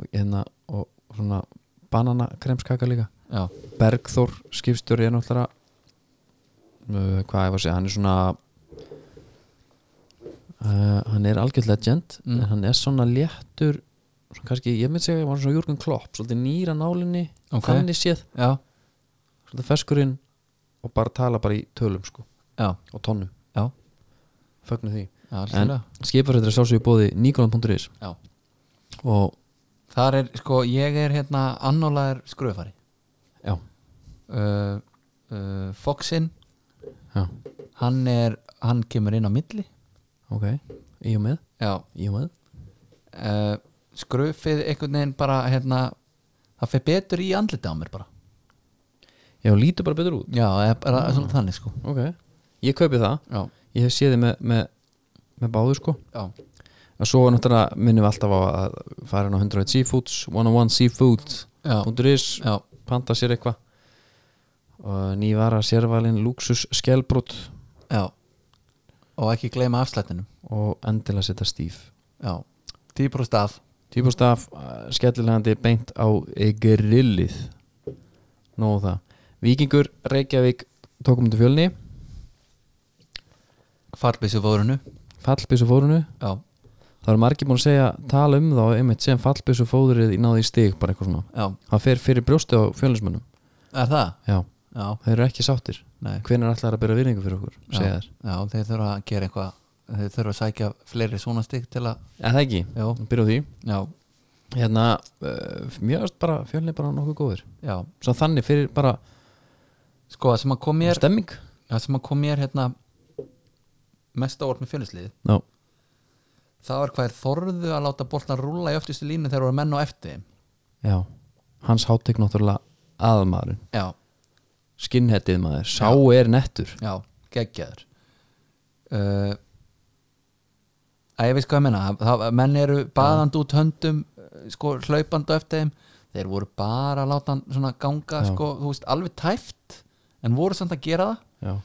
Speaker 1: og, hérna, og svona bananakremskaka líka
Speaker 2: já,
Speaker 1: Bergþór skipstjóri er náttúrulega uh, hvað ég var að segja, hann er svona uh, hann er algjörð legend
Speaker 2: Mm.
Speaker 1: en hann er svona léttur svona kannski, ég myndi segja, hann var svona Jürgen Klopp svolítið nýra nálinni,
Speaker 2: Ok.
Speaker 1: þannig séð
Speaker 2: já,
Speaker 1: svolítið feskurinn og bara tala bara í tölum sko,
Speaker 2: já,
Speaker 1: og tonnum,
Speaker 2: já,
Speaker 1: fögnu því
Speaker 2: já,
Speaker 1: en
Speaker 2: algjörlega.
Speaker 1: skipverður er sjálfsögur bóði nikolan.is
Speaker 2: já.
Speaker 1: og
Speaker 2: þar er, sko, ég er hérna annálaður skröfari
Speaker 1: já,
Speaker 2: uh, uh, Foxinn,
Speaker 1: já,
Speaker 2: hann er hann kemur inn á milli
Speaker 1: ok í og með,
Speaker 2: já,
Speaker 1: í og með
Speaker 2: uh, skröfið einhvern veginn bara, hérna það fer betur í andliti á mér bara
Speaker 1: já, lítur bara betur út
Speaker 2: já, það er bara svona þannig, sko
Speaker 1: ok, ég kaupi það
Speaker 2: já,
Speaker 1: ég hef séð þið með, með, með báðu sko
Speaker 2: já,
Speaker 1: og svo náttúrulega minnum við alltaf á að fara inn á 101 Seafoods 101 Seafood.is
Speaker 2: já, já,
Speaker 1: panta sér eitthvað og nývara sérvalin luxus skelbrot
Speaker 2: já og ekki gleyma afslættinum
Speaker 1: og endilega setja stíf
Speaker 2: já, 10% af
Speaker 1: típust af eh, skellilegandi beint á eh, grillið nóg um það Víkingur Reykjavík tókum til fjölni
Speaker 2: fallbísu fórunu
Speaker 1: fallbyssu fórunu
Speaker 2: já,
Speaker 1: það eru margir búin að segja tala um þá einmitt sem fallbyssu fóðrið náði í stig bara eitthvað svona
Speaker 2: já,
Speaker 1: það fer fyrir brjóstið á fjölnismönnum
Speaker 2: er það?
Speaker 1: já
Speaker 2: já,
Speaker 1: þeir eru ekki sáttir
Speaker 2: nei
Speaker 1: hvernig ætlar að byrja virðingu fyrir okkur segja
Speaker 2: já,
Speaker 1: þér
Speaker 2: já, þeir þurfa að gera eitthvað þeir þurfa að sækja fleiri svona stig til að
Speaker 1: eða það ekki
Speaker 2: já,
Speaker 1: byrja á því
Speaker 2: já,
Speaker 1: hérna uh, mjög öst bara fjölni bara nokkuð góður
Speaker 2: já
Speaker 1: svo þannig fyrir bara
Speaker 2: sko, það sem að kom mér
Speaker 1: stemming
Speaker 2: það sem að kom mér hérna mest ávart með fjöluslið
Speaker 1: já
Speaker 2: það var hvað er þorðu að láta boltan rúlla í öftustu línu þegar voru menn á eftir þeim.
Speaker 1: já hans hátek náttúrulega aðmaðurinn
Speaker 2: já,
Speaker 1: skinnhettið maður sá er nettur
Speaker 2: já, geggjaður uh, að ég veist hvað ég menna það, menn eru baðand út höndum eh, sko hlaupandu eftir þeim þeir voru bara að láta hann svona ganga
Speaker 1: Já.
Speaker 2: sko, þú veist, alveg tæft en voru samt að gera það
Speaker 1: já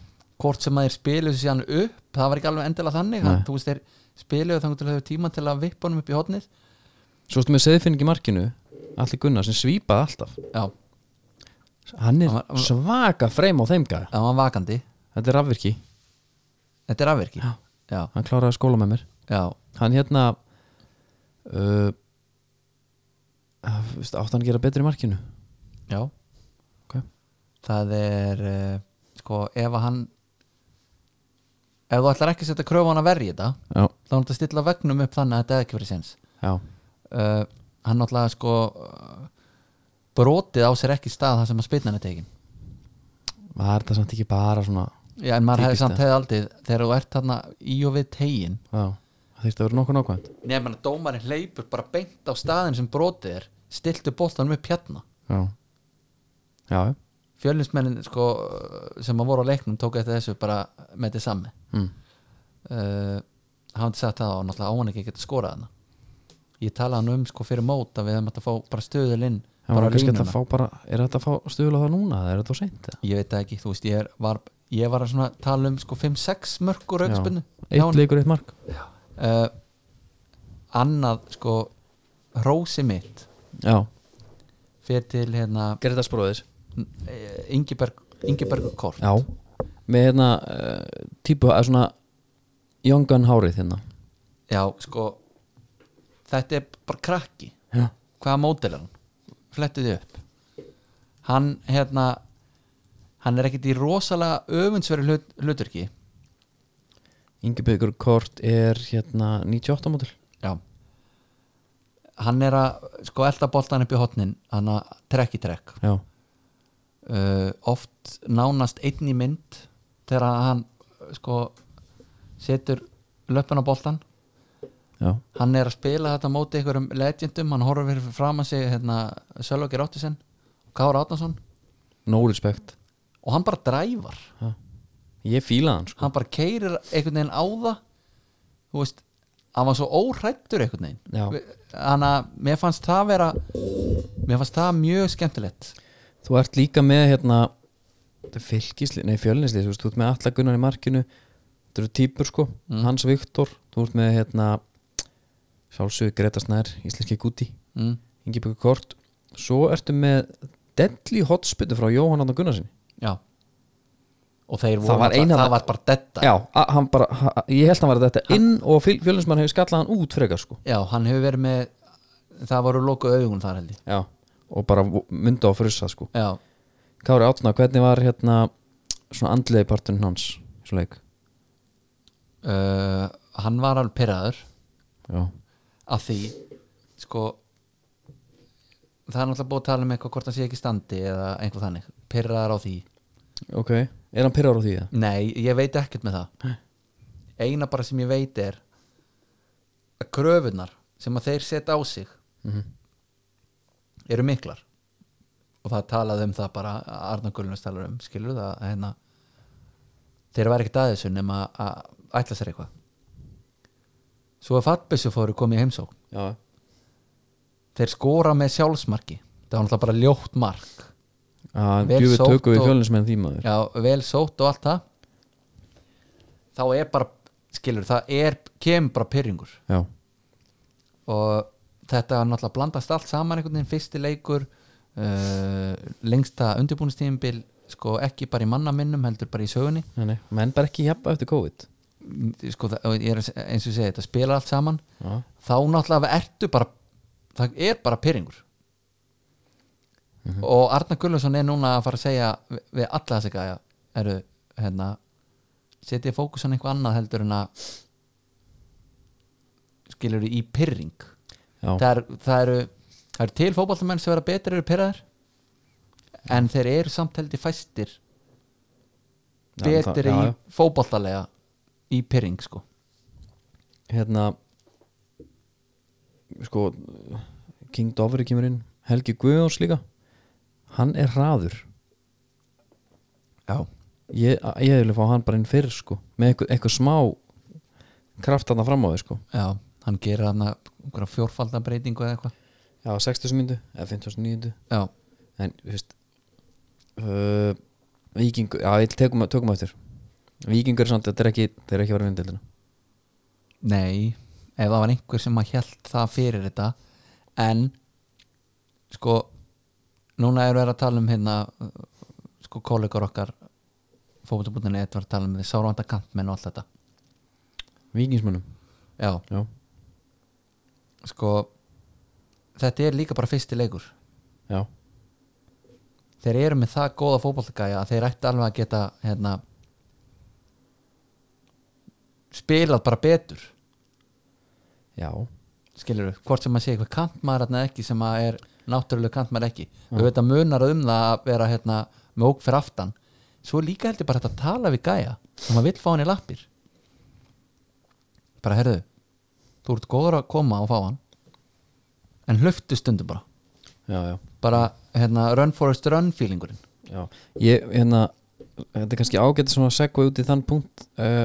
Speaker 2: hvort sem að þeir spiluðu sig hann upp það var ekki alveg endilega þannig
Speaker 1: Nei.
Speaker 2: hann, þú veist, þeir spiluðu þangur til að hafa tíma til að vippa honum upp í hotnið
Speaker 1: svo stu með seðfinning í markinu allir Gunnar sem svípaði alltaf
Speaker 2: já,
Speaker 1: hann er
Speaker 2: Hann var- hann var-
Speaker 1: svaka freim á þeim gæða
Speaker 2: það var vakandi
Speaker 1: þetta er rafvirki
Speaker 2: þetta er afverki
Speaker 1: Já.
Speaker 2: já,
Speaker 1: hann kláraði að skóla með mér
Speaker 2: já,
Speaker 1: hann hérna uh, uh, átt hann að gera betri í markinu
Speaker 2: já.
Speaker 1: Ok.
Speaker 2: það er uh, sko ef að hann ef þú ætlar ekki að setja kröfu á hann að verja þetta
Speaker 1: já,
Speaker 2: þá er þetta að stilla vegnum upp þannig að þetta hefði ekki verið sens
Speaker 1: já,
Speaker 2: uh, hann náttúrulega sko uh, brotið á sér ekki stað þar sem að spilnan er tekin
Speaker 1: var þetta samt ekki bara svona
Speaker 2: já, en maður hefði
Speaker 1: Typist
Speaker 2: samt hefði aldrei þegar þú ert þarna í og við tegin
Speaker 1: já, það þýrst að vera nokkuð nákvæmt
Speaker 2: nefnir að dómarinn hleypur bara beint á staðin sem brotið er stiltu boltanum upp hérna
Speaker 1: já, já, já.
Speaker 2: fjölinsmennin sko, sem að voru á leiknum tók eftir þessu bara með þetta sami
Speaker 1: mm.
Speaker 2: uh, hafði sagt það og náttúrulega áan ekki að geta skorað hana ég talaði hann um sko fyrir mót að við hefum átt að fá bara stöðul inn
Speaker 1: það var
Speaker 2: bara á
Speaker 1: kannski hægt
Speaker 2: línuna
Speaker 1: að fá bara er þetta að fá stuðla það núna eða er þetta á seint eða?
Speaker 2: ég veit það ekki, þú veist, ég er, var ég var að svona tala um sko 5-6 mörg og
Speaker 1: Já.
Speaker 2: raukspinnu
Speaker 1: eitt leikur eitt mark
Speaker 2: uh, annað sko hrósi mitt
Speaker 1: já,
Speaker 2: fyrir til hérna
Speaker 1: Greta Spróðis
Speaker 2: Ingeberg, Ingebergur Eh, Kort
Speaker 1: Eh, já, með hérna uh, típu að svona Jóngan hárið hérna
Speaker 2: já, sko þetta er bara krakki
Speaker 1: já,
Speaker 2: hvaða mótel er hann flettu þið upp hann hérna hann er ekkit í rosalega öfundsveri hlut, hluturki
Speaker 1: Ingebergur Kort er hérna 98 mótil
Speaker 2: já hann er að sko elda boltan upp í hotnin hann að trekk í trekk
Speaker 1: já,
Speaker 2: uh, oft nánast einn í mynd þegar að hann uh, sko setur löppun á boltan
Speaker 1: já,
Speaker 2: hann er að spila þetta móti einhverjum legendum, hann horfir fyrir fram að sig hérna, Sölvokir Óttisen Kára Átnason
Speaker 1: no respect
Speaker 2: og hann bara dræfar
Speaker 1: já. ég fílaði hann sko
Speaker 2: hann bara keirir einhvern veginn á það þú veist hann var svo óhrættur einhvern
Speaker 1: Já.
Speaker 2: veginn hann að mér fannst það vera mér fannst það mjög skemmtilegt
Speaker 1: Þú ert líka með hérna þetta er fylkislið, nei fjölinnslið þú, veist, þú ert með alla Gunnar í markinu þetta eru týpur sko, Hans Viktor þú ert með hérna sjálfsögur Greta Snær, íslenski gúti
Speaker 2: mm.
Speaker 1: Ingebergur Kort, svo ertu með deadly hotspittu frá Jóhann Anna Gunnarsinni
Speaker 2: já og þeir voru
Speaker 1: Það var
Speaker 2: náttúrulega-
Speaker 1: eina-
Speaker 2: það var bara detta
Speaker 1: Já, a- hann bara, ha, ég held hann var að þetta inn og fjölinnsmann hefur skallað hann út frekar sko
Speaker 2: já, hann hefur verið með það voru lokuð augun þar held ég
Speaker 1: Já, og bara vo- mynda á frussa sko
Speaker 2: já,
Speaker 1: Kári Átna, hvernig var hérna svona andlega í parturinn hans í svo leik?
Speaker 2: uh, hann var alveg pyrraður
Speaker 1: Já,
Speaker 2: að því sko það er náttúrulega búið að tala um eitthvað hvort það sé ekki í standi eða einhver þannig, pyrraðar á því
Speaker 1: ok, er hann pyrrar á því? eða?
Speaker 2: Nei, ég veit ekkert með það Eina bara sem ég veit er að kröfunar sem að þeir setja á sig
Speaker 1: Mhm.
Speaker 2: eru miklar og það talaði um það bara Arna Gullnars talar um, skilur það að hérna, þeir væri ekkert aðeins nema að ætla sér eitthvað Svo að fattbyssu fóru komið í heimsókn
Speaker 1: já,
Speaker 2: þeir skora með sjálfsmarki það var náttúrulega bara ljótt mark
Speaker 1: að
Speaker 2: Vel
Speaker 1: djúfi
Speaker 2: sótt
Speaker 1: tökum við
Speaker 2: og-
Speaker 1: fjölinsmenn því maður
Speaker 2: já, vel sótt og allt það þá er bara skilur, það er, kemur bara pyrringur
Speaker 1: já,
Speaker 2: og þetta er náttúrulega blandast allt saman einhvern veginn, fyrsti leikur uh, lengsta undirbúinistíðinbil sko ekki bara í mannaminnum heldur bara í sögunni
Speaker 1: nei, nei, menn bara ekki hjapa eftir COVID
Speaker 2: sko, það, og ég er, eins og ég segi, þetta spila allt saman
Speaker 1: já,
Speaker 2: þá náttúrulega ertu bara það er bara pyrringur
Speaker 1: Mhm.
Speaker 2: og Arna Gulluðsson er núna að fara að segja við, við alla þessi gæja eru hérna setið fókusan eitthvað annað heldur en að skilur í pyrring
Speaker 1: já,
Speaker 2: það, er, það eru það eru til fótballtamenn sem vera betri eru pyrraðar en þeir eru samt heldur fæstir
Speaker 1: Já, en það-
Speaker 2: betri
Speaker 1: já,
Speaker 2: í
Speaker 1: já.
Speaker 2: fótballtalega í pyrring sko
Speaker 1: hérna sko King Dofri kemur inn Helgi Guðjóns líka hann er hraður
Speaker 2: já
Speaker 1: ég, ég vil fá hann bara inn fyrir sko með eitthvað, eitthvað smá kraft þarna fram á þau sko
Speaker 2: Já, hann gerir hann einhverja fjórfaldan breytingu eða eitthvað
Speaker 1: já, 60 myndu eða 50 myndu
Speaker 2: Já,
Speaker 1: en, þú veist uh, Víkingur, já, ég tekum, tökum eftir Víkingur er samt, þetta er ekki þeir eru ekki verið vindildina
Speaker 2: nei ef það var einhver sem að hjælt það fyrir þetta en sko, núna eru við að tala um hérna uh, sko, kollegur okkar fókvöldabútinni eitt var að tala um því sárvanda kantmenn og allt þetta
Speaker 1: Víkingsmönnum,
Speaker 2: Já,
Speaker 1: já,
Speaker 2: sko þetta er líka bara fyrsti leikur
Speaker 1: já
Speaker 2: þeir eru með það góða fótballtagæja að þeir ætti alveg að geta hérna, spilað bara betur
Speaker 1: já,
Speaker 2: skilur við, hvort sem maður sé eitthvað kantmaður eða ekki sem maður er náttúrulega kantmaður ekki við veitum munar um það að vera hérna, með ók fyrir aftan svo er líka heldur bara þetta að tala við gæja og maður vill fá hann í lappir bara herðu þú ert góður að koma og fá hann en hlöftu stundum bara
Speaker 1: já, já
Speaker 2: bara hérna run forest run feelingurinn
Speaker 1: Já, ég, hérna þetta er kannski ágætt svona að segja út í þann punkt uh,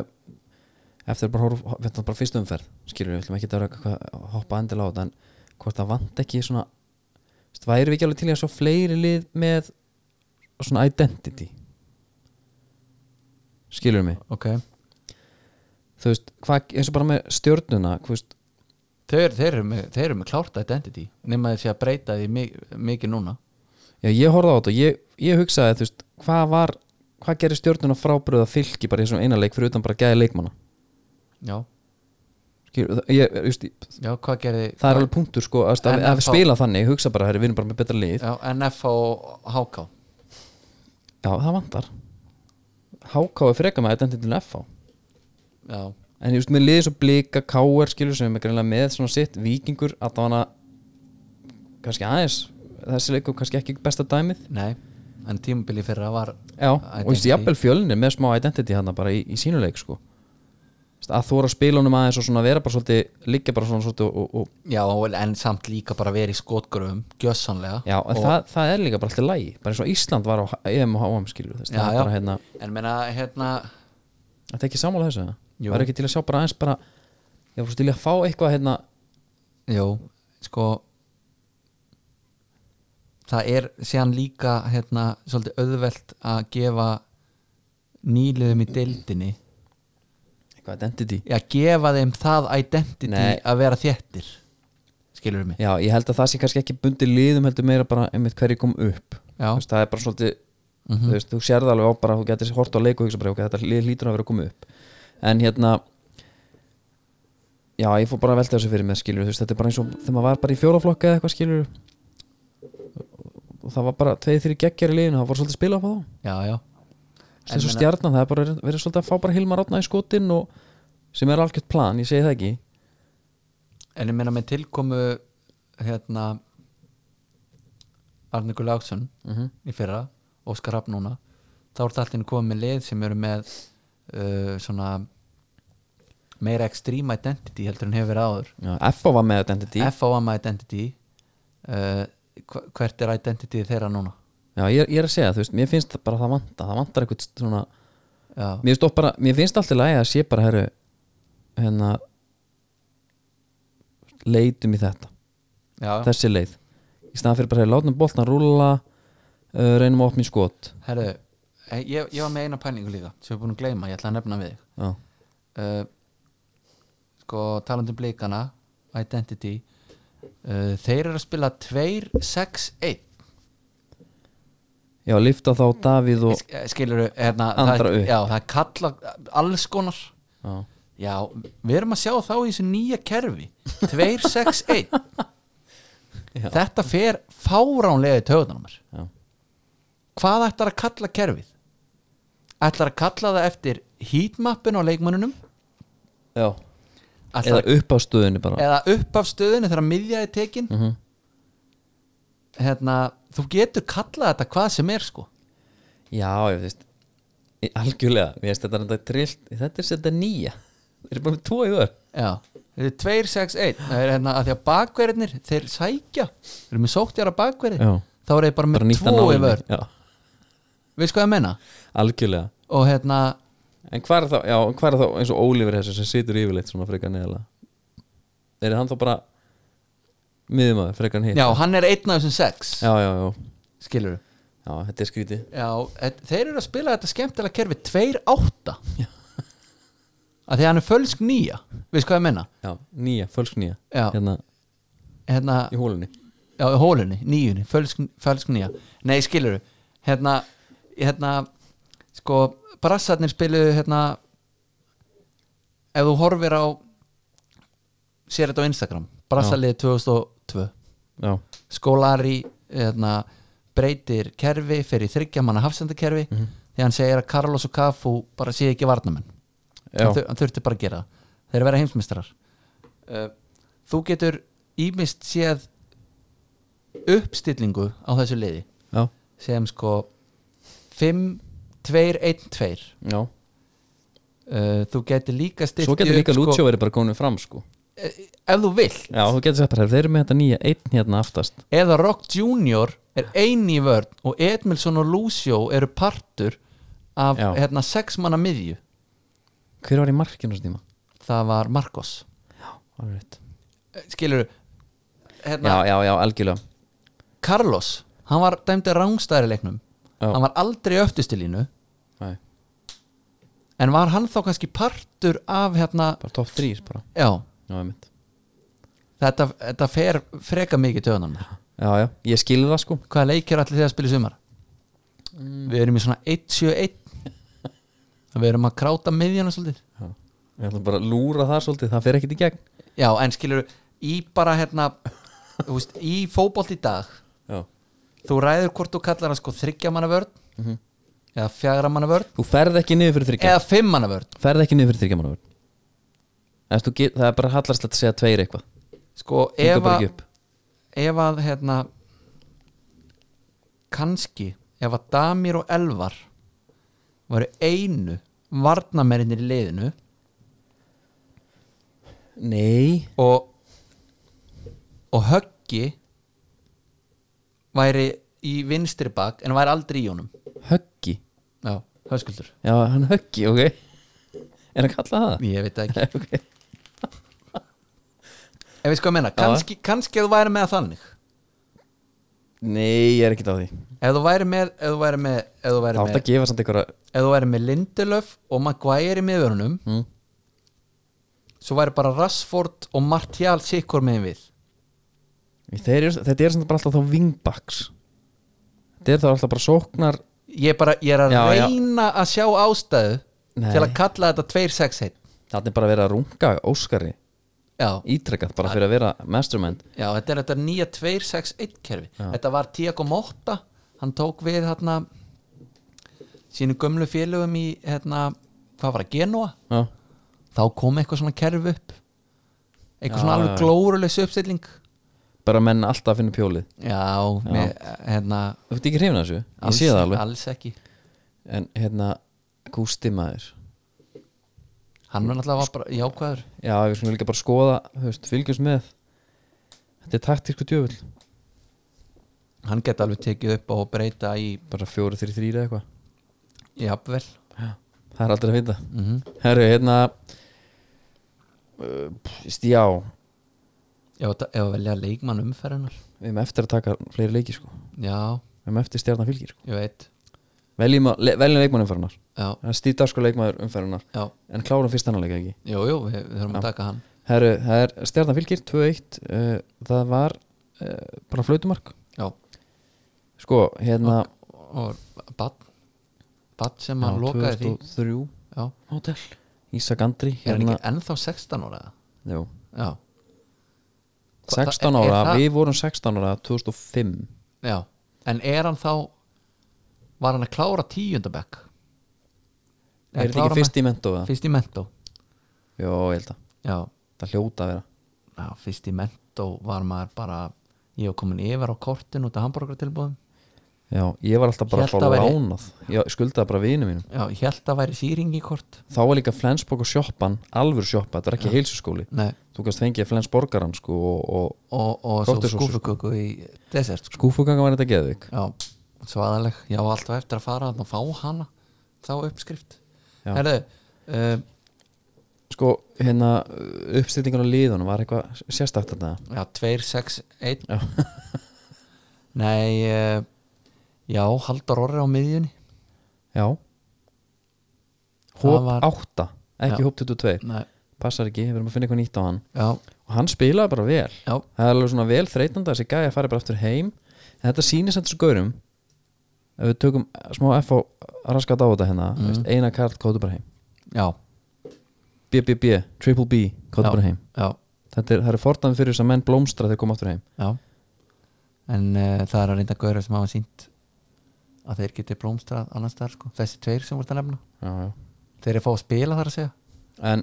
Speaker 1: eftir bara, horf, hérna, bara fyrstu umferð skilur við, við ætlum ekki að vera að hoppa endilega á þetta en hvort það vant ekki svona þú veist, væri við ekki alveg til í að svo fleiri lið með svona identity skilur við mig
Speaker 2: ok,
Speaker 1: þú veist, hvað, eins og bara með stjörnuna þú veist,
Speaker 2: þeir, þeir, eru, með, þeir eru með klárt identity nema þessi að breyta því mi- mikið núna
Speaker 1: já, ég horfði á þetta og ég, ég hugsaði, þú veist, hvað var hvað gerir stjörnuna frábröða fylki bara í þessum eina leik fyrir utan bara gæði leikmanna
Speaker 2: já,
Speaker 1: skilur, það, ég, just,
Speaker 2: já hvað gerði
Speaker 1: það er alveg punktur sko að, að,
Speaker 2: En
Speaker 1: að við
Speaker 2: þá-
Speaker 1: spila þannig, hugsa bara herri, við erum bara með betra lið já,
Speaker 2: já, NF og HK
Speaker 1: það vantar HK er frekar með identitinu FH
Speaker 2: já,
Speaker 1: en ég veist með liðið svo blika KR skilur sem er greinlega með svona sitt vikingur að það hana kannski aðeins, þessi leikur kannski ekki besta dæmið
Speaker 2: nei en tímabili fyrra var
Speaker 1: já, og þú veist,
Speaker 2: Identity.
Speaker 1: jafnvel fjölnir með smá identity hann bara í, í sínuleik sko Þú veist, að þóra spilunum aðeins og svona vera bara svolítið liggja bara svona svolítið og, og,
Speaker 2: já, en samt líka bara verið í skotgröfum gjössanlega
Speaker 1: já, en það, það er líka bara alltaf lægi bara eins og Ísland var á EM og HM skilur þess,
Speaker 2: Já,
Speaker 1: það er
Speaker 2: já.
Speaker 1: bara hérna
Speaker 2: en meina hérna
Speaker 1: Þetta er ekki sammála þessu?
Speaker 2: Jú.
Speaker 1: Jú. Var ekki til að sjá bara aðeins bara Ég var svo til í að fá eitthvað hérna
Speaker 2: jú, sko það er síðan líka hérna svolítið auðvelt að gefa nýliðum í deildinni
Speaker 1: Eitthvað identity
Speaker 2: að gefa þeim það identity
Speaker 1: Nei.
Speaker 2: að vera þéttir skilur við mig
Speaker 1: Já, ég held að það sé kannski ekki bundið liðum heldur meira bara einmitt hverju kom upp
Speaker 2: já, Mhm.
Speaker 1: Þú veist, Það er bara svolítið þú, veist, þú sér það alveg á bara Þú getur hort á leik og hugsa bara okay, Þetta lið lítur að vera að koma upp En hérna Já, ég fór bara að velta þessu fyrir mér skilur veist, Þetta er bara eins og þegar maður var bara í fjólaflokka eða eitthvað skilur og það var bara tveið þrjir geggjari liðinu það var svolítið spila á þá
Speaker 2: já, já En
Speaker 1: sem svo
Speaker 2: meina-
Speaker 1: stjarnan, það er bara verið- verið svolítið að fá bara Hilmar Átna í skotin og sem er algjört plan, ég segi það ekki
Speaker 2: En ég meina með tilkomu hérna Arne Gulláksson í fyrra Óskar Rapp núna þá er þetta allir komið með lið sem eru með uh, svona meira extreme identity heldur en hefur verið áður
Speaker 1: Já, F.O. var með Identity
Speaker 2: FOM identity uh, hva- hvert er identity þeirra núna
Speaker 1: Já, ég, er- ég er að segja, þú veist, mér finnst það bara að það vanta það vantar eitthvað svona
Speaker 2: já,
Speaker 1: mér, stóð bara, mér finnst alltaf lægi að sé bara herru, hérna leitum í þetta
Speaker 2: já,
Speaker 1: þessi leið í staðan fyrir bara að látum boltan rúlla uh, reynum að opna í skot
Speaker 2: herru eh, ég, ég var með eina pælingu líka sem ég er búin að gleyma, ég ætla að nefna við þig
Speaker 1: Já,
Speaker 2: uh, sko talandi um blikana Identity uh, þeir eru að spila 2-6-1
Speaker 1: Já lifta þá Davíð og
Speaker 2: Sk- eh, skilurðu hérna, það,
Speaker 1: Andra upp.
Speaker 2: já, það er kalla alls konar
Speaker 1: Já,
Speaker 2: já, við erum að sjá þá í þessu nýja kerfi 2-6-1
Speaker 1: Já.
Speaker 2: þetta fer fáránlega í töðunum mér
Speaker 1: já.
Speaker 2: hvað ætlar að kalla kerfið ætlar að kalla það eftir heatmappin á leikmönunum
Speaker 1: já.
Speaker 2: ætlar
Speaker 1: Eða upp á stöðunni bara
Speaker 2: eða upp af stöðunni þegar miðja er tekin
Speaker 1: Mhm.
Speaker 2: hérna, þú getur kallað þetta hvað sem er sko
Speaker 1: Já, ég veist í- Algjörlega, mér finnst þetta þetta trillt Þetta er þetta nýja Þeir eru bara með tvo í vör
Speaker 2: já, þetta er 2, 6, 1 það er hérna að því að bakverðinir þeir sækja, þeir eru með sóktjara bakverði
Speaker 1: Já.
Speaker 2: þá eru þeir bara með
Speaker 1: Bara nýtt að
Speaker 2: tvo
Speaker 1: nálinni.
Speaker 2: yfir,
Speaker 1: Já,
Speaker 2: veist hvað ég menna
Speaker 1: algjörlega
Speaker 2: og hérna,
Speaker 1: En hvað er þá, já, hvað er þá eins og Ólífur þessu sem situr yfirleitt svona frekar neðalega Er hann þá bara miðumöður, frekar hitt
Speaker 2: já, hann er einn af þessum sex,
Speaker 1: já, já, já,
Speaker 2: skilur við
Speaker 1: já, þetta er skrítið
Speaker 2: já, þe- þeir eru að spila þetta skemmtilega kerfi 2, 8 að því að hann er fölsk nýja veist hvað ég menna
Speaker 1: Já, nýja, fölsk nýja
Speaker 2: Já.
Speaker 1: Hérna
Speaker 2: hérna,
Speaker 1: í hólunni
Speaker 2: Já, í hólunni, nýjunni, fölsk, fölsk nýja Nei, skilur Hérna, hérna Sko, brassarnir spiluðu hérna Ef þú horfir á Sér þetta á Instagram Brassarlið 2002
Speaker 1: Já,
Speaker 2: Skólari, hérna Breytir kerfi, fer í þryggja manna hafsendakerfi mm Því hann segir að Carlos og Cafu Bara sé ekki varnamenn
Speaker 1: Já.
Speaker 2: hann, þur, hann þurfti bara að gera það Þeir eru að vera heimsmystrar uh, Þú getur ímist séð uppstillingu á þessu liði
Speaker 1: já,
Speaker 2: sem sko 5, 2, 1, 2
Speaker 1: já
Speaker 2: uh, þú getur líka stilt
Speaker 1: Svo getur líka
Speaker 2: upp, sko.
Speaker 1: Lútsjó verið bara gónu fram sko
Speaker 2: eh, ef þú vill
Speaker 1: Já, þú getur sagt bara, þeir eru með þetta nýja einn hérna aftast
Speaker 2: eða Rock Junior er eini í vörn og Edmilson og Lucio eru partur af
Speaker 1: Já.
Speaker 2: hérna, sex manna miðju
Speaker 1: Hver var í markinu þessu tíma?
Speaker 2: það var Marcos
Speaker 1: Alright.
Speaker 2: skilur
Speaker 1: Já,
Speaker 2: hérna,
Speaker 1: já, já, algjörlega
Speaker 2: Carlos, hann var dæmdi rángstæri leiknum
Speaker 1: Já.
Speaker 2: hann var aldrei í öftustilínu
Speaker 1: Nei,
Speaker 2: en var hann þá kannski partur af hérna,
Speaker 1: bara topp þrýr bara
Speaker 2: já,
Speaker 1: Já, einmitt
Speaker 2: þetta, þetta fer freka mikið töðunum
Speaker 1: Já, já, ég skil það sko
Speaker 2: hvaða leikir allir þið að spila í sumar
Speaker 1: Mm.
Speaker 2: við erum í svona 1-7-1 við erum að kráta miðjana svolítið
Speaker 1: já. Ég ætla bara að lúra það svolítið, það fer ekkit í gegn
Speaker 2: já en skilur í bara hérna þú veist, í fótbolt í dag
Speaker 1: Já
Speaker 2: þú ræður hvort þú kallar það sko þryggja manna vörn eða fjagra manna vörn
Speaker 1: Mhm. Þú ferð ekki niður fyrir þryggja
Speaker 2: eða fimm manna vörn
Speaker 1: Ferð ekki niður fyrir þryggja mann Það er bara hallarslegt að segja tveir eitthvað
Speaker 2: sko
Speaker 1: Gengur
Speaker 2: ef
Speaker 1: bara
Speaker 2: að
Speaker 1: ekki upp.
Speaker 2: ef að hérna kannski ef að Damir og Elvar varu einu varnamerinir í liðinu
Speaker 1: Nei,
Speaker 2: og og höggi væri í vinstri bak en væri aldrei í honum
Speaker 1: höggi
Speaker 2: já, höskuldur
Speaker 1: Já, hann höggi, ok Er hann kallað það?
Speaker 2: ég veit það ekki,
Speaker 1: Nei, ok
Speaker 2: ég veit sko að menna kannski, kannski að þú væri með þannig
Speaker 1: Nei, ég er ekkert á því
Speaker 2: ef þú væri með ef þú væri með ef þú
Speaker 1: Það
Speaker 2: væri
Speaker 1: átt
Speaker 2: með,
Speaker 1: að gefa samt einhverja
Speaker 2: ef þú væri með Lindelöf og Maguire í miðvörunum
Speaker 1: mm.
Speaker 2: svo væri bara Rashford og Martial sikkur með við
Speaker 1: Þeir eru, Þetta er samt bara alltaf þá vingbaks Þetta er þá alltaf bara sóknar
Speaker 2: ég, er bara, ég er að
Speaker 1: Já, já.
Speaker 2: reyna að sjá ástæðu
Speaker 1: Nei.
Speaker 2: til að kalla þetta 2-6-1
Speaker 1: Þetta er bara að vera að runga Óskari
Speaker 2: já,
Speaker 1: Ítrekkað bara fyrir að vera mastermind
Speaker 2: Já, þetta er þetta nýja 261 kerfi Þetta var Tiago Motta Hann tók við hérna sínu gömlu félögum í hérna, hvað var það, Genoa
Speaker 1: Já,
Speaker 2: Þá kom eitthvað svona kerfi upp Eitthvað
Speaker 1: Já,
Speaker 2: svona
Speaker 1: já,
Speaker 2: alveg
Speaker 1: já.
Speaker 2: glórulegs uppstilling
Speaker 1: bara bara menn alltaf að finna pjólið
Speaker 2: Já, Mér, hérna
Speaker 1: Þú ert ekki hrifin að þessu, ég sé það alveg
Speaker 2: alls ekki
Speaker 1: En hérna, Gústi maður
Speaker 2: Hann var náttúrulega bara jákvæður
Speaker 1: Já, við skulum líka bara skoða, þú veist, fylgjumst með Þetta er taktísku djöfull
Speaker 2: Hann geti alveg tekið upp og breyta í
Speaker 1: Bara 4-3-3 eða eitthvað
Speaker 2: jafnvel
Speaker 1: Já, Það er aldrei að finna
Speaker 2: mm -hmm.
Speaker 1: Herru, hérna uh, pff, Já,
Speaker 2: Ef þetta- ef að velja leikmann umferðunar
Speaker 1: við erum eftir að taka fleiri leiki sko
Speaker 2: Já,
Speaker 1: Við erum eftir stjarnan fylgir sko
Speaker 2: ég veit
Speaker 1: Veljum, að- le, veljum leikmann umferðunar
Speaker 2: Já,
Speaker 1: Það er stýta sko leikmaður umferðunar
Speaker 2: já,
Speaker 1: En klárum fyrst annarleika ekki
Speaker 2: jú, jú, við, við þurfum að taka hann
Speaker 1: Herru, það er stjarnan fylgir 2-1 uh, Það var uh, bara flautumark
Speaker 2: Já,
Speaker 1: Sko, hérna
Speaker 2: og Batt Batt sem
Speaker 1: já,
Speaker 2: hann lokaði því
Speaker 1: 2003
Speaker 2: Já,
Speaker 1: Hotel Ísak Andri
Speaker 2: er hann
Speaker 1: hérna,
Speaker 2: ekki ennþá 16 ára eða?
Speaker 1: jú,
Speaker 2: Já,
Speaker 1: 16
Speaker 2: Er- er
Speaker 1: ára,
Speaker 2: það-
Speaker 1: við vorum 16 ára 2005
Speaker 2: já En er hann þá Var hann að klára tíundabekk
Speaker 1: Er þetta ekki fyrst í mentó? eða?
Speaker 2: Fyrst í mentó
Speaker 1: Jó, ég held að
Speaker 2: Já,
Speaker 1: Það hljóta að vera
Speaker 2: já fyrst í mentó var maður bara Ég var komin yfir á kortin út af hambúrgartilbúðum
Speaker 1: Já, ég var alltaf bara að
Speaker 2: Hélt
Speaker 1: fá
Speaker 2: að væri-
Speaker 1: lánað Ég skuldaði bara vinu mínum
Speaker 2: Já, ég held að væri sýringi kort
Speaker 1: Þá var líka Flensborg og sjoppan alvöru sjoppa, þetta er ekki heilsuskóli
Speaker 2: Nei
Speaker 1: Þú kannst fengið Flensborgaran sko og,
Speaker 2: og, og svo
Speaker 1: Kortisósu.
Speaker 2: skúfuköku í desert
Speaker 1: og
Speaker 2: sko.
Speaker 1: skúfuganga var þetta geðvik
Speaker 2: já, svaðaleg, ég á alltaf eftir að fara þarna og fá hana, þá uppskrift
Speaker 1: Já.
Speaker 2: herðu uh,
Speaker 1: Sko, hérna uppstillingun á liðunum var eitthvað sérstætt þetta
Speaker 2: já, 2, 6, 1
Speaker 1: Já.
Speaker 2: nei uh, já, Halldór Orri á miðjunni
Speaker 1: Já
Speaker 2: Það
Speaker 1: Hóp
Speaker 2: var-
Speaker 1: 8, ekki
Speaker 2: Já.
Speaker 1: hóp 22
Speaker 2: nei,
Speaker 1: Passar ekki, við erum að finna eitthvað nýtt á hann
Speaker 2: já,
Speaker 1: Og hann spilaði bara vel
Speaker 2: já,
Speaker 1: Það er alveg svona vel þreytanda þessi gæja að fara bara aftur heim En þetta sýnir sem þessu gaurum Ef við tökum smá F og raskat á þetta hérna
Speaker 2: Mhm.
Speaker 1: mm. veist, Eina karl kóðu bara heim
Speaker 2: já,
Speaker 1: BBB, Triple B, kóðu
Speaker 2: Já.
Speaker 1: bara heim
Speaker 2: já,
Speaker 1: Þetta er, það er fortan fyrir þess að menn blómstra þegar koma aftur heim
Speaker 2: já. en uh, það er að reynda gauður sem hafa sínt að þeir geti blómstrað annars þar sko. þessi tveir sem voru að nefna
Speaker 1: já, já.
Speaker 2: þeir eru að fá að spila þar að segja
Speaker 1: En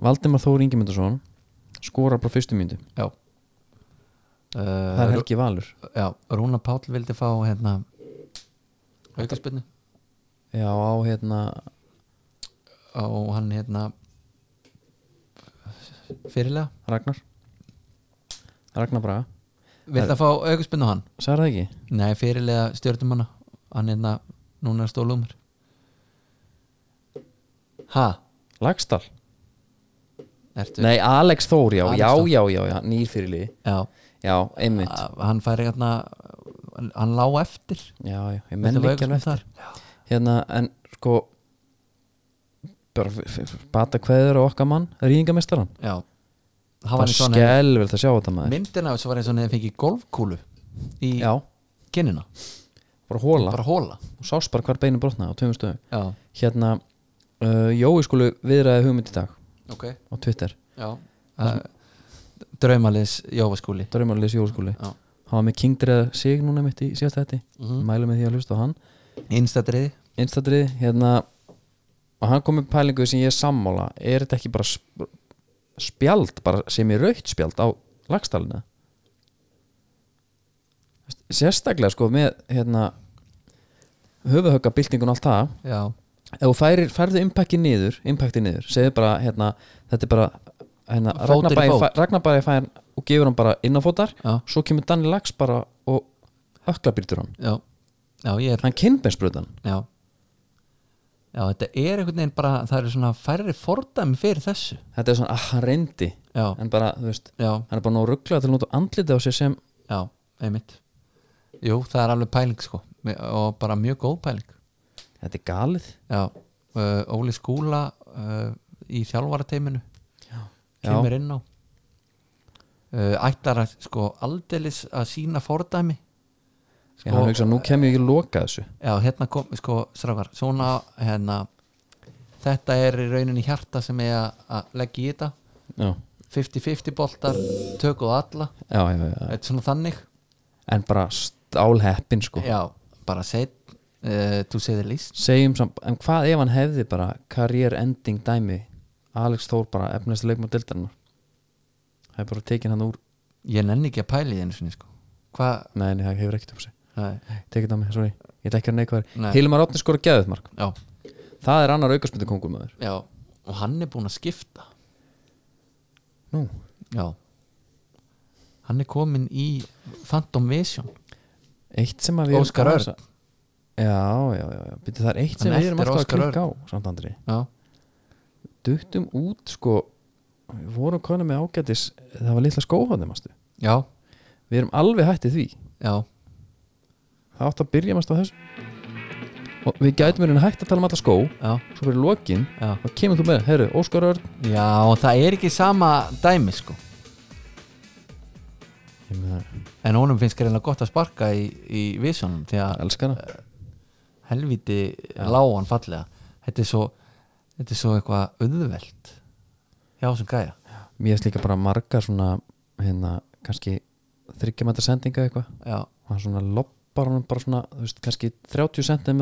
Speaker 1: Valdimar Þór Ingemyndarsson skorar bara fyrstu myndu
Speaker 2: já Uh,
Speaker 1: Það er Helgi Valur
Speaker 2: já, Rúna Páll vildi fá hérna aukarspinnu
Speaker 1: Já, á hérna
Speaker 2: og hann hérna fyrirlega
Speaker 1: Ragnar Ragnar Braga
Speaker 2: vildi að fá aukarspinnu hann
Speaker 1: Særa það ekki?
Speaker 2: nei, fyrirlega stjórnum hana hann hérna, núna er stólumur ha,
Speaker 1: Lagstall?
Speaker 2: ertu
Speaker 1: Nei, Alex Þór, já,
Speaker 2: Alex
Speaker 1: já,
Speaker 2: Þór.
Speaker 1: já, já, já, nýr fyrir liði
Speaker 2: já,
Speaker 1: Já, einmitt
Speaker 2: a- hann færi hérna hann lá eftir
Speaker 1: Já, já, ég menn
Speaker 2: Vildi fá
Speaker 1: ekki alveg
Speaker 2: aukaspyrnu
Speaker 1: eftir
Speaker 2: þar.
Speaker 1: Hérna, en sko bara f- f- bata kveður á okkar mann rýðingamestaran
Speaker 2: já, hann hérna. var
Speaker 1: bara
Speaker 2: eins og hann
Speaker 1: skelvilt að sjá þetta maður
Speaker 2: myndina þessu var eins og hann hefði fengið golfkúlu í
Speaker 1: Já,
Speaker 2: kinnina,
Speaker 1: bara hóla
Speaker 2: bara hóla
Speaker 1: og sást bara hvar beinu brotnaði á tveimur stöðum
Speaker 2: já,
Speaker 1: hérna, uh, Jói skulu viðraði hugmynd í dag á
Speaker 2: ok
Speaker 1: Twitter,
Speaker 2: Já Draumaliðs Jófaskúli
Speaker 1: Draumarlis Jói skulu
Speaker 2: Já.
Speaker 1: hann var með kingdreða sig núna mitt í síðasta þetta mm
Speaker 2: Mhm.
Speaker 1: -hmm. mælum við því að hlusta á hann
Speaker 2: Innstættriði
Speaker 1: innstættrið, hérna og hann kom með pælingu sem ég er sammála er þetta ekki bara sp- spjald bara sem er raukt spjald á lagstallina sérstaklega sko með hérna höfuhögga og allt það
Speaker 2: Já,
Speaker 1: ef þú færir, færðu impacti niður impacti niður, segðu bara hérna, þetta er bara hérna,
Speaker 2: Fótur í
Speaker 1: Ragnar Bæi
Speaker 2: fót.
Speaker 1: fæ- Ragnar Bæi fær og gefur hann bara innáfótar
Speaker 2: já,
Speaker 1: svo kemur Danni Lax bara og ökla byrtur hann
Speaker 2: já Já, ég er
Speaker 1: hann kynbensbrutan
Speaker 2: Já Já, þetta er einhvern veginn bara það eru svona færri fordæmi fyrir þessu
Speaker 1: þetta er svona að hann reyndi
Speaker 2: Já,
Speaker 1: en bara, þú veist,
Speaker 2: já,
Speaker 1: hann er bara nóg rugglað til að nota andliti á sér sem
Speaker 2: já, einmitt Jú, það er alveg pæling sko og bara mjög góð pæling
Speaker 1: þetta er galið
Speaker 2: Já, uh, Óli Skúla uh, í þjálfarateiminu
Speaker 1: Já.
Speaker 2: kemur inn á uh, ætlar að sko aldeilis að sína fordæmi
Speaker 1: ég hann hugsa, nú kem ég ekki að loka þessu
Speaker 2: Já, hérna kom, sko, strákar svona, hérna þetta er í rauninni hjarta sem ég að leggja í þetta
Speaker 1: já,
Speaker 2: 50-50 boltar, tökuð alla
Speaker 1: já, já, já.
Speaker 2: þetta er svona þannig
Speaker 1: en bara stálheppin sko
Speaker 2: Já, bara set uh, þú segir líst
Speaker 1: segjum samt, en hvað ef hann hefði bara karriér ending dæmi Alex Þór bara efnæstu leikmað dildarinnar það er bara tekin hann úr
Speaker 2: ég nenni ekki að pæla í því einu sinni sko. hvað,
Speaker 1: Nei, nei, það hefur ekkert um sig
Speaker 2: nei,
Speaker 1: Tekið það mig, sorry, ég ætla ekki að neikvæður
Speaker 2: Nei.
Speaker 1: Hilmar Átni skora geðið mark
Speaker 2: já,
Speaker 1: Það er annar aukarsmyndu kongur maður
Speaker 2: já og hann er búinn að skipta
Speaker 1: Nú,
Speaker 2: já hann er kominn í Phantom Vision
Speaker 1: eitt sem að við erum
Speaker 2: Óskar
Speaker 1: aðeins að- Já, já, já, já, Bíddu, það er eitt sem
Speaker 2: Hann
Speaker 1: við erum
Speaker 2: eltir
Speaker 1: alltaf að
Speaker 2: Óskar Örn.
Speaker 1: klikka á Samt Andri,
Speaker 2: já,
Speaker 1: duttum út sko Við vorum konum með ágætis Það var litla skóhóðni, mástu
Speaker 2: já,
Speaker 1: Við erum alveg hættið því
Speaker 2: já
Speaker 1: Það átt að byrja mástu á þessu Og við gætum verið hægt að tala um alla skó
Speaker 2: já,
Speaker 1: Svo fyrir lokin,
Speaker 2: já
Speaker 1: þá kemur þú með Herru, Óskar Örn
Speaker 2: Já, og það er ekki sama dæmi sko
Speaker 1: Ég með
Speaker 2: En honum finnst greinlega gott að sparka í, í visunum Því
Speaker 1: það,
Speaker 2: að
Speaker 1: elskana
Speaker 2: helviti lág hann fallega Þetta er svo, þetta er svo eitthvað auðvelt Já, sem gæja
Speaker 1: Mér er líka bara margar svona Hérna, kannski þryggjumættar sendinga eitthvað
Speaker 2: Já,
Speaker 1: og hann svona loppar hann bara svona þú veist, kannski 30 cm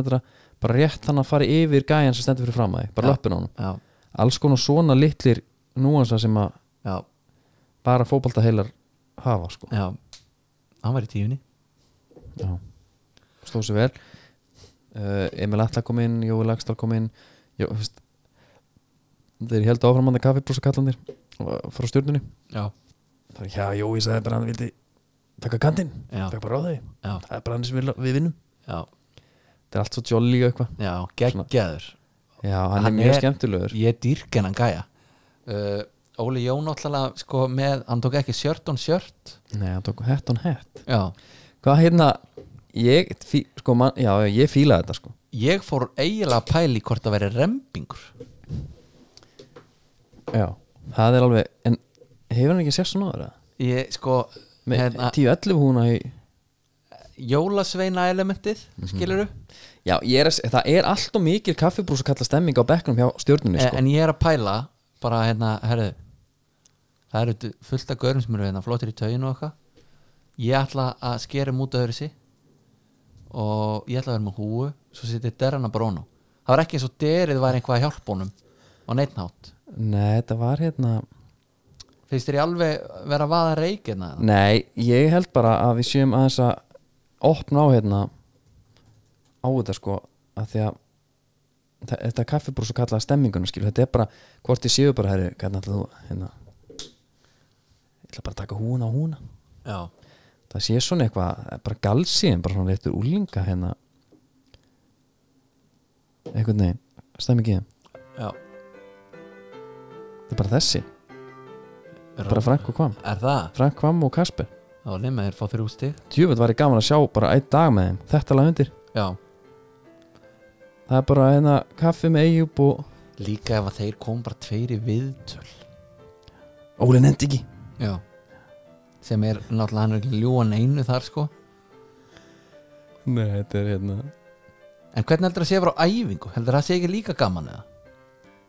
Speaker 1: bara rétt hann að fara yfir gæjan sem stendur fyrir fram að þig bara
Speaker 2: Já.
Speaker 1: löppin á hann
Speaker 2: já,
Speaker 1: alls konar svona litlir núansa sem að
Speaker 2: já,
Speaker 1: bara fótbaltaheilar hafa sko
Speaker 2: já Hann var í tífunni
Speaker 1: Já. stóð sér vel uh, Emil Atla kom inn, Jói Lagstall kom inn Jó, þú veist, þeir held áfram hann að kaffibrúsa kallandir frá stjórnunni
Speaker 2: Já,
Speaker 1: bara, já Jói sagði bara að hann vildi taka kantinn,
Speaker 2: já,
Speaker 1: taka bara á þau
Speaker 2: já,
Speaker 1: það er bara hann sem við, við vinnum
Speaker 2: já,
Speaker 1: þetta er allt svo jolly og eitthvað
Speaker 2: já Geggjaður
Speaker 1: já, hann,
Speaker 2: Hann
Speaker 1: er mjög
Speaker 2: er-
Speaker 1: skemmtilegur
Speaker 2: Ég dýrk hennan gæja uh, Óli Jón náttúrulega sko með Hann tók ekki sjört on sjört
Speaker 1: Nei, hann tók hett on hett
Speaker 2: Já,
Speaker 1: Hvað hérna, ég fí, sko, man, já, ég fílaði þetta sko
Speaker 2: ég fór eiginlega að pæli hvort að veri rembingur
Speaker 1: Já Það er alveg, en hefur hann ekki sérst svona áður eða?
Speaker 2: ég sko
Speaker 1: Með
Speaker 2: hérna,
Speaker 1: 10-11 húna í
Speaker 2: jólasveina elementið skiluru,
Speaker 1: Já, ég er, að se- það er allt og mikil kaffibrús að kalla stemming á bekknum hjá stjórnunni sko
Speaker 2: Eh, en ég er að pæla bara hérna, herðu það eru du- fullt af gaurum sem eru hérna flottir í tauginu og eitthvað ég ætla að skera mút öðru sig og ég ætla að vera með húu svo setið derrana brónu það var ekki eins og derið var einhvað að hjálpa honum og neittnátt,
Speaker 1: Nei, þetta var hérna
Speaker 2: finnst þér ég alveg vera að vaða hérna? reikina
Speaker 1: Nei, ég held bara að við séum aðeins að opna á hérna á þetta sko að því að þa- þetta kaffibrús að kalla stemminguna skil þetta er bara, hvort ég séu bara herri, hvernig ætla þú hérna ég ætla bara að taka húna á húna
Speaker 2: já,
Speaker 1: það sé svona eitthvað, það er bara galsíðin bara svona leittur úlinga hérna einhvern veginn, stemmingin
Speaker 2: já,
Speaker 1: þetta er bara þessi, bara Frank og Kvam
Speaker 2: er það?
Speaker 1: Frank Kvam og Kasper,
Speaker 2: þá nema þér fá þrjú stig
Speaker 1: djúvöld var ég gaman að sjá bara einn dag með þeim, þetta lag undir
Speaker 2: já,
Speaker 1: það er bara hérna kaffi með Eyjúb og
Speaker 2: líka ef að þeir kom bara tveiri viðtöl
Speaker 1: Óli nefndi ekki
Speaker 2: já. sem er náttúrulega hann er ekki ljúan einu þar sko
Speaker 1: Nei, þetta er hérna
Speaker 2: en hvernig heldur það sé að vera á æfingu heldur það sé ekki líka gaman eða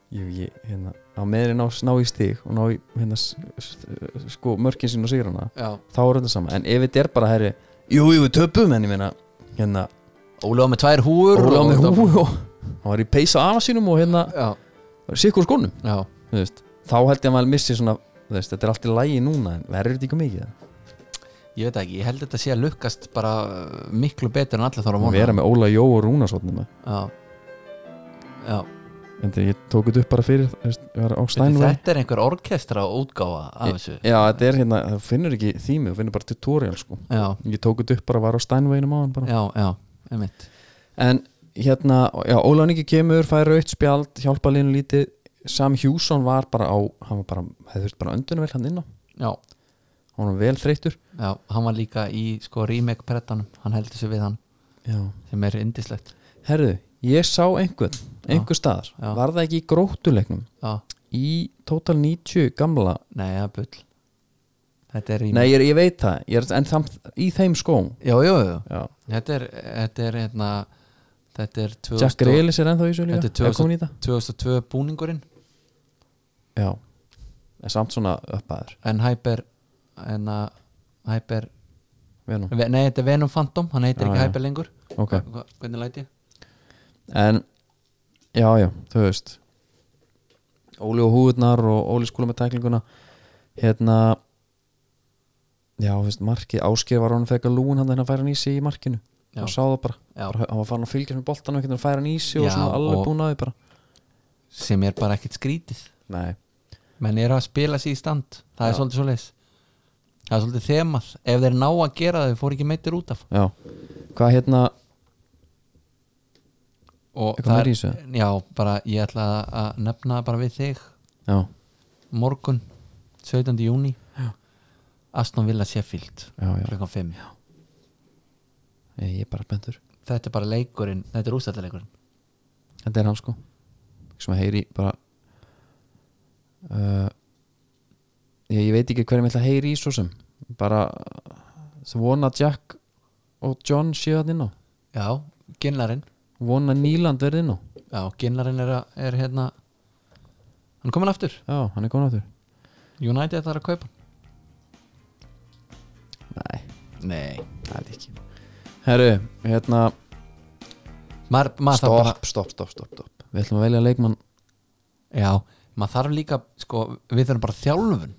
Speaker 1: Jú, ég, hérna, á meðin ná, ná í stig og ná í, hérna, s- s- sko, mörkin sín og sigrana
Speaker 2: já.
Speaker 1: þá er þetta sama, en ef þetta er bara herri, jú, jú, við töpum, en ég meina hérna,
Speaker 2: Óli á með tvær húur
Speaker 1: Óla
Speaker 2: og-
Speaker 1: með hú og hann var í peysa afa sínum og hérna
Speaker 2: já,
Speaker 1: sikkur skónum,
Speaker 2: já,
Speaker 1: þú veist þá held ég að maður missi svona, þú veist, þetta er allt í lægi núna en verður þetta ekki mikið
Speaker 2: ég veit ekki, ég held þetta sé að lukkast bara uh, miklu betur en allir þarf að
Speaker 1: að
Speaker 2: vona
Speaker 1: vera með Óla Jó og Rúna svona
Speaker 2: já, já.
Speaker 1: en þegar ég tók þetta upp bara fyrir þú veist, ég var á
Speaker 2: Veitir,
Speaker 1: Steinway
Speaker 2: þetta er einhver orkestra og útgáfa af þessu
Speaker 1: já, þetta er hérna, það finnur ekki þými þú finnur bara tutorial sko
Speaker 2: já,
Speaker 1: ég tók þetta upp bara, var á Steinwayinum á hann bara
Speaker 2: já, já, einmitt
Speaker 1: en hérna, já, Óla Niki kemur fær raut spjald, hjálpa liðinu lítið Sam Hjússon var bara á hann var bara, hefði þurft bara öndunvel hann inn á
Speaker 2: já,
Speaker 1: hann var vel þreytur
Speaker 2: já, hann var líka í sko remake prettanum, hann heldur sig við hann
Speaker 1: já
Speaker 2: sem er indislegt
Speaker 1: Herðu, ég sá einhvern einhver staðar,
Speaker 2: Já.
Speaker 1: var það ekki í gróttuleiknum
Speaker 2: já,
Speaker 1: í total 90 gamla
Speaker 2: nei, það er bull þetta er í
Speaker 1: Nei, ég, ég veit það, ég er, en samt í þeim skóm
Speaker 2: já, já, já,
Speaker 1: Já.
Speaker 2: þetta er þetta er hérna þetta er 2000
Speaker 1: Jack Reilis er ennþá í þessu líka
Speaker 2: þetta er
Speaker 1: er komin í
Speaker 2: 2000
Speaker 1: það
Speaker 2: 2002 búningurinn
Speaker 1: Já, en samt svona uppaður
Speaker 2: en Hyper en að Hyper
Speaker 1: Venom.
Speaker 2: ve- nei, þetta er Venom Phantom, hann heitir
Speaker 1: Já,
Speaker 2: ekki
Speaker 1: já.
Speaker 2: Hyper lengur
Speaker 1: Ok,
Speaker 2: Hva- hvernig læti ég?
Speaker 1: en já, já, þú veist Óli og húðnar og Óli skúla með tæklinguna hérna já, þú veist, markið, Ásgeir var honum fekar lúin hann að færa hann í sig í markinu
Speaker 2: Já.
Speaker 1: og sá það bara,
Speaker 2: Já.
Speaker 1: bara hann var farin að fylgjast með boltanum ekkert að færa hann í sig og
Speaker 2: Já,
Speaker 1: svona alveg
Speaker 2: og-
Speaker 1: búin að því bara
Speaker 2: sem er bara ekkert skrítið
Speaker 1: nei,
Speaker 2: menn eru að spila sig í stand það er
Speaker 1: Já.
Speaker 2: svolítið svoleiðis það er svolítið þemað ef þeir ná að gera það, þeir fóru ekki meittir út af
Speaker 1: já hvað hérna,
Speaker 2: og
Speaker 1: Eitthvað
Speaker 2: það
Speaker 1: meira í
Speaker 2: er, já, bara ég ætla að nefna bara við þig
Speaker 1: já,
Speaker 2: morgun 17. júni Aston Villa Sheffield
Speaker 1: já, já
Speaker 2: klukkan 5
Speaker 1: ég ég er bara bentur,
Speaker 2: þetta er bara leikurinn, þetta er ústættaleikurinn
Speaker 1: þetta er hann sko sem að heyri bara uh, ég, ég veit ekki hverjum ég ætla að heyri í svo sem bara sem vona að Jack og John séu hann inn á
Speaker 2: já, Ginnarinn
Speaker 1: vona að Nýland verði inn á
Speaker 2: já, Ginnarinn er, að- er hérna hann er komin aftur,
Speaker 1: já, hann er komin aftur
Speaker 2: United þarf að kaupa hann.
Speaker 1: nei,
Speaker 2: nei,
Speaker 1: það er ekki herru, hérna
Speaker 2: maður, maður þarf bara
Speaker 1: stopp, stopp, stopp, stopp, stopp við ætlum að velja leikmann
Speaker 2: já, maður þarf líka sko, við þurfum bara þjálfun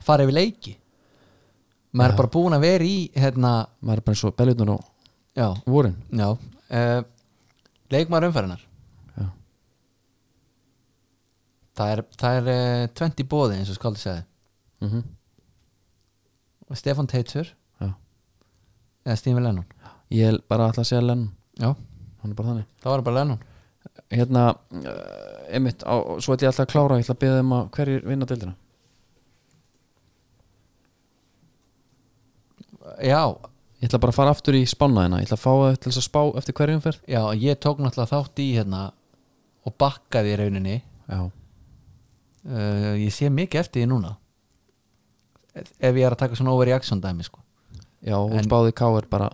Speaker 2: fara yfir leiki maður er bara búin að vera í hérna,
Speaker 1: maður er bara eins og beljunar á
Speaker 2: já,
Speaker 1: vorin
Speaker 2: já uh, leikmaður umferðinar
Speaker 1: já,
Speaker 2: það er, það er uh, 20 bóði eins og skaldi segði
Speaker 1: mm
Speaker 2: og Stefan Teitur
Speaker 1: já.
Speaker 2: eða Stephen Lennon
Speaker 1: ég er bara að ætla að segja Lenn
Speaker 2: já,
Speaker 1: hann er bara þannig
Speaker 2: það var bara Lennon
Speaker 1: hérna, uh, einmitt, á, svo ætla ég alltaf að klára ég ætla að beða um að hverjir vinna deildina
Speaker 2: já,
Speaker 1: ég ætla bara að fara aftur í spánaðina ég ætla að fá það til þess að spá eftir hverjum fer
Speaker 2: já, ég tók náttúrulega þátt í hérna og bakkaði í rauninni
Speaker 1: já,
Speaker 2: uh, ég sé mikið eftir því núna ef ef ég er að taka svona overreaction dæmi sko,
Speaker 1: já, og
Speaker 2: En-
Speaker 1: spáði K.R. bara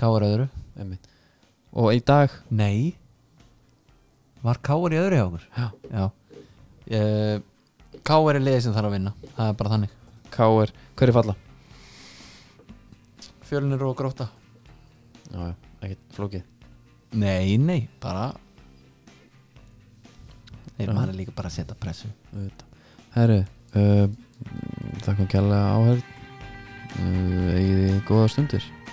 Speaker 2: hvað var öðru?
Speaker 1: einmitt. og í dag
Speaker 2: Nei Var Káur í öðru hjá okkur?
Speaker 1: Já.
Speaker 2: Já uh, Káur er liðið sem þarf að vinna Það er bara þannig
Speaker 1: K.R. hverjir falla
Speaker 2: Fjölunir og gróta
Speaker 1: já, já, ekkert flókið
Speaker 2: Nei, nei, bara Nei,
Speaker 1: Já.
Speaker 2: maður er líka bara að setja pressu
Speaker 1: Auðvitað. Herru, eh, uh, þakkum kjærlega áhörð uh, Eh, eigið þið góða stundir